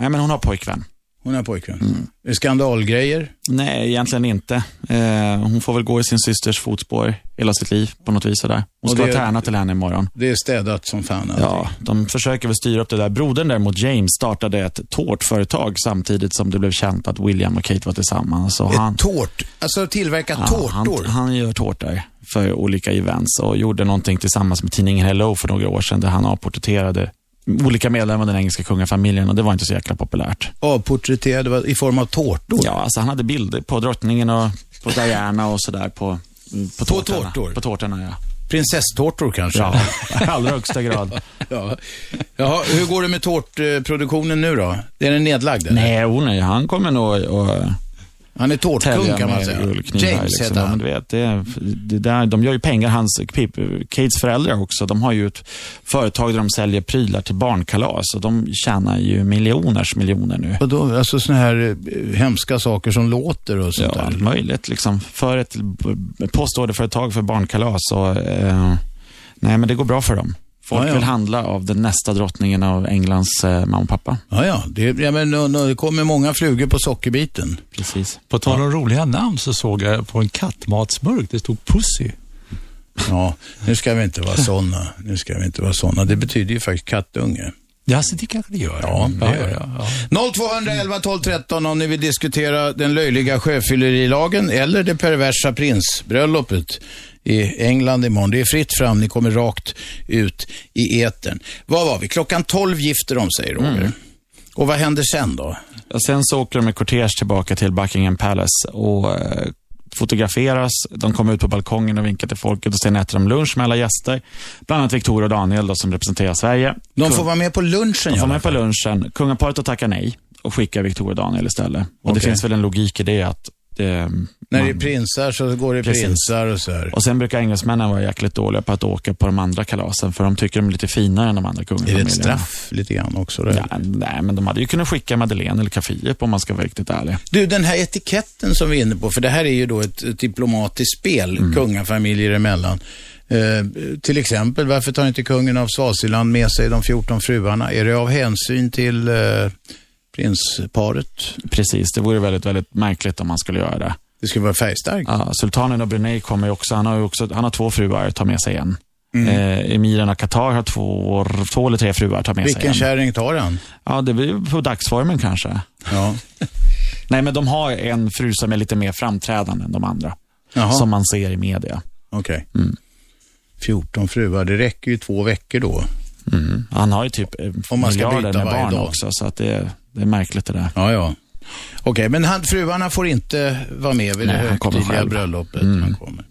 [SPEAKER 5] Nej, men hon har pojkvän.
[SPEAKER 2] Hon har pojkvän. Mm. Skandalgrejer?
[SPEAKER 5] Nej, egentligen inte. Eh, hon får väl gå i sin systers fotspår hela sitt liv på något vis. Sådär.
[SPEAKER 2] Och
[SPEAKER 5] Hon ska
[SPEAKER 2] det-
[SPEAKER 5] vara tärna till henne imorgon.
[SPEAKER 2] Det är städat som fan. allting.
[SPEAKER 5] Ja, de försöker väl styra upp det där. Brodern däremot, James, startade ett tårtföretag samtidigt som det blev känt att William och Kate var tillsammans. Och han,
[SPEAKER 2] Ett tårt, alltså tillverka tårtor.
[SPEAKER 5] han, han gör tårtor för olika events och gjorde någonting tillsammans med tidningen Hello för några år sedan där han avporträtterade olika medlemmar av den engelska kungafamiljen och det var inte så jäkla populärt.
[SPEAKER 2] Avporträtterade vad- i form av tårtor.
[SPEAKER 5] Ja, alltså han hade bilder på drottningen och på Diana och sådär på, mm, på tårtorna.
[SPEAKER 2] tårtor?
[SPEAKER 5] På tårtorna, ja.
[SPEAKER 2] Prinsesstårtor kanske?
[SPEAKER 5] Ja, i allra högsta grad.
[SPEAKER 2] ja. Jaha, hur går det med tårtproduktionen nu då? Är den nedlagd? Eller?
[SPEAKER 5] Nej, oh, nej, han kommer nog att
[SPEAKER 2] Han är tårtkung
[SPEAKER 5] tälja
[SPEAKER 2] kan man
[SPEAKER 5] med
[SPEAKER 2] säga.
[SPEAKER 5] julknivar.
[SPEAKER 2] James
[SPEAKER 5] liksom.
[SPEAKER 2] heter
[SPEAKER 5] Ja, men
[SPEAKER 2] han.
[SPEAKER 5] du vet, det, det där, de gör ju pengar. Hans, Pip- Kates föräldrar också, de har ju ett företag där de säljer prylar till barnkalas och de tjänar ju miljoners miljoner nu.
[SPEAKER 2] Och då, alltså såna här eh, hemska saker som låter och sånt
[SPEAKER 5] Ja,
[SPEAKER 2] där.
[SPEAKER 5] allt möjligt. Liksom. För ett b- postorderföretag för barnkalas. Och, eh, nej, men det går bra för dem. Folk
[SPEAKER 2] Ja, ja.
[SPEAKER 5] vill handla av den nästa drottningen av Englands eh, mamma och pappa.
[SPEAKER 2] Ja, ja. Det, ja men, nu- nu- det kommer många flugor på sockerbiten.
[SPEAKER 5] Precis.
[SPEAKER 3] På tal om roliga namn så såg jag på en kattmatsburk, det stod Pussy.
[SPEAKER 2] Ja, nu ska vi inte vara sådana. Nu ska vi inte vara sådana. Det betyder ju faktiskt kattunge.
[SPEAKER 3] Ja, så det kanske det gör.
[SPEAKER 2] Ja, det
[SPEAKER 3] ja,
[SPEAKER 2] gör det.
[SPEAKER 3] ja, ja.
[SPEAKER 2] 0211 12 13 om ni vill diskutera den löjliga sjöfyllerilagen eller det perversa prinsbröllopet i England imorgon. Det är fritt fram, ni kommer rakt ut i etern. Vad var vi? Klockan 12 gifter de sig, Roger.
[SPEAKER 5] Mm.
[SPEAKER 2] Och vad händer sen då?
[SPEAKER 5] Ja, Sen så åker de med kortege tillbaka till Buckingham Palace och eh, fotograferas. De kommer ut på balkongen och vinkar till folket och sen äter de lunch med alla gäster. Bland annat Victoria och Daniel då, som representerar Sverige.
[SPEAKER 2] De får vara med på lunchen,
[SPEAKER 5] De får
[SPEAKER 2] ja.
[SPEAKER 5] med på lunchen. Kungaparet att tacka nej och skicka Victoria och Daniel istället. Och Det
[SPEAKER 2] Okej.
[SPEAKER 5] finns väl en logik i det att det,
[SPEAKER 2] När
[SPEAKER 5] man-
[SPEAKER 2] det är prinsar så går det
[SPEAKER 5] Precis.
[SPEAKER 2] prinsar och så här.
[SPEAKER 5] Och sen brukar engelsmännen vara jäkligt dåliga på att åka på de andra kalasen, för de tycker de är lite finare än de andra
[SPEAKER 2] Är det
[SPEAKER 5] kungafamiljerna.
[SPEAKER 2] ett straff lite grann också? Det?
[SPEAKER 5] Ja, nej, men de hade ju kunnat skicka Madeleine eller Kafie om man ska vara riktigt ärlig.
[SPEAKER 2] Du, den här etiketten som vi är inne på, för det här är ju då ett, ett diplomatiskt spel
[SPEAKER 5] Mm.
[SPEAKER 2] kungafamiljer emellan. Eh, till exempel, varför tar inte kungen av Swaziland med sig de 14 fruarna? Är det av hänsyn till eh, prinsparet?
[SPEAKER 5] Precis, det vore väldigt, väldigt märkligt om man skulle göra det.
[SPEAKER 2] Det skulle vara färgstarkt.
[SPEAKER 5] Ja, sultanen av Brunei kommer ju också, han har ju också, han har två fruar, tar med sig en.
[SPEAKER 2] Mm.
[SPEAKER 5] Eh, emiren av Qatar har två, två eller tre fruar, tar med sig
[SPEAKER 2] Vilken
[SPEAKER 5] en.
[SPEAKER 2] kärring tar han?
[SPEAKER 5] Ja, det blir på dagsformen kanske.
[SPEAKER 2] Ja.
[SPEAKER 5] Nej, men de har en fru som är lite mer framträdande än de andra.
[SPEAKER 2] Jaha.
[SPEAKER 5] Som man ser i media. Mm.
[SPEAKER 2] Okej. 14 fruar, det räcker ju två veckor då.
[SPEAKER 5] Mm. Han har ju typ eh,
[SPEAKER 2] Om man ska
[SPEAKER 5] miljarder med
[SPEAKER 2] byta varje
[SPEAKER 5] barn
[SPEAKER 2] dag.
[SPEAKER 5] också, så att det, det är märkligt det där.
[SPEAKER 2] Ja, ja. Okej, men han, fruarna får inte vara med vid
[SPEAKER 5] Nej,
[SPEAKER 2] det
[SPEAKER 5] han kommer
[SPEAKER 2] högtidliga
[SPEAKER 5] själv. Mm.
[SPEAKER 2] bröllopet. Han kommer.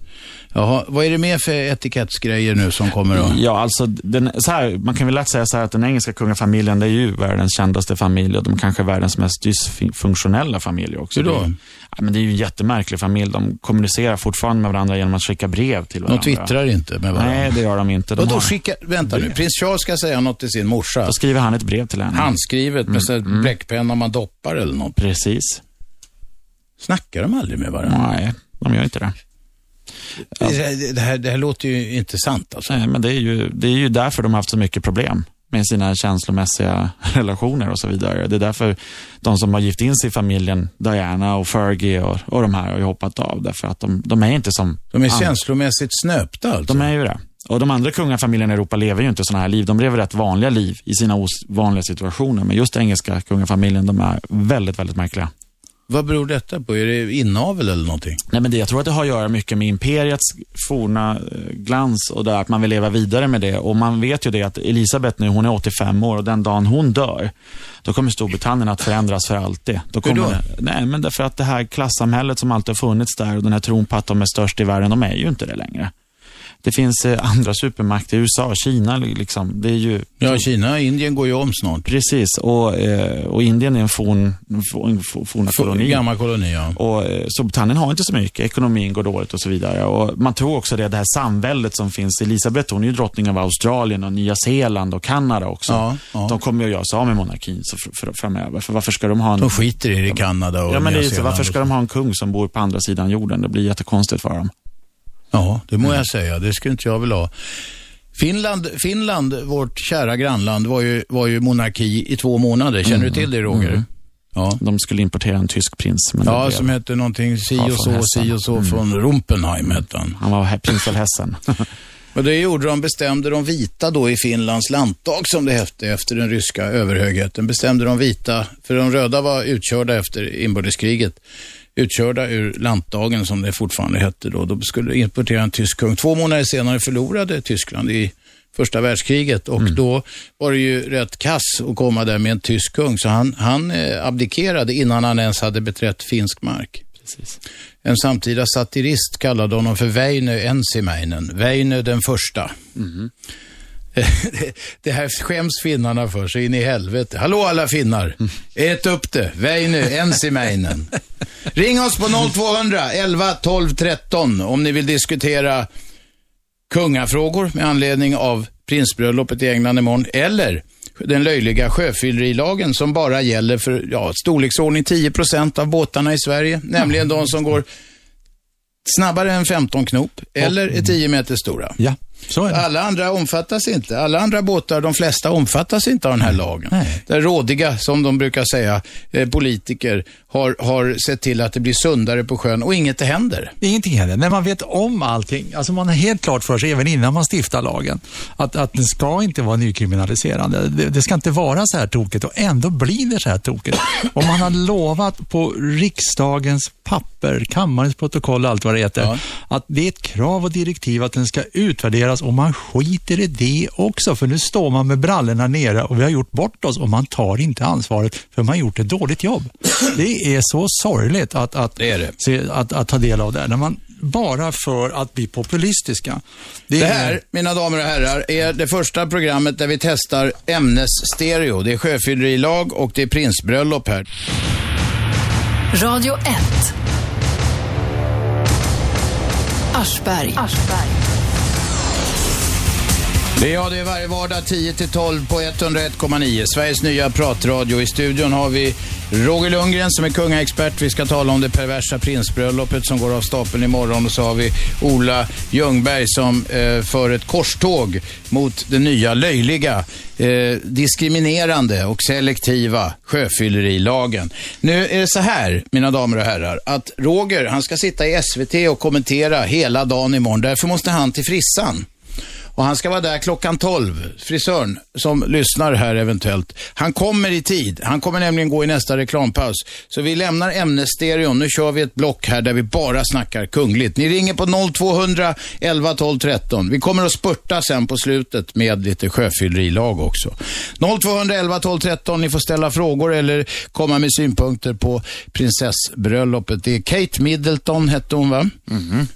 [SPEAKER 2] Jaha, vad är det mer för etikettsgrejer nu som kommer då?
[SPEAKER 5] Ja, alltså, den, så här, man kan väl lätt säga så här att den engelska kungafamiljen det är ju världens kändaste familj och de kanske är världens mest dysfunktionella familj också.
[SPEAKER 2] Hur då?
[SPEAKER 5] Det är, ja, men det är ju en jättemärklig familj. De kommunicerar fortfarande med varandra genom att skicka brev till varandra.
[SPEAKER 2] De twittrar inte med varandra.
[SPEAKER 5] Nej, det gör de inte. De
[SPEAKER 2] Vadå
[SPEAKER 5] har-
[SPEAKER 2] skicka, vänta nu, prins Charles ska säga något till sin morsa. Då
[SPEAKER 5] skriver han ett brev till henne. Mm.
[SPEAKER 2] Handskrivet med så här bläckpenna man doppar eller något.
[SPEAKER 5] Precis.
[SPEAKER 2] Snackar de aldrig med varandra?
[SPEAKER 5] Nej, de gör inte det.
[SPEAKER 2] Det, det, här, det här låter ju inte sant alltså.
[SPEAKER 5] Nej, men det är, ju, det är ju därför de har haft så mycket problem med sina känslomässiga relationer och så vidare. Det är därför de som har gift in sig i familjen, Diana och Fergie och, och de här, har ju hoppat av. Därför att de, de är inte som...
[SPEAKER 2] De är
[SPEAKER 5] andra.
[SPEAKER 2] känslomässigt snöpta alltså.
[SPEAKER 5] De är ju det. Och de andra kungafamiljerna i Europa lever ju inte sådana här liv. De lever rätt vanliga liv i sina ovanliga situationer. Men just engelska kungafamiljen, de är väldigt, väldigt märkliga.
[SPEAKER 2] Vad beror detta på? Är det inavel eller någonting?
[SPEAKER 5] Nej, men det, jag tror att det har att göra mycket med imperiets forna eh, glans och det att man vill leva vidare med det. Och Man vet ju det att Elisabeth nu, hon är 85 år och den dagen hon dör, då kommer Storbritannien att förändras för alltid. Då kommer
[SPEAKER 2] då?
[SPEAKER 5] Det, nej, men därför att det här klassamhället som alltid har funnits där och den här tron på att de är störst i världen, de är ju inte det längre. Det finns eh, andra supermakter, USA, Kina liksom. Det är ju...
[SPEAKER 2] Ja, Kina och Indien går ju om snart.
[SPEAKER 5] Precis, och, eh, och Indien är en forn, forn, forna koloni.
[SPEAKER 2] gammal koloni, ja.
[SPEAKER 5] Och eh, Storbritannien har inte så mycket, ekonomin går dåligt och så vidare. Och man tror också det, det här samväldet som finns. Elisabeth, hon är ju drottning av Australien och Nya Zeeland och Kanada också. De kommer ju att göra sig av med monarkin så fr- fr- framöver. För varför ska de ha en...
[SPEAKER 2] De skiter i det i Kanada och
[SPEAKER 5] Ja, men det
[SPEAKER 2] Nya
[SPEAKER 5] är ju så,
[SPEAKER 2] Zeeland
[SPEAKER 5] varför ska
[SPEAKER 2] och
[SPEAKER 5] de ha en kung som bor på andra sidan jorden? Det blir jättekonstigt för dem.
[SPEAKER 2] Ja, det
[SPEAKER 5] Mm.
[SPEAKER 2] må jag säga. Det skulle inte jag vilja ha. Finland, Finland, vårt kära grannland, var ju, var ju monarki i två månader. Känner du till det, Roger? Ja.
[SPEAKER 5] Mm. De skulle importera en tysk prins. Men det
[SPEAKER 2] Ja,
[SPEAKER 5] blev-
[SPEAKER 2] som hette någonting si
[SPEAKER 5] Mm. Ja,
[SPEAKER 2] och
[SPEAKER 5] från
[SPEAKER 2] så, si
[SPEAKER 5] Hessen.
[SPEAKER 2] och så
[SPEAKER 5] Mm.
[SPEAKER 2] från Rumpenheim hette han.
[SPEAKER 5] Han var he- prins av Hessen.
[SPEAKER 2] Och det gjorde de, bestämde de vita då i Finlands lantdag som det hette efter den ryska överhögheten. Bestämde de vita, för de röda var utkörda efter inbördeskriget, utkörda ur lantdagen som det fortfarande hette då. Då skulle importera en tysk kung. Två månader senare förlorade Tyskland i första världskriget och då var det ju rätt kass att komma där med en tysk kung. Så han, han eh, abdikerade innan han ens hade beträtt finsk mark. En samtida satirist kallade honom för Väinö Ensimäinen, Väinö den första. Det- det här skäms finnarna för så in i helvete. Hallå alla finnar! Ät upp det! Väinö Ensimäinen. Ring oss på 0200 11 12 13 om ni vill diskutera kungafrågor med anledning av prinsbröllopet i England imorgon eller den löjliga sjöfyllerilagen som bara gäller för ja, storleksordning 10 av båtarna i Sverige, nämligen de som går snabbare än 15 knop eller är 10 meter stora.
[SPEAKER 3] Ja, så är det.
[SPEAKER 2] Alla andra omfattas inte. Alla andra båtar, de flesta omfattas inte av den här lagen. Där rådiga, som de brukar säga, eh, politiker har, har sett till att det blir sundare på sjön och inget händer.
[SPEAKER 3] Ingenting händer. När man vet om allting, alltså man har helt klart för sig även innan man stiftar lagen, att, att den ska inte vara nykriminaliserande. Det, det ska inte vara så här tokigt och ändå blir det så här tokigt. Om man har lovat på riksdagens papper, kammarens protokoll och allt vad det heter, att det är ett krav och direktiv att den ska utvärderas och man skiter i det också, för nu står man med brallorna nere och vi har gjort bort oss och man tar inte ansvaret för man har gjort ett dåligt jobb. Det är så sorgligt att, att
[SPEAKER 2] Det är det.
[SPEAKER 3] se, att, att ta del av det. här. När man bara för att bli populistiska.
[SPEAKER 2] Det, här, mina damer och herrar, är det första programmet där vi testar ämnesstereo. Det är sjöfyllerilag och det är prinsbröllop här.
[SPEAKER 1] Radio 1. Aschberg.
[SPEAKER 2] Det är jag, det är varje vardag 10-12 på 101,9. Sveriges nya pratradio. I studion har vi Roger Lundgren som är kungaexpert. Vi ska tala om det perversa prinsbröllopet som går av stapeln imorgon. Och så har vi Ola Ljungberg som eh, för ett korståg mot det nya löjliga, eh, diskriminerande och selektiva sjöfyllerilagen. Nu är det så här, mina damer och herrar, att Roger, han ska sitta i SVT och kommentera hela dagen imorgon. Därför måste han till frissan. Och han ska vara där klockan 12. Frisören som lyssnar här eventuellt. Han kommer i tid. Han kommer nämligen gå i nästa reklampaus. Så vi lämnar ämnesstereon. Nu kör vi ett block här där vi bara snackar kungligt. Ni ringer på 0200 11 12 13. Vi kommer att spurta sen på slutet med lite sjöfyllerilag också. 0200 11 12 13. Ni får ställa frågor eller komma med synpunkter på prinsessbröllopet. Det är Kate Middleton hette hon va?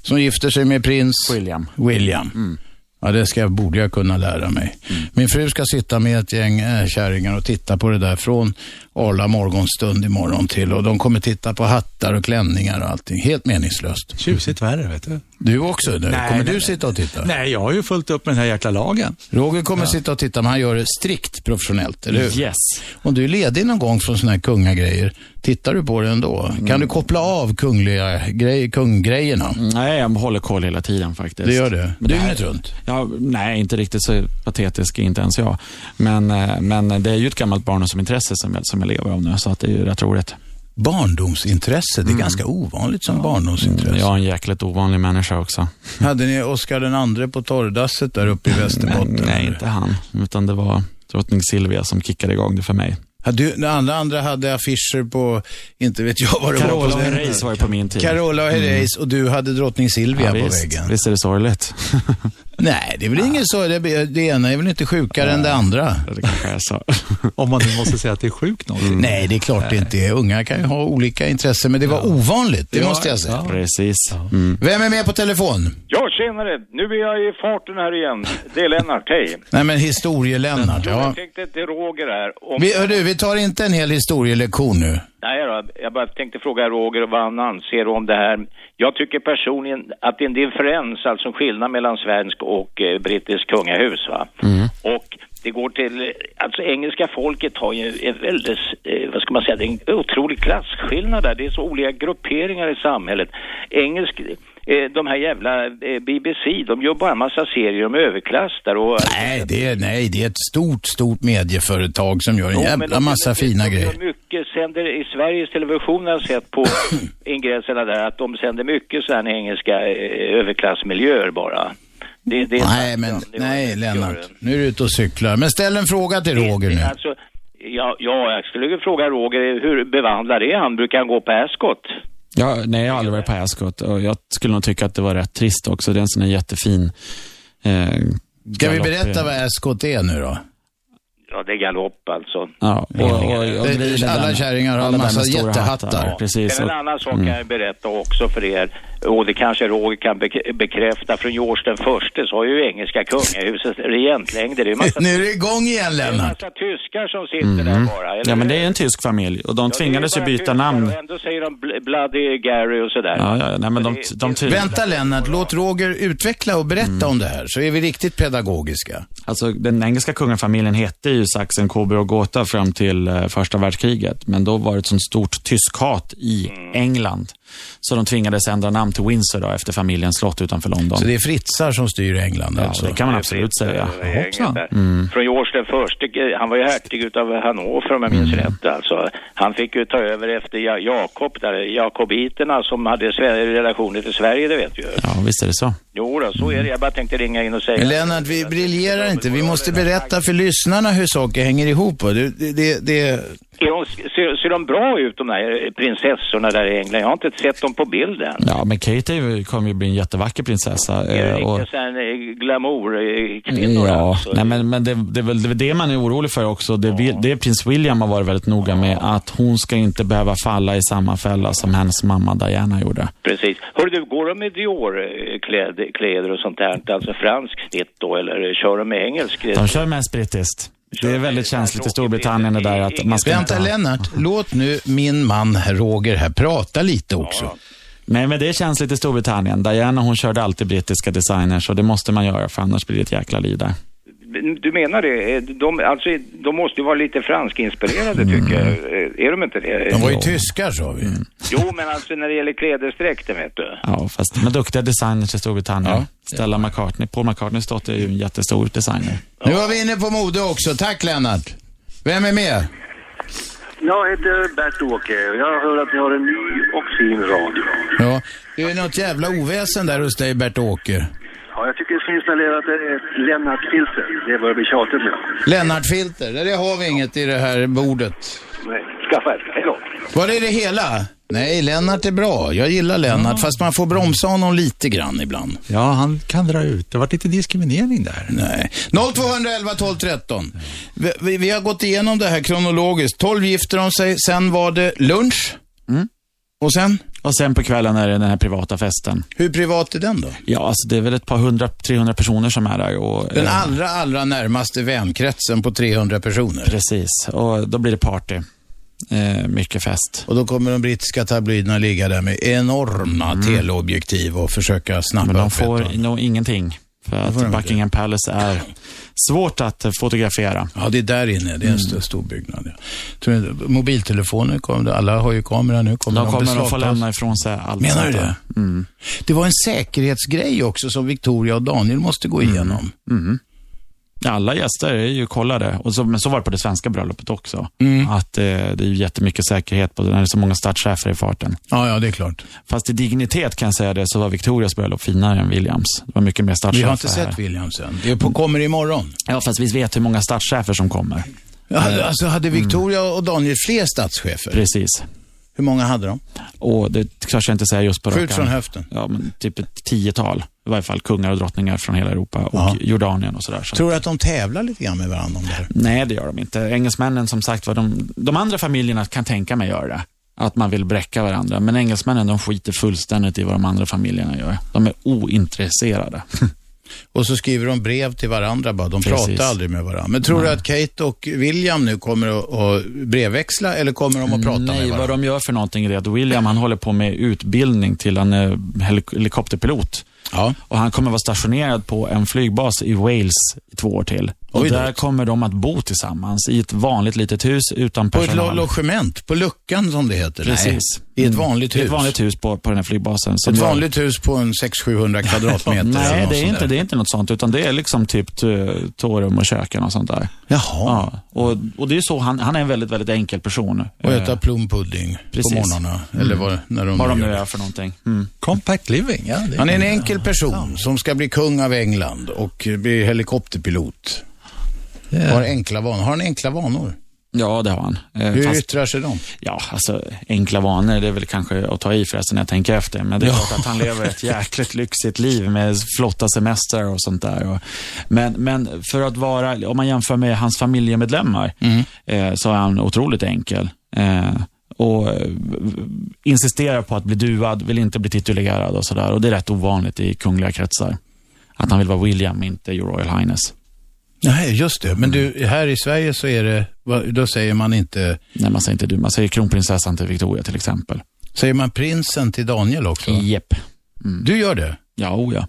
[SPEAKER 2] Som gifter sig med prins William. William. Ja, det ska, borde jag kunna lära mig.
[SPEAKER 3] Mm.
[SPEAKER 2] Min fru ska sitta med ett gäng eh, kärringar och titta på det där från Arla morgonstund imorgon till. Och de kommer titta på hattar och klänningar och allting. Helt meningslöst.
[SPEAKER 3] Tjusigt värre, vet du.
[SPEAKER 2] Du också? eller?
[SPEAKER 3] Nej,
[SPEAKER 2] kommer
[SPEAKER 3] nej,
[SPEAKER 2] du
[SPEAKER 3] nej.
[SPEAKER 2] sitta och titta?
[SPEAKER 3] Nej, jag har ju fullt upp med den här jäkla lagen.
[SPEAKER 2] Roger kommer
[SPEAKER 3] Ja.
[SPEAKER 2] sitta och titta, men han gör det strikt professionellt, eller hur?
[SPEAKER 3] Yes.
[SPEAKER 2] Om du är ledig någon gång från sådana här kungagrejer, tittar du på det ändå? Kan du koppla av kungliga grej, kunggrejerna?
[SPEAKER 5] Nej, jag håller koll hela tiden faktiskt.
[SPEAKER 2] Det gör du?
[SPEAKER 5] Men här-
[SPEAKER 2] Dygnet runt?
[SPEAKER 5] Ja, nej, inte riktigt så patetisk är inte ens jag. Men, eh, men det är ju ett gammalt barndomsintresse som jag, som jag lever av nu, så att det är ju rätt roligt. Mm.
[SPEAKER 2] Barndomsintresse, det är ganska ovanligt som barndomsintresse.
[SPEAKER 5] Jag är en jäkligt ovanlig människa också.
[SPEAKER 2] Hade ni Oscar den andre på torrdasset där uppe i Västerbotten?
[SPEAKER 5] Nej, nej, inte han. Utan det var drottning Silvia som kickade igång det för mig.
[SPEAKER 2] Hade du, den andra, andra hade affischer på, inte vet jag vad det var.
[SPEAKER 5] Carola
[SPEAKER 2] på
[SPEAKER 5] och
[SPEAKER 2] väggen.
[SPEAKER 5] Herreys var ju på min tid.
[SPEAKER 2] Carola och
[SPEAKER 3] Mm.
[SPEAKER 2] Herreys och du hade drottning Silvia
[SPEAKER 5] Ja,
[SPEAKER 2] på
[SPEAKER 5] visst.
[SPEAKER 2] väggen.
[SPEAKER 5] Visst är det sorgligt?
[SPEAKER 2] Nej, det är väl inget så. Det, det ena är väl inte sjukare än det andra?
[SPEAKER 5] Det kanske är så. Mm.
[SPEAKER 3] Om man nu måste säga att det är sjukt någonting.
[SPEAKER 2] Nej, det är klart det inte är. Unga kan ju ha olika intressen, men det var ovanligt. Det
[SPEAKER 3] Ja,
[SPEAKER 2] måste jag säga.
[SPEAKER 5] Precis. Mm.
[SPEAKER 2] Vem är med på telefon?
[SPEAKER 17] Ja, tjenare! Nu är jag i farten här igen. Det är Lennart, hej.
[SPEAKER 2] Nej, men historielennart. Ja.
[SPEAKER 17] Jag tänkte till Roger här. Om...
[SPEAKER 2] Vi, hörru, vi tar inte en hel historielektion nu.
[SPEAKER 17] Nej då, jag bara tänkte fråga Roger vad han anser om det här. Jag tycker personligen att det är en differens, alltså en skillnad mellan svensk och eh, brittisk kungahus va. Och det går till, alltså engelska folket har ju en väldigt, eh, vad ska man säga, det är en otrolig klasskillnad där. Det är så olika grupperingar i samhället. Engelsk, eh, de här jävla eh, BBC, de gör bara en massa serier om överklass där och...
[SPEAKER 2] Nej det, är, nej, det är ett stort, stort medieföretag som gör en jävla massa fina
[SPEAKER 17] De
[SPEAKER 2] grejer.
[SPEAKER 17] gör Alltså, mycket, sänder i Sveriges Television har jag sett på ingresserna där att de sänder mycket sådana engelska eh, överklassmiljöer bara. Det, det,
[SPEAKER 2] Nej, men, nej Lennart. Nu är du ute och cyklar. Men ställ en fråga till Roger nu.
[SPEAKER 17] alltså, ja, ja, jag skulle ju fråga Roger, hur bevandlad är han? Brukar han gå på Ascot?
[SPEAKER 5] Ja, nej, jag har aldrig varit på Ascot och jag skulle nog tycka att det var rätt trist också. Det är en sån här jättefin eh,
[SPEAKER 2] Ska vi
[SPEAKER 5] galopp.
[SPEAKER 2] berätta vad Ascot är nu då?
[SPEAKER 17] Ja, det är galopp alltså.
[SPEAKER 5] Ja, och, och, och
[SPEAKER 2] Det-
[SPEAKER 5] grejen är
[SPEAKER 2] alla
[SPEAKER 5] den-
[SPEAKER 2] kärringar har
[SPEAKER 5] alla
[SPEAKER 2] en massa
[SPEAKER 5] där med stora
[SPEAKER 2] jättehattar.
[SPEAKER 5] hattar. Precis. Mm.
[SPEAKER 17] En
[SPEAKER 5] Och,
[SPEAKER 17] annan sak kan jag berätta också för er, och det kanske Roger kan bek- bekräfta, från George den förste så har ju engelska kungahuset regentlängder. Det är ju massa
[SPEAKER 2] Nu är det igång igen Lennart.
[SPEAKER 17] massa tyskar som sitter där
[SPEAKER 5] mm.
[SPEAKER 17] bara. eller
[SPEAKER 5] Ja, men
[SPEAKER 17] hur?
[SPEAKER 5] det är en tysk familj och de
[SPEAKER 17] Ja, det är
[SPEAKER 5] tvingades ju
[SPEAKER 17] bara
[SPEAKER 5] byta
[SPEAKER 17] tyskar
[SPEAKER 5] namn.
[SPEAKER 17] Och ändå säger de bl- Bloody Gary och sådär.
[SPEAKER 5] Ja, ja, ja, nej, men de,
[SPEAKER 17] det-
[SPEAKER 5] de ty-
[SPEAKER 2] Vänta Lennart, låt Roger utveckla och berätta om det här så är vi riktigt pedagogiska.
[SPEAKER 5] Alltså, den engelska kungafamiljen hette ju Sachsen, Coburg och Gotha fram till eh, första världskriget. Men då var det ett sånt stort tyskhat i
[SPEAKER 2] Mm.
[SPEAKER 5] England. Så de tvingades ändra namn till Windsor då, efter familjens slott utanför London.
[SPEAKER 2] Så det är fritzar som styr England
[SPEAKER 5] ja,
[SPEAKER 2] alltså?
[SPEAKER 5] det kan man absolut säga. Mm.
[SPEAKER 17] det är inget där. Från George den förste, eh, han var ju hertig utav Hannover om jag minns
[SPEAKER 2] Mm.
[SPEAKER 17] rätt alltså. Han fick ju ta över efter Ja- Jakob där, Jakobiterna som hade sve- relationer till Sverige, det vet du ju.
[SPEAKER 5] Ja, visst är det så.
[SPEAKER 2] Mm.
[SPEAKER 17] Jo då, så är det. Jag bara tänkte ringa in och säga.
[SPEAKER 2] Men Lennart, vi briljerar inte. Vi måste berätta för lyssnarna hur saker hänger ihop. va? Det, det, det, det...
[SPEAKER 17] Är de, ser, ser de bra ut de där prinsessorna där i England? Jag har inte sett dem på bilden.
[SPEAKER 5] Ja, men Kate är ju- kommer ju bli en jättevacker prinsessa.
[SPEAKER 17] Är det
[SPEAKER 5] eh, och-
[SPEAKER 17] riktiga sån här, eh, glamour eh,
[SPEAKER 2] Mm.
[SPEAKER 17] kvinnor
[SPEAKER 5] Ja,
[SPEAKER 17] alltså?
[SPEAKER 5] nej, men, men det, det är väl det, är väl det man är orolig för också. Det, vi- det är prins William har varit väldigt noga med, att hon ska inte behöva falla i samma fälla som hennes mamma Diana gjorde.
[SPEAKER 17] Precis. Hör du, går de med Dior-kläder och sånt där? Alltså fransk snitt då, eller kör de med engelsk?
[SPEAKER 5] De kör mest brittiskt. Det är väldigt känsligt i Storbritannien det där att man ska inte
[SPEAKER 2] Vänta
[SPEAKER 5] ha-
[SPEAKER 2] Lennart, låt nu min man här, Roger här prata lite också.
[SPEAKER 5] Nej, men det är känsligt i Storbritannien. Diana hon körde alltid brittiska designers och det måste man göra för annars blir det ett jäkla liv där.
[SPEAKER 17] Du menar det? Eh, De, alltså, de måste ju vara lite franskinspirerade, tycker jag. Eh, Är de inte det?
[SPEAKER 2] De var ju tyskar sa vi.
[SPEAKER 17] Jo, men alltså när det gäller klädesdräkten, vet du.
[SPEAKER 5] Ja, fast de är duktiga designers i Storbritannien. Stella McCartney, Paul McCartneys dotter är ju en jättestor designer.
[SPEAKER 2] Nu var vi inne på mode också. Tack Lennart. Vem är med?
[SPEAKER 4] Jag heter Bert-Åke och jag hör att ni har en ny och fin radio.
[SPEAKER 2] Ja, det är något jävla oväsen där hos dig Bert-Åke.
[SPEAKER 4] Ja, jag tycker det finns installerat ett Lennart-filter. Det börjar bli tjatigt nu.
[SPEAKER 2] Lennartfilter, det har vi inget i det här bordet.
[SPEAKER 4] Nej, skaffa ett. Hej då.
[SPEAKER 2] Var är det hela? Nej, Lennart är bra. Jag gillar Lennart, fast man får bromsa honom lite grann ibland.
[SPEAKER 3] Ja, han kan dra ut. Det har varit lite diskriminering där.
[SPEAKER 2] Nej. 0211 12 13. Vi- Vi, vi har gått igenom det här kronologiskt. 12 gifter de sig, sen var det lunch. Och sen?
[SPEAKER 5] Och sen på kvällen är det den här privata festen.
[SPEAKER 2] Hur privat är den då?
[SPEAKER 5] Ja, alltså det är väl ett par hundra, 300 personer som är där. Och,
[SPEAKER 2] Den
[SPEAKER 5] eh,
[SPEAKER 2] allra, allra närmaste vänkretsen på 300 personer.
[SPEAKER 5] Precis, och då blir det party. Eh, mycket fest.
[SPEAKER 2] Och då kommer de brittiska tabloiderna ligga där med enorma teleobjektiv och försöka snappa
[SPEAKER 5] Mm. Men de
[SPEAKER 2] upp ett och
[SPEAKER 5] får
[SPEAKER 2] annat.
[SPEAKER 5] nog ingenting. För
[SPEAKER 2] får de
[SPEAKER 5] att
[SPEAKER 2] inte.
[SPEAKER 5] Buckingham Palace är svårt att eh, fotografera. Mm.
[SPEAKER 2] Ja, det är där inne. Det är en stor, stor byggnad. Ja. Tror du inte- Mobiltelefoner kommer. Alla har ju kamera nu. Kommer
[SPEAKER 5] Då kommer de få
[SPEAKER 2] beslagtas?
[SPEAKER 5] lämna ifrån sig allt.
[SPEAKER 2] Menar du
[SPEAKER 5] sånt där. Mm.
[SPEAKER 2] det? Det var en säkerhetsgrej också som Victoria och Daniel måste gå igenom.
[SPEAKER 5] Mm. Alla gäster är ju kollade. Och så, men så var det på det svenska bröllopet också.
[SPEAKER 2] Mm.
[SPEAKER 5] Att eh, det är ju jättemycket säkerhet på när det är så många statschefer i farten.
[SPEAKER 2] Ja, ja, det är klart.
[SPEAKER 5] Fast i dignitet kan jag säga det, så var Victorias bröllop finare än Williams. Det var mycket mer statschefer
[SPEAKER 2] Vi har inte
[SPEAKER 5] här.
[SPEAKER 2] sett Williams än. Det är på, kommer imorgon.
[SPEAKER 5] Ja, fast vi vet hur många statschefer som kommer.
[SPEAKER 2] Ja, Alltså, hade
[SPEAKER 5] Mm.
[SPEAKER 2] Victoria och Daniel fler statschefer?
[SPEAKER 5] Precis.
[SPEAKER 2] Hur många hade de?
[SPEAKER 5] Och det törs jag inte säga just på
[SPEAKER 2] Skjut
[SPEAKER 5] rak arm.
[SPEAKER 2] från höften.
[SPEAKER 5] Ja, men typ ett tiotal. I varje fall kungar och drottningar från hela Europa och Jordanien och sådär. Så.
[SPEAKER 2] Tror du att de tävlar lite grann med varandra om det här?
[SPEAKER 5] Nej, det gör de inte. Engelsmännen, som sagt var, de, de andra familjerna kan tänka mig göra det. Att man vill bräcka varandra. Men engelsmännen, de skiter fullständigt i vad de andra familjerna gör. De är ointresserade.
[SPEAKER 2] Och så skriver de brev till varandra bara. De
[SPEAKER 5] Precis.
[SPEAKER 2] pratar aldrig med varandra. Men tror du att Kate och William nu kommer att, att brevväxla eller kommer de att prata med
[SPEAKER 5] Nej,
[SPEAKER 2] varandra?
[SPEAKER 5] vad de gör för någonting är att William han håller på med utbildning till en eh, helik- helikopterpilot. Och han kommer vara stationerad på en flygbas i Wales i två år till. Och
[SPEAKER 2] Oj då.
[SPEAKER 5] där kommer de att bo tillsammans i ett vanligt litet hus utan
[SPEAKER 2] På ett
[SPEAKER 5] personal.
[SPEAKER 2] lo- logement, på luckan som det heter.
[SPEAKER 5] Precis.
[SPEAKER 2] Nej, I ett
[SPEAKER 5] Mm.
[SPEAKER 2] vanligt
[SPEAKER 5] I
[SPEAKER 2] hus.
[SPEAKER 5] ett vanligt hus på, på den här flygbasen. Så
[SPEAKER 2] Ett
[SPEAKER 5] nu-
[SPEAKER 2] vanligt hus på en 600-700 kvadratmeter. eller
[SPEAKER 5] Nej,
[SPEAKER 2] något
[SPEAKER 5] det är,
[SPEAKER 2] sånt
[SPEAKER 5] inte,
[SPEAKER 2] där.
[SPEAKER 5] det är inte något sånt, utan det är liksom typ t- tvårum och köken och sånt där.
[SPEAKER 2] Jaha.
[SPEAKER 5] Ja, och, och det är ju så, han, han är en väldigt, väldigt enkel person.
[SPEAKER 2] Och
[SPEAKER 5] Eh,
[SPEAKER 2] äta plompudding
[SPEAKER 5] precis. Mm.
[SPEAKER 2] på morgnarna. Eller vad, när de
[SPEAKER 5] Vad de
[SPEAKER 2] gör
[SPEAKER 5] nu
[SPEAKER 2] det.
[SPEAKER 5] är för någonting. Mm.
[SPEAKER 3] Compact living, ja. det-
[SPEAKER 2] Han är en enkel person som ska bli kung av England och eh, bli helikopterpilot. Har enkla vanor. Har han enkla vanor?
[SPEAKER 5] Ja, det har han. Eh,
[SPEAKER 2] Hur
[SPEAKER 5] fast-
[SPEAKER 2] yttrar sig de?
[SPEAKER 5] Ja, alltså enkla vanor, det är väl kanske att ta i förresten när jag tänker efter. Men det är
[SPEAKER 2] Ja.
[SPEAKER 5] klart att han lever ett jäkligt lyxigt liv med flotta semestrar och sånt där. Och, men, men för att vara, om man jämför med hans familjemedlemmar, eh, så är han otroligt enkel. Eh, och eh, insisterar på att bli duad, vill inte bli titulerad och sådär. Och det är rätt ovanligt i kungliga kretsar. Att han vill vara William, inte Your Royal Highness.
[SPEAKER 2] Nej, just det. Men du, här i Sverige så är det, vad- då säger man inte...
[SPEAKER 5] Nej, man säger inte du. Man säger kronprinsessan till Victoria till exempel.
[SPEAKER 2] Säger man prinsen till Daniel också?
[SPEAKER 5] Jepp. Mm.
[SPEAKER 2] Du gör det?
[SPEAKER 5] Ja, o ja.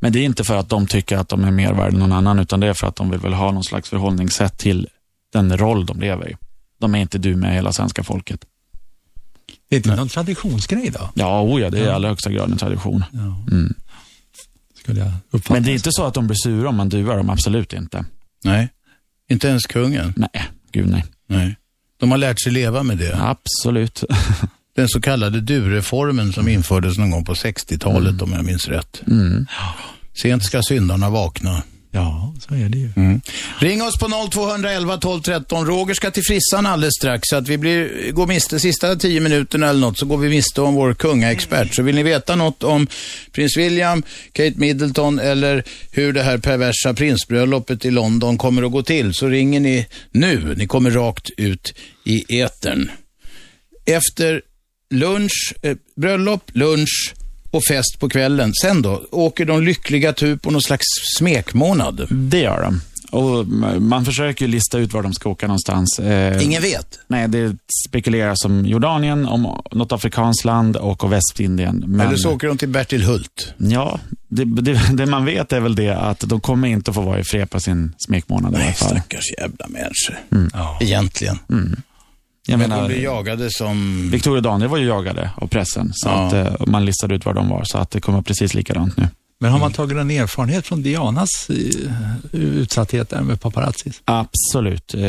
[SPEAKER 5] Men det är inte för att de tycker att de är mer värda än någon annan, utan det är för att de vill väl ha någon slags förhållningssätt till den roll de lever i. De är inte du med hela svenska folket.
[SPEAKER 3] Det är inte någon traditionsgrej då?
[SPEAKER 5] Ja, o ja, det är i
[SPEAKER 3] Ja.
[SPEAKER 5] allra högsta grad en tradition. Mm.
[SPEAKER 3] Skulle jag
[SPEAKER 5] Men det är inte så att de blir sura om man duar dem, absolut inte.
[SPEAKER 2] Nej. Inte ens kungen?
[SPEAKER 5] Nej, gud nej.
[SPEAKER 2] Nej. De har lärt sig leva med det?
[SPEAKER 5] Absolut.
[SPEAKER 2] Den så kallade du-reformen som infördes någon gång på 60-talet om jag minns rätt.
[SPEAKER 5] Mm.
[SPEAKER 2] Sent ska syndarna vakna.
[SPEAKER 3] Ja, så är det ju.
[SPEAKER 2] Mm. Ring oss på 0211 12 13. Roger ska till frissan alldeles strax. Så att vi blir, går miste sista tio minuterna eller något så går vi miste om vår kungaexpert. Så vill ni veta något om prins William, Kate Middleton eller hur det här perversa prinsbröllopet i London kommer att gå till så ringer ni nu. Ni kommer rakt ut i etern. Efter lunch, eh, bröllop, lunch och fest på kvällen. Sen då? Åker de lyckliga tur på någon slags smekmånad?
[SPEAKER 5] Det gör de. Och man försöker ju lista ut var de ska åka någonstans. Eh,
[SPEAKER 2] Ingen vet?
[SPEAKER 5] Nej, det spekuleras om Jordanien, om något afrikanskt land och om Västindien. Men...
[SPEAKER 2] Eller så åker de till Bertil Hult.
[SPEAKER 5] Ja, det, det, det man vet är väl det att de kommer inte att få vara i fred på sin smekmånad i alla fall.
[SPEAKER 2] Stackars jävla människor.
[SPEAKER 5] Mm.
[SPEAKER 2] Egentligen.
[SPEAKER 5] Mm. Jag
[SPEAKER 2] men
[SPEAKER 5] menar,
[SPEAKER 2] de blir jagade som...
[SPEAKER 5] Victoria och Daniel var ju jagade av pressen, så
[SPEAKER 2] Ja.
[SPEAKER 5] att eh, man listade ut var de var, så att det kommer precis likadant nu.
[SPEAKER 3] Men
[SPEAKER 2] Mm.
[SPEAKER 3] har man tagit någon erfarenhet från Dianas eh, utsatthet där med paparazzis?
[SPEAKER 5] Absolut. Eh,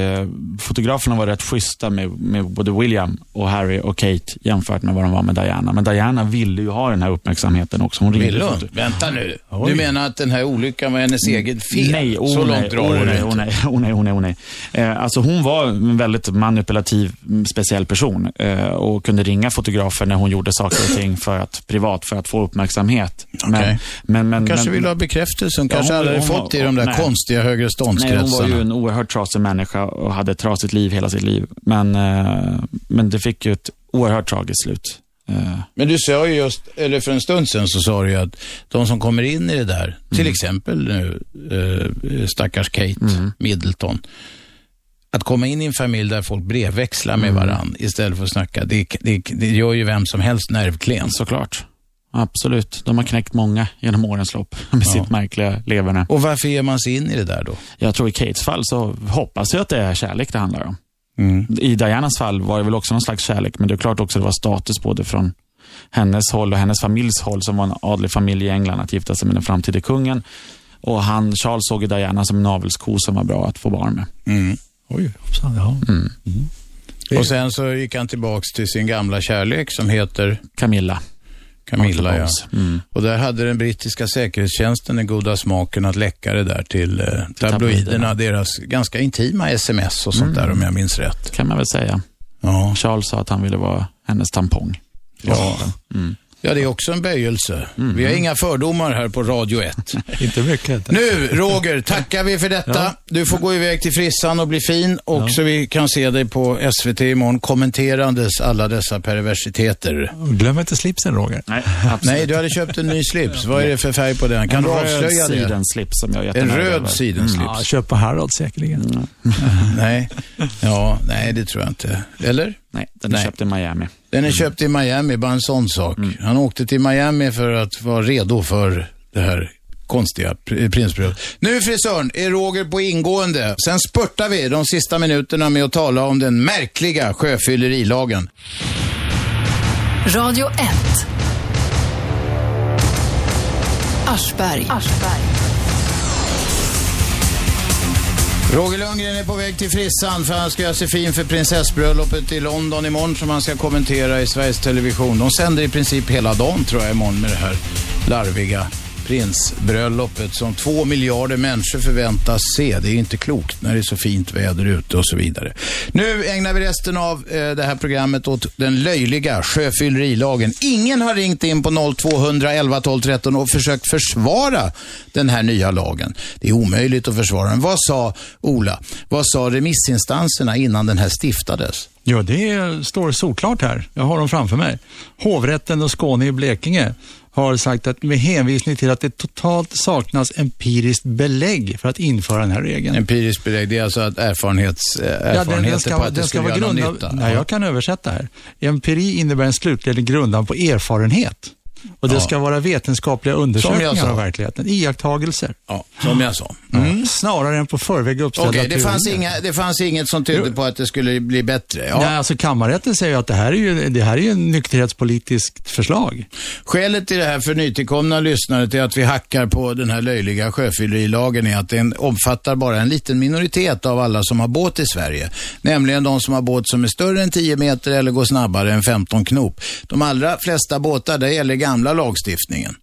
[SPEAKER 5] fotograferna var rätt schyssta med, med både William och Harry och Kate jämfört med vad de var med Diana. Men Diana ville ju ha den här uppmärksamheten också. Hon ringde
[SPEAKER 2] Vill
[SPEAKER 5] foto-
[SPEAKER 2] hon? Vänta nu.
[SPEAKER 5] Oj.
[SPEAKER 2] Du menar att den här olyckan var hennes eget fel?
[SPEAKER 5] Nej, oh,
[SPEAKER 2] Så
[SPEAKER 5] nej,
[SPEAKER 2] långt drar
[SPEAKER 5] oh,
[SPEAKER 2] du det
[SPEAKER 5] nej,
[SPEAKER 2] inte.
[SPEAKER 5] oh, nej, oh, nej, oh, nej, oh, nej. Eh, Alltså hon var en väldigt manipulativ, mm, speciell person eh, och kunde ringa fotografer när hon gjorde saker och ting för att, privat för att få uppmärksamhet.
[SPEAKER 2] Okej.
[SPEAKER 5] men, men,
[SPEAKER 2] kanske
[SPEAKER 5] men,
[SPEAKER 2] vill ha bekräftelse. Hon
[SPEAKER 5] Ja,
[SPEAKER 2] kanske
[SPEAKER 5] hon-
[SPEAKER 2] aldrig
[SPEAKER 5] hon-
[SPEAKER 2] fått det i de där
[SPEAKER 5] nej.
[SPEAKER 2] konstiga
[SPEAKER 5] Nej,
[SPEAKER 2] högre
[SPEAKER 5] hon var
[SPEAKER 2] ståndskretsarna.
[SPEAKER 5] ju en oerhört trasig människa och hade ett trasigt liv hela sitt liv. Men, eh, men det fick ju ett oerhört tragiskt slut. Eh,
[SPEAKER 4] Men du sa ju just, eller för en stund sedan så sa du ju att de som kommer in i det där,
[SPEAKER 2] Till
[SPEAKER 5] Mm.
[SPEAKER 2] exempel nu eh, stackars Kate Middleton. Att komma in i en familj där folk brevväxlar
[SPEAKER 5] Mm.
[SPEAKER 2] med varann istället för att snacka, det, det, det gör ju vem som helst nervklen.
[SPEAKER 5] Såklart. Absolut, de har knäckt många genom årens lopp med sitt märkliga leverne.
[SPEAKER 2] Och varför ger man sig in i det där då?
[SPEAKER 5] Jag tror i Kates fall så hoppas jag att det är kärlek det handlar om.
[SPEAKER 2] Mm.
[SPEAKER 5] I Dianas fall var det väl också någon slags kärlek, men det är klart också att det var status både från hennes håll och hennes familjs håll som var en adlig familj i England att gifta sig med den framtida kungen. Och han, Charles såg ju Diana som en avelsko som var bra att få barn med.
[SPEAKER 2] Mm.
[SPEAKER 3] Oj, hoppsan. Ja.
[SPEAKER 5] Mm.
[SPEAKER 2] Och sen så gick han tillbaks till sin gamla kärlek som heter?
[SPEAKER 5] Camilla.
[SPEAKER 2] Camilla, ja.
[SPEAKER 5] Martha Bowles. Mm.
[SPEAKER 2] Och där hade den brittiska säkerhetstjänsten den goda smaken att läcka det där till eh, tabloiderna, deras ganska intima sms och sånt där
[SPEAKER 3] Mm.
[SPEAKER 2] om jag minns rätt.
[SPEAKER 5] kan man väl säga. Charles sa att han ville vara hennes tampong.
[SPEAKER 2] Ja.
[SPEAKER 5] Mm.
[SPEAKER 2] Ja, det är också en böjelse.
[SPEAKER 3] Mm.
[SPEAKER 2] Vi har inga fördomar här på Radio 1.
[SPEAKER 3] Inte mycket.
[SPEAKER 2] Nu, Roger, tackar vi för detta.
[SPEAKER 3] Ja.
[SPEAKER 2] Du får gå iväg till frissan och bli fin och så vi kan se dig på SVT imorgon kommenterandes alla dessa perversiteter.
[SPEAKER 3] Glöm inte slipsen, Roger.
[SPEAKER 5] Nej,
[SPEAKER 2] Nej, du hade köpt en ny slips. Vad är det för färg på den? Kan
[SPEAKER 3] En
[SPEAKER 2] du
[SPEAKER 3] röd
[SPEAKER 2] avslöja det?
[SPEAKER 5] sidenslips som jag är
[SPEAKER 2] En
[SPEAKER 5] jättenöjd
[SPEAKER 2] röd
[SPEAKER 5] över.
[SPEAKER 2] sidenslips.
[SPEAKER 3] Ja, köp på Harrods säkerligen. Mm.
[SPEAKER 2] Nej. Ja, nej, det tror jag inte. Eller?
[SPEAKER 5] Nej, den är köpt i Miami.
[SPEAKER 2] Den är köpt i Miami, bara en sån sak. Han åkte till Miami för att vara redo för det här konstiga pr- prinsbrödet. Nu frisören, är Roger på ingående. Sen spurtar vi de sista minuterna med att tala om den märkliga sjöfyllerilagen.
[SPEAKER 1] Radio 1. Aschberg.
[SPEAKER 2] Roger Lundgren är på väg till frissan för han ska göra sig fin för prinsessbröllopet i London imorgon som han ska kommentera i Sveriges Television. De sänder i princip hela dagen tror jag imorgon med det här larviga prinsbröllopet som två miljarder människor förväntas se. Det är ju inte klokt när det är så fint väder ute och så vidare. Nu ägnar vi resten av eh, det här programmet åt den löjliga sjöfyllerilagen. Ingen har ringt in på 0200 11 12 13 och försökt försvara den här nya lagen. Det är omöjligt att försvara den. Vad sa Ola? Vad sa remissinstanserna innan den här stiftades?
[SPEAKER 3] Ja, det är- står solklart här. Jag har dem framför mig. Hovrätten och Skåne i Blekinge har sagt att med hänvisning till att det totalt saknas empiriskt belägg för att införa den här regeln.
[SPEAKER 2] Empiriskt belägg, det är alltså att erfarenhets, eh, erfarenheter på att det
[SPEAKER 3] den ska
[SPEAKER 2] skulle
[SPEAKER 3] vara
[SPEAKER 2] göra någon
[SPEAKER 3] grundad-
[SPEAKER 2] nytta.
[SPEAKER 3] Nej, jag kan översätta här. Empiri innebär en slutledning grundad på erfarenhet. Och det
[SPEAKER 2] Ja.
[SPEAKER 3] ska vara vetenskapliga undersökningar
[SPEAKER 2] sa.
[SPEAKER 3] av verkligheten, iakttagelser.
[SPEAKER 2] Ja, som jag sa. Mm.
[SPEAKER 3] Ja, Snarare än på förväg uppställda
[SPEAKER 2] Okej, det, fanns
[SPEAKER 3] teorier.
[SPEAKER 2] inga- det fanns inget som tydde på att det skulle bli bättre. Ja.
[SPEAKER 3] Nej, alltså kammarrätten säger ju att det här är ju, det här är ju en nykterhetspolitiskt förslag.
[SPEAKER 2] Skälet till det här för nytillkomna lyssnare till att vi hackar på den här löjliga sjöfyllerilagen är att den omfattar bara en liten minoritet av alla som har båt i Sverige. Nämligen de som har båt som är större än 10 meter eller går snabbare än 15 knop. De allra flesta båtar, det gäller gamla lagstiftningen.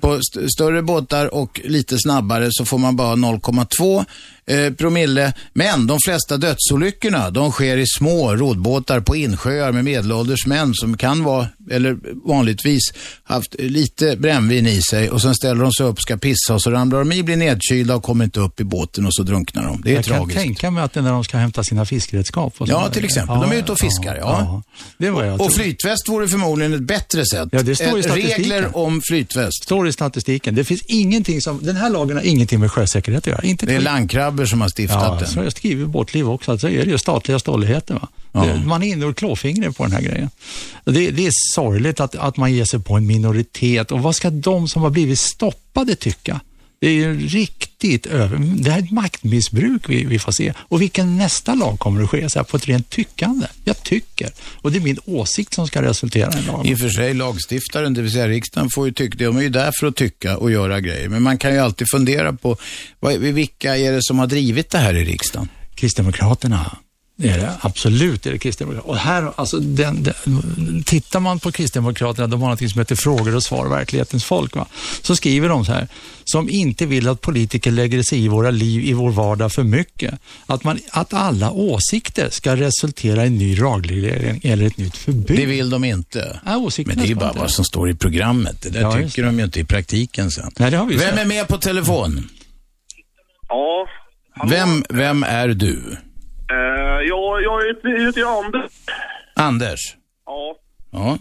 [SPEAKER 2] På st- större båtar och lite snabbare så får man bara 0,2 eh, promille. Men de flesta dödsolyckorna, de sker i små roddbåtar på insjöar med medelålders män som kan vara, eller vanligtvis, haft lite brännvin i sig och sen ställer de sig upp, ska pissa och så ramlar de i, blir nedkylda och kommer inte upp i båten och så drunknar de. Det är
[SPEAKER 3] jag
[SPEAKER 2] tragiskt.
[SPEAKER 3] kan tänka mig att det är när de ska hämta sina fiskredskap. Och
[SPEAKER 2] Ja,
[SPEAKER 3] sådär.
[SPEAKER 2] till exempel. De är ute och fiskar, ja.
[SPEAKER 3] Det var jag
[SPEAKER 2] och
[SPEAKER 3] tror.
[SPEAKER 2] flytväst vore förmodligen ett bättre sätt.
[SPEAKER 3] Ja, det står i
[SPEAKER 2] Eh,
[SPEAKER 3] statistiken.
[SPEAKER 2] Regler om flytväst.
[SPEAKER 3] Står i statistiken. Det finns ingenting som, den här lagen har ingenting med sjösäkerhet att göra. Inte
[SPEAKER 2] Det är landkrabbor som har stiftat
[SPEAKER 3] ja,
[SPEAKER 2] den.
[SPEAKER 3] Så jag skriver i Båtliv också att så är det ju statliga stolligheter. Va? Det, man är inne och klåfingrar på den här grejen. Det, det är sorgligt att, att man ger sig på en minoritet och vad ska de som har blivit stoppade tycka? Det Det är ju riktigt över... Det här är ett maktmissbruk vi, vi får se. Och vilken nästa lag kommer att ske? Så här, på ett rent tyckande. Jag tycker. Och det är min åsikt som ska resultera i en lag.
[SPEAKER 2] I och för sig, lagstiftaren, det vill säga riksdagen, får ju tycka, de är ju där för att tycka och göra grejer. Men man kan ju alltid fundera på, vad, vilka är det som har drivit det här i riksdagen?
[SPEAKER 3] Kristdemokraterna. Det är det, absolut är det Kristdemokraterna. Och här, alltså, den, den, tittar man på Kristdemokraterna, de har något som heter Frågor och svar, verklighetens folk. Va? Så skriver de så här, som inte vill att politiker lägger sig i våra liv, i vår vardag för mycket. Att, man, att alla åsikter ska resultera i en ny lagreglering eller ett nytt förbud.
[SPEAKER 2] Det vill de inte.
[SPEAKER 3] Ja, åsikterna
[SPEAKER 2] Men det är ju
[SPEAKER 3] ska
[SPEAKER 2] bara
[SPEAKER 3] inte-
[SPEAKER 2] vad som står i programmet. Det där
[SPEAKER 3] Ja, just
[SPEAKER 2] tycker de ju inte i praktiken sen.
[SPEAKER 3] Nej, det har vi ju
[SPEAKER 2] Vem
[SPEAKER 3] sett.
[SPEAKER 2] är med på telefon?
[SPEAKER 18] Ja,
[SPEAKER 2] Vem, vem är du?
[SPEAKER 18] eh, jag, jag heter heter jag Anders.
[SPEAKER 2] Anders?
[SPEAKER 18] Ja.
[SPEAKER 2] Ja.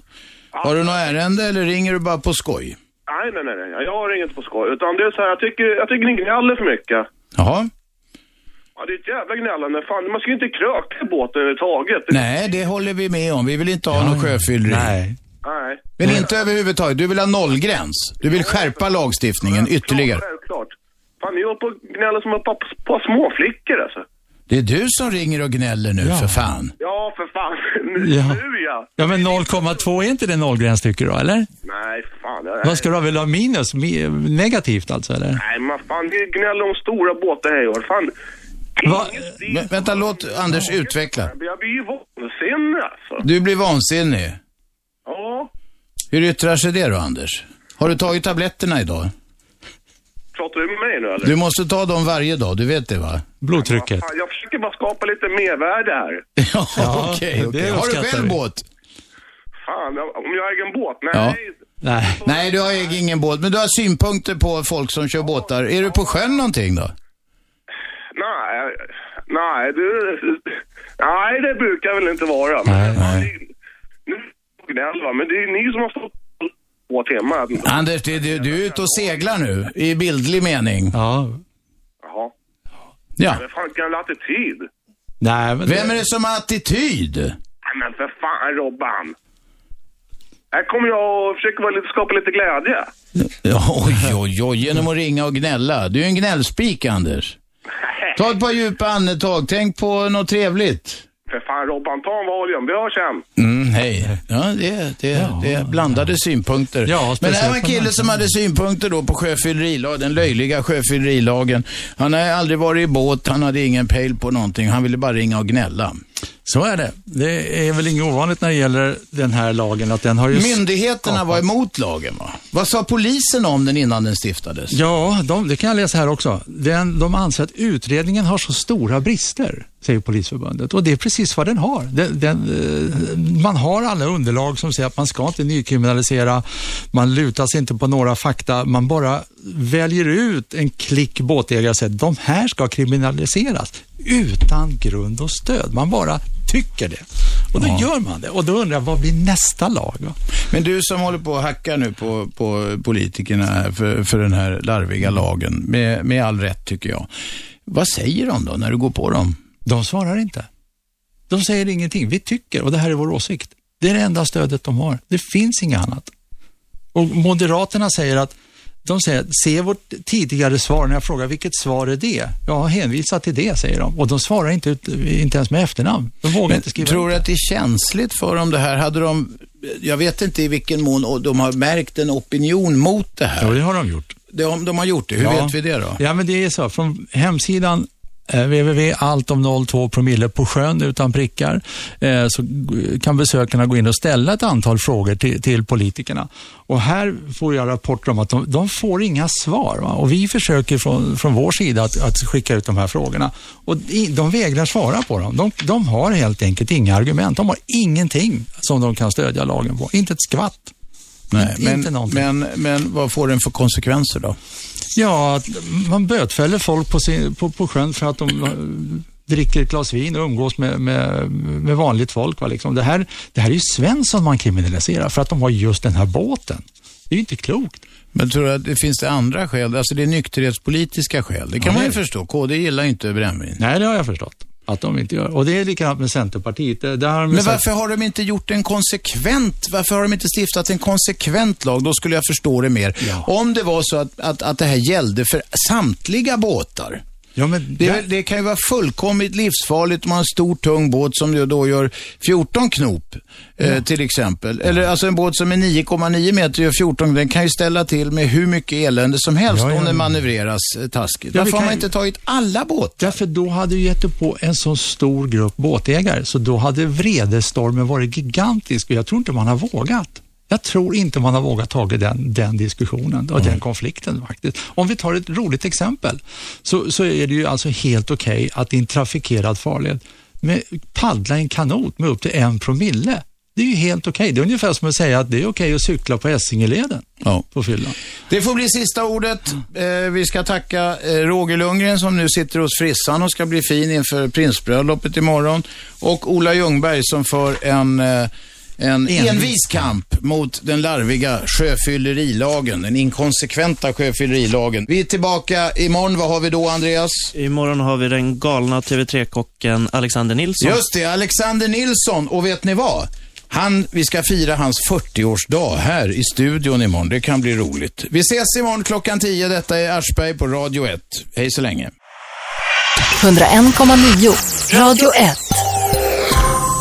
[SPEAKER 2] Har du något ärende eller ringer du bara på skoj?
[SPEAKER 18] Nej, nej, nej, nej. Jag har inget på skoj. Utan det är så här, jag tycker, jag tycker ni gnäller för mycket.
[SPEAKER 2] Jaha.
[SPEAKER 18] Ja, det är ett jävla gnällande. Fan, man ska ju inte kröka i båten överhuvudtaget.
[SPEAKER 2] Nej, det håller vi med om. Vi vill inte ha någon sjöfylleri. Nej.
[SPEAKER 18] Nej.
[SPEAKER 2] Men inte överhuvudtaget. Du vill ha nollgräns. Du vill skärpa lagstiftningen ytterligare.
[SPEAKER 18] Självklart. Fan, ni håller på och gnäller som ett par, par småflickor alltså.
[SPEAKER 2] Det är du som ringer och gnäller nu, för fan.
[SPEAKER 18] Ja, för fan. Nu,
[SPEAKER 3] Ja.
[SPEAKER 18] nu ja.
[SPEAKER 3] Ja, men 0,2 är inte det nollgräns tycker du, eller?
[SPEAKER 18] Nej, fan.
[SPEAKER 3] Vad ska du ha? Vill du ha minus? Mi- Negativt alltså, eller?
[SPEAKER 18] Nej, men fan, ni gnäller om stora båtar här i år. Fan.
[SPEAKER 2] Va? Vä- Vänta, låt Anders utveckla.
[SPEAKER 18] Jag blir ju vansinnig alltså.
[SPEAKER 2] Du blir vansinnig.
[SPEAKER 18] Ja,
[SPEAKER 2] Hur yttrar sig det då, Anders? Har du tagit tabletterna idag?
[SPEAKER 18] pratar du med mig nu eller?
[SPEAKER 2] Du måste ta dem varje dag, du vet det va?
[SPEAKER 3] Blodtrycket.
[SPEAKER 18] Fan, jag försöker bara skapa lite mervärde här.
[SPEAKER 2] Ja,
[SPEAKER 3] Ja,
[SPEAKER 2] okej.
[SPEAKER 3] det
[SPEAKER 2] okej. Har du
[SPEAKER 3] uppskattar
[SPEAKER 2] själv
[SPEAKER 3] vi.
[SPEAKER 2] båt?
[SPEAKER 18] Fan, jag- om jag äger en båt? Nej.
[SPEAKER 2] Ja. Nej. Nej, du har egen ingen båt, men du har synpunkter på folk som kör båtar. Är du på sjön någonting då?
[SPEAKER 18] Nej, nej, du, nej, det brukar jag väl inte vara. Nej, nej. Nu gnäller va, men det är ju ni som har stått på temat.
[SPEAKER 2] Anders, det, du, du är ute och seglar nu, i bildlig mening.
[SPEAKER 3] Ja.
[SPEAKER 18] Jaha.
[SPEAKER 2] Ja.
[SPEAKER 18] Men fan, vilken jävla attityd.
[SPEAKER 3] Nej, men
[SPEAKER 2] Vem är det som har attityd?
[SPEAKER 18] Nej, men för fan Robban. Här kommer jag och försöker vara lite, skapa lite glädje.
[SPEAKER 2] Oj, oj, oj, genom att ringa och gnälla. Du är en gnällspik, Anders. Ta ett par djupa andetag, tänk på något trevligt.
[SPEAKER 18] För fan Robban, ta en Valium. Vi hörs sen.
[SPEAKER 2] Mm, hej. Ja, det, det, det är blandade synpunkter. Men det här var en kille som hade synpunkter då på sjöfyllerilagen, den löjliga sjöfyllerilagen. Han har aldrig varit i båt, han hade ingen pejl på någonting, han ville bara ringa och gnälla.
[SPEAKER 3] Så är det. Det är väl inget ovanligt när det gäller den här lagen att den har ju...
[SPEAKER 2] Myndigheterna var emot lagen va? Vad sa polisen om den innan den stiftades?
[SPEAKER 3] Ja, de, det kan jag läsa här också. Den, de anser att utredningen har så stora brister, säger Polisförbundet. Och det är precis vad den har. Den, den, eh, man har alla underlag som säger att man ska inte nykriminalisera, man lutar sig inte på några fakta, man bara väljer ut en klick båtägare och säger att de här ska kriminaliseras utan grund och stöd. Man bara tycker det. Och då gör man det. Och då undrar jag, vad blir nästa lag? Va?
[SPEAKER 2] Men du som håller på och hackar nu på, på politikerna här för, för den här larviga lagen, med, med all rätt tycker jag. Vad säger de då när du går på dem?
[SPEAKER 3] De svarar inte. De säger ingenting. Vi tycker och det här är vår åsikt. Det är det enda stödet de har. Det finns inget annat. Och Moderaterna säger att de säger, se vårt tidigare svar när jag frågar vilket svar är det? Jag har hänvisat till det, säger de. Och de svarar inte, ut, inte ens med efternamn. De vågar
[SPEAKER 2] Men
[SPEAKER 3] inte skriva
[SPEAKER 2] tror
[SPEAKER 3] ut
[SPEAKER 2] du att det är känsligt för dem det här? Hade de, jag vet inte i vilken mån och de har märkt en opinion mot det här.
[SPEAKER 3] Ja, det har de gjort.
[SPEAKER 2] De, de har gjort det. Hur
[SPEAKER 3] Ja.
[SPEAKER 2] vet vi det då?
[SPEAKER 3] Ja, men det är så. Från hemsidan eh, www.alltom02 promille på sjön utan prickar eh, så g- kan besökarna gå in och ställa ett antal frågor till, till politikerna. Och här får jag rapporter om att de, de får inga svar. Va? Och vi försöker från, från vår sida att, att skicka ut de här frågorna. Och i- de vägrar svara på dem. De, de har helt enkelt inga argument. De har ingenting som de kan stödja lagen på. Inte ett skvatt.
[SPEAKER 2] Nej,
[SPEAKER 3] Inte- inte
[SPEAKER 2] men,
[SPEAKER 3] någonting.
[SPEAKER 2] men, men vad får den för konsekvenser då?
[SPEAKER 3] Ja, att man bötfäller folk på, sin, på, på sjön för att de eh, dricker ett glas vin och umgås med, med, med vanligt folk. Va? Liksom. Det, här, det här är ju Svensson man kriminaliserar för att de har just den här båten. Det är ju inte klokt.
[SPEAKER 2] Men tror du att det finns det andra skäl? Alltså det är nykterhetspolitiska skäl. Det kan
[SPEAKER 3] Ja,
[SPEAKER 2] man ju
[SPEAKER 3] det är det.
[SPEAKER 2] förstå. KD gillar ju inte brännvin.
[SPEAKER 3] Nej, det har jag förstått. att de inte gör. Och det är likadant med Centerpartiet. Där, där har de ju
[SPEAKER 2] Men
[SPEAKER 3] sagt-
[SPEAKER 2] varför har de inte gjort en konsekvent, varför har de inte stiftat en konsekvent lag? Då skulle jag förstå det mer. Om det var så att, att, att det här gällde för samtliga båtar. det, är väl- det kan ju vara fullkomligt livsfarligt om man har en stor tung båt som ju då gör 14 knop eh, till exempel. Eller alltså en båt som är 9,9 meter gör 14, den kan ju ställa till med hur mycket elände som helst
[SPEAKER 3] Ja, ja,
[SPEAKER 2] om den
[SPEAKER 3] ja.
[SPEAKER 2] manövreras eh, taskigt.
[SPEAKER 3] Ja,
[SPEAKER 2] varför
[SPEAKER 3] vi
[SPEAKER 2] har
[SPEAKER 3] kan
[SPEAKER 2] man
[SPEAKER 3] ju-
[SPEAKER 2] inte tagit alla båtar?
[SPEAKER 3] Därför då hade du gett dig på en så stor grupp båtägare, så då hade vredestormen varit gigantisk och jag tror inte man har vågat. Jag tror inte man har vågat ta den, den diskussionen och den konflikten faktiskt. Om vi tar ett roligt exempel så, så är det ju alltså helt okej att i en trafikerad farled med, paddla i en kanot med upp till en promille. Det är ju helt okej. Det är ungefär som att säga att det är okej att cykla på Essingeleden på fyllan.
[SPEAKER 2] Det får bli sista ordet. Eh, vi ska tacka eh, Roger Lundgren som nu sitter hos frissan och ska bli fin inför prinsbröllopet imorgon. Och Ola Ljungberg som för en, eh, en
[SPEAKER 17] Envis.
[SPEAKER 2] envis kamp mot den larviga sjöfyllerilagen, den inkonsekventa sjöfyllerilagen. Vi är tillbaka imorgon. Vad har vi då, Andreas?
[SPEAKER 6] Imorgon har vi den galna TV3-kocken Alexander Nilsson.
[SPEAKER 2] Just det, Alexander Nilsson. Och vet ni vad? Han, vi ska fira hans 40-årsdag här i studion imorgon. Det kan bli roligt. Vi ses imorgon klockan 10. Detta är Aschberg på Radio 1. Hej så länge.
[SPEAKER 1] 101,9. Radio 1.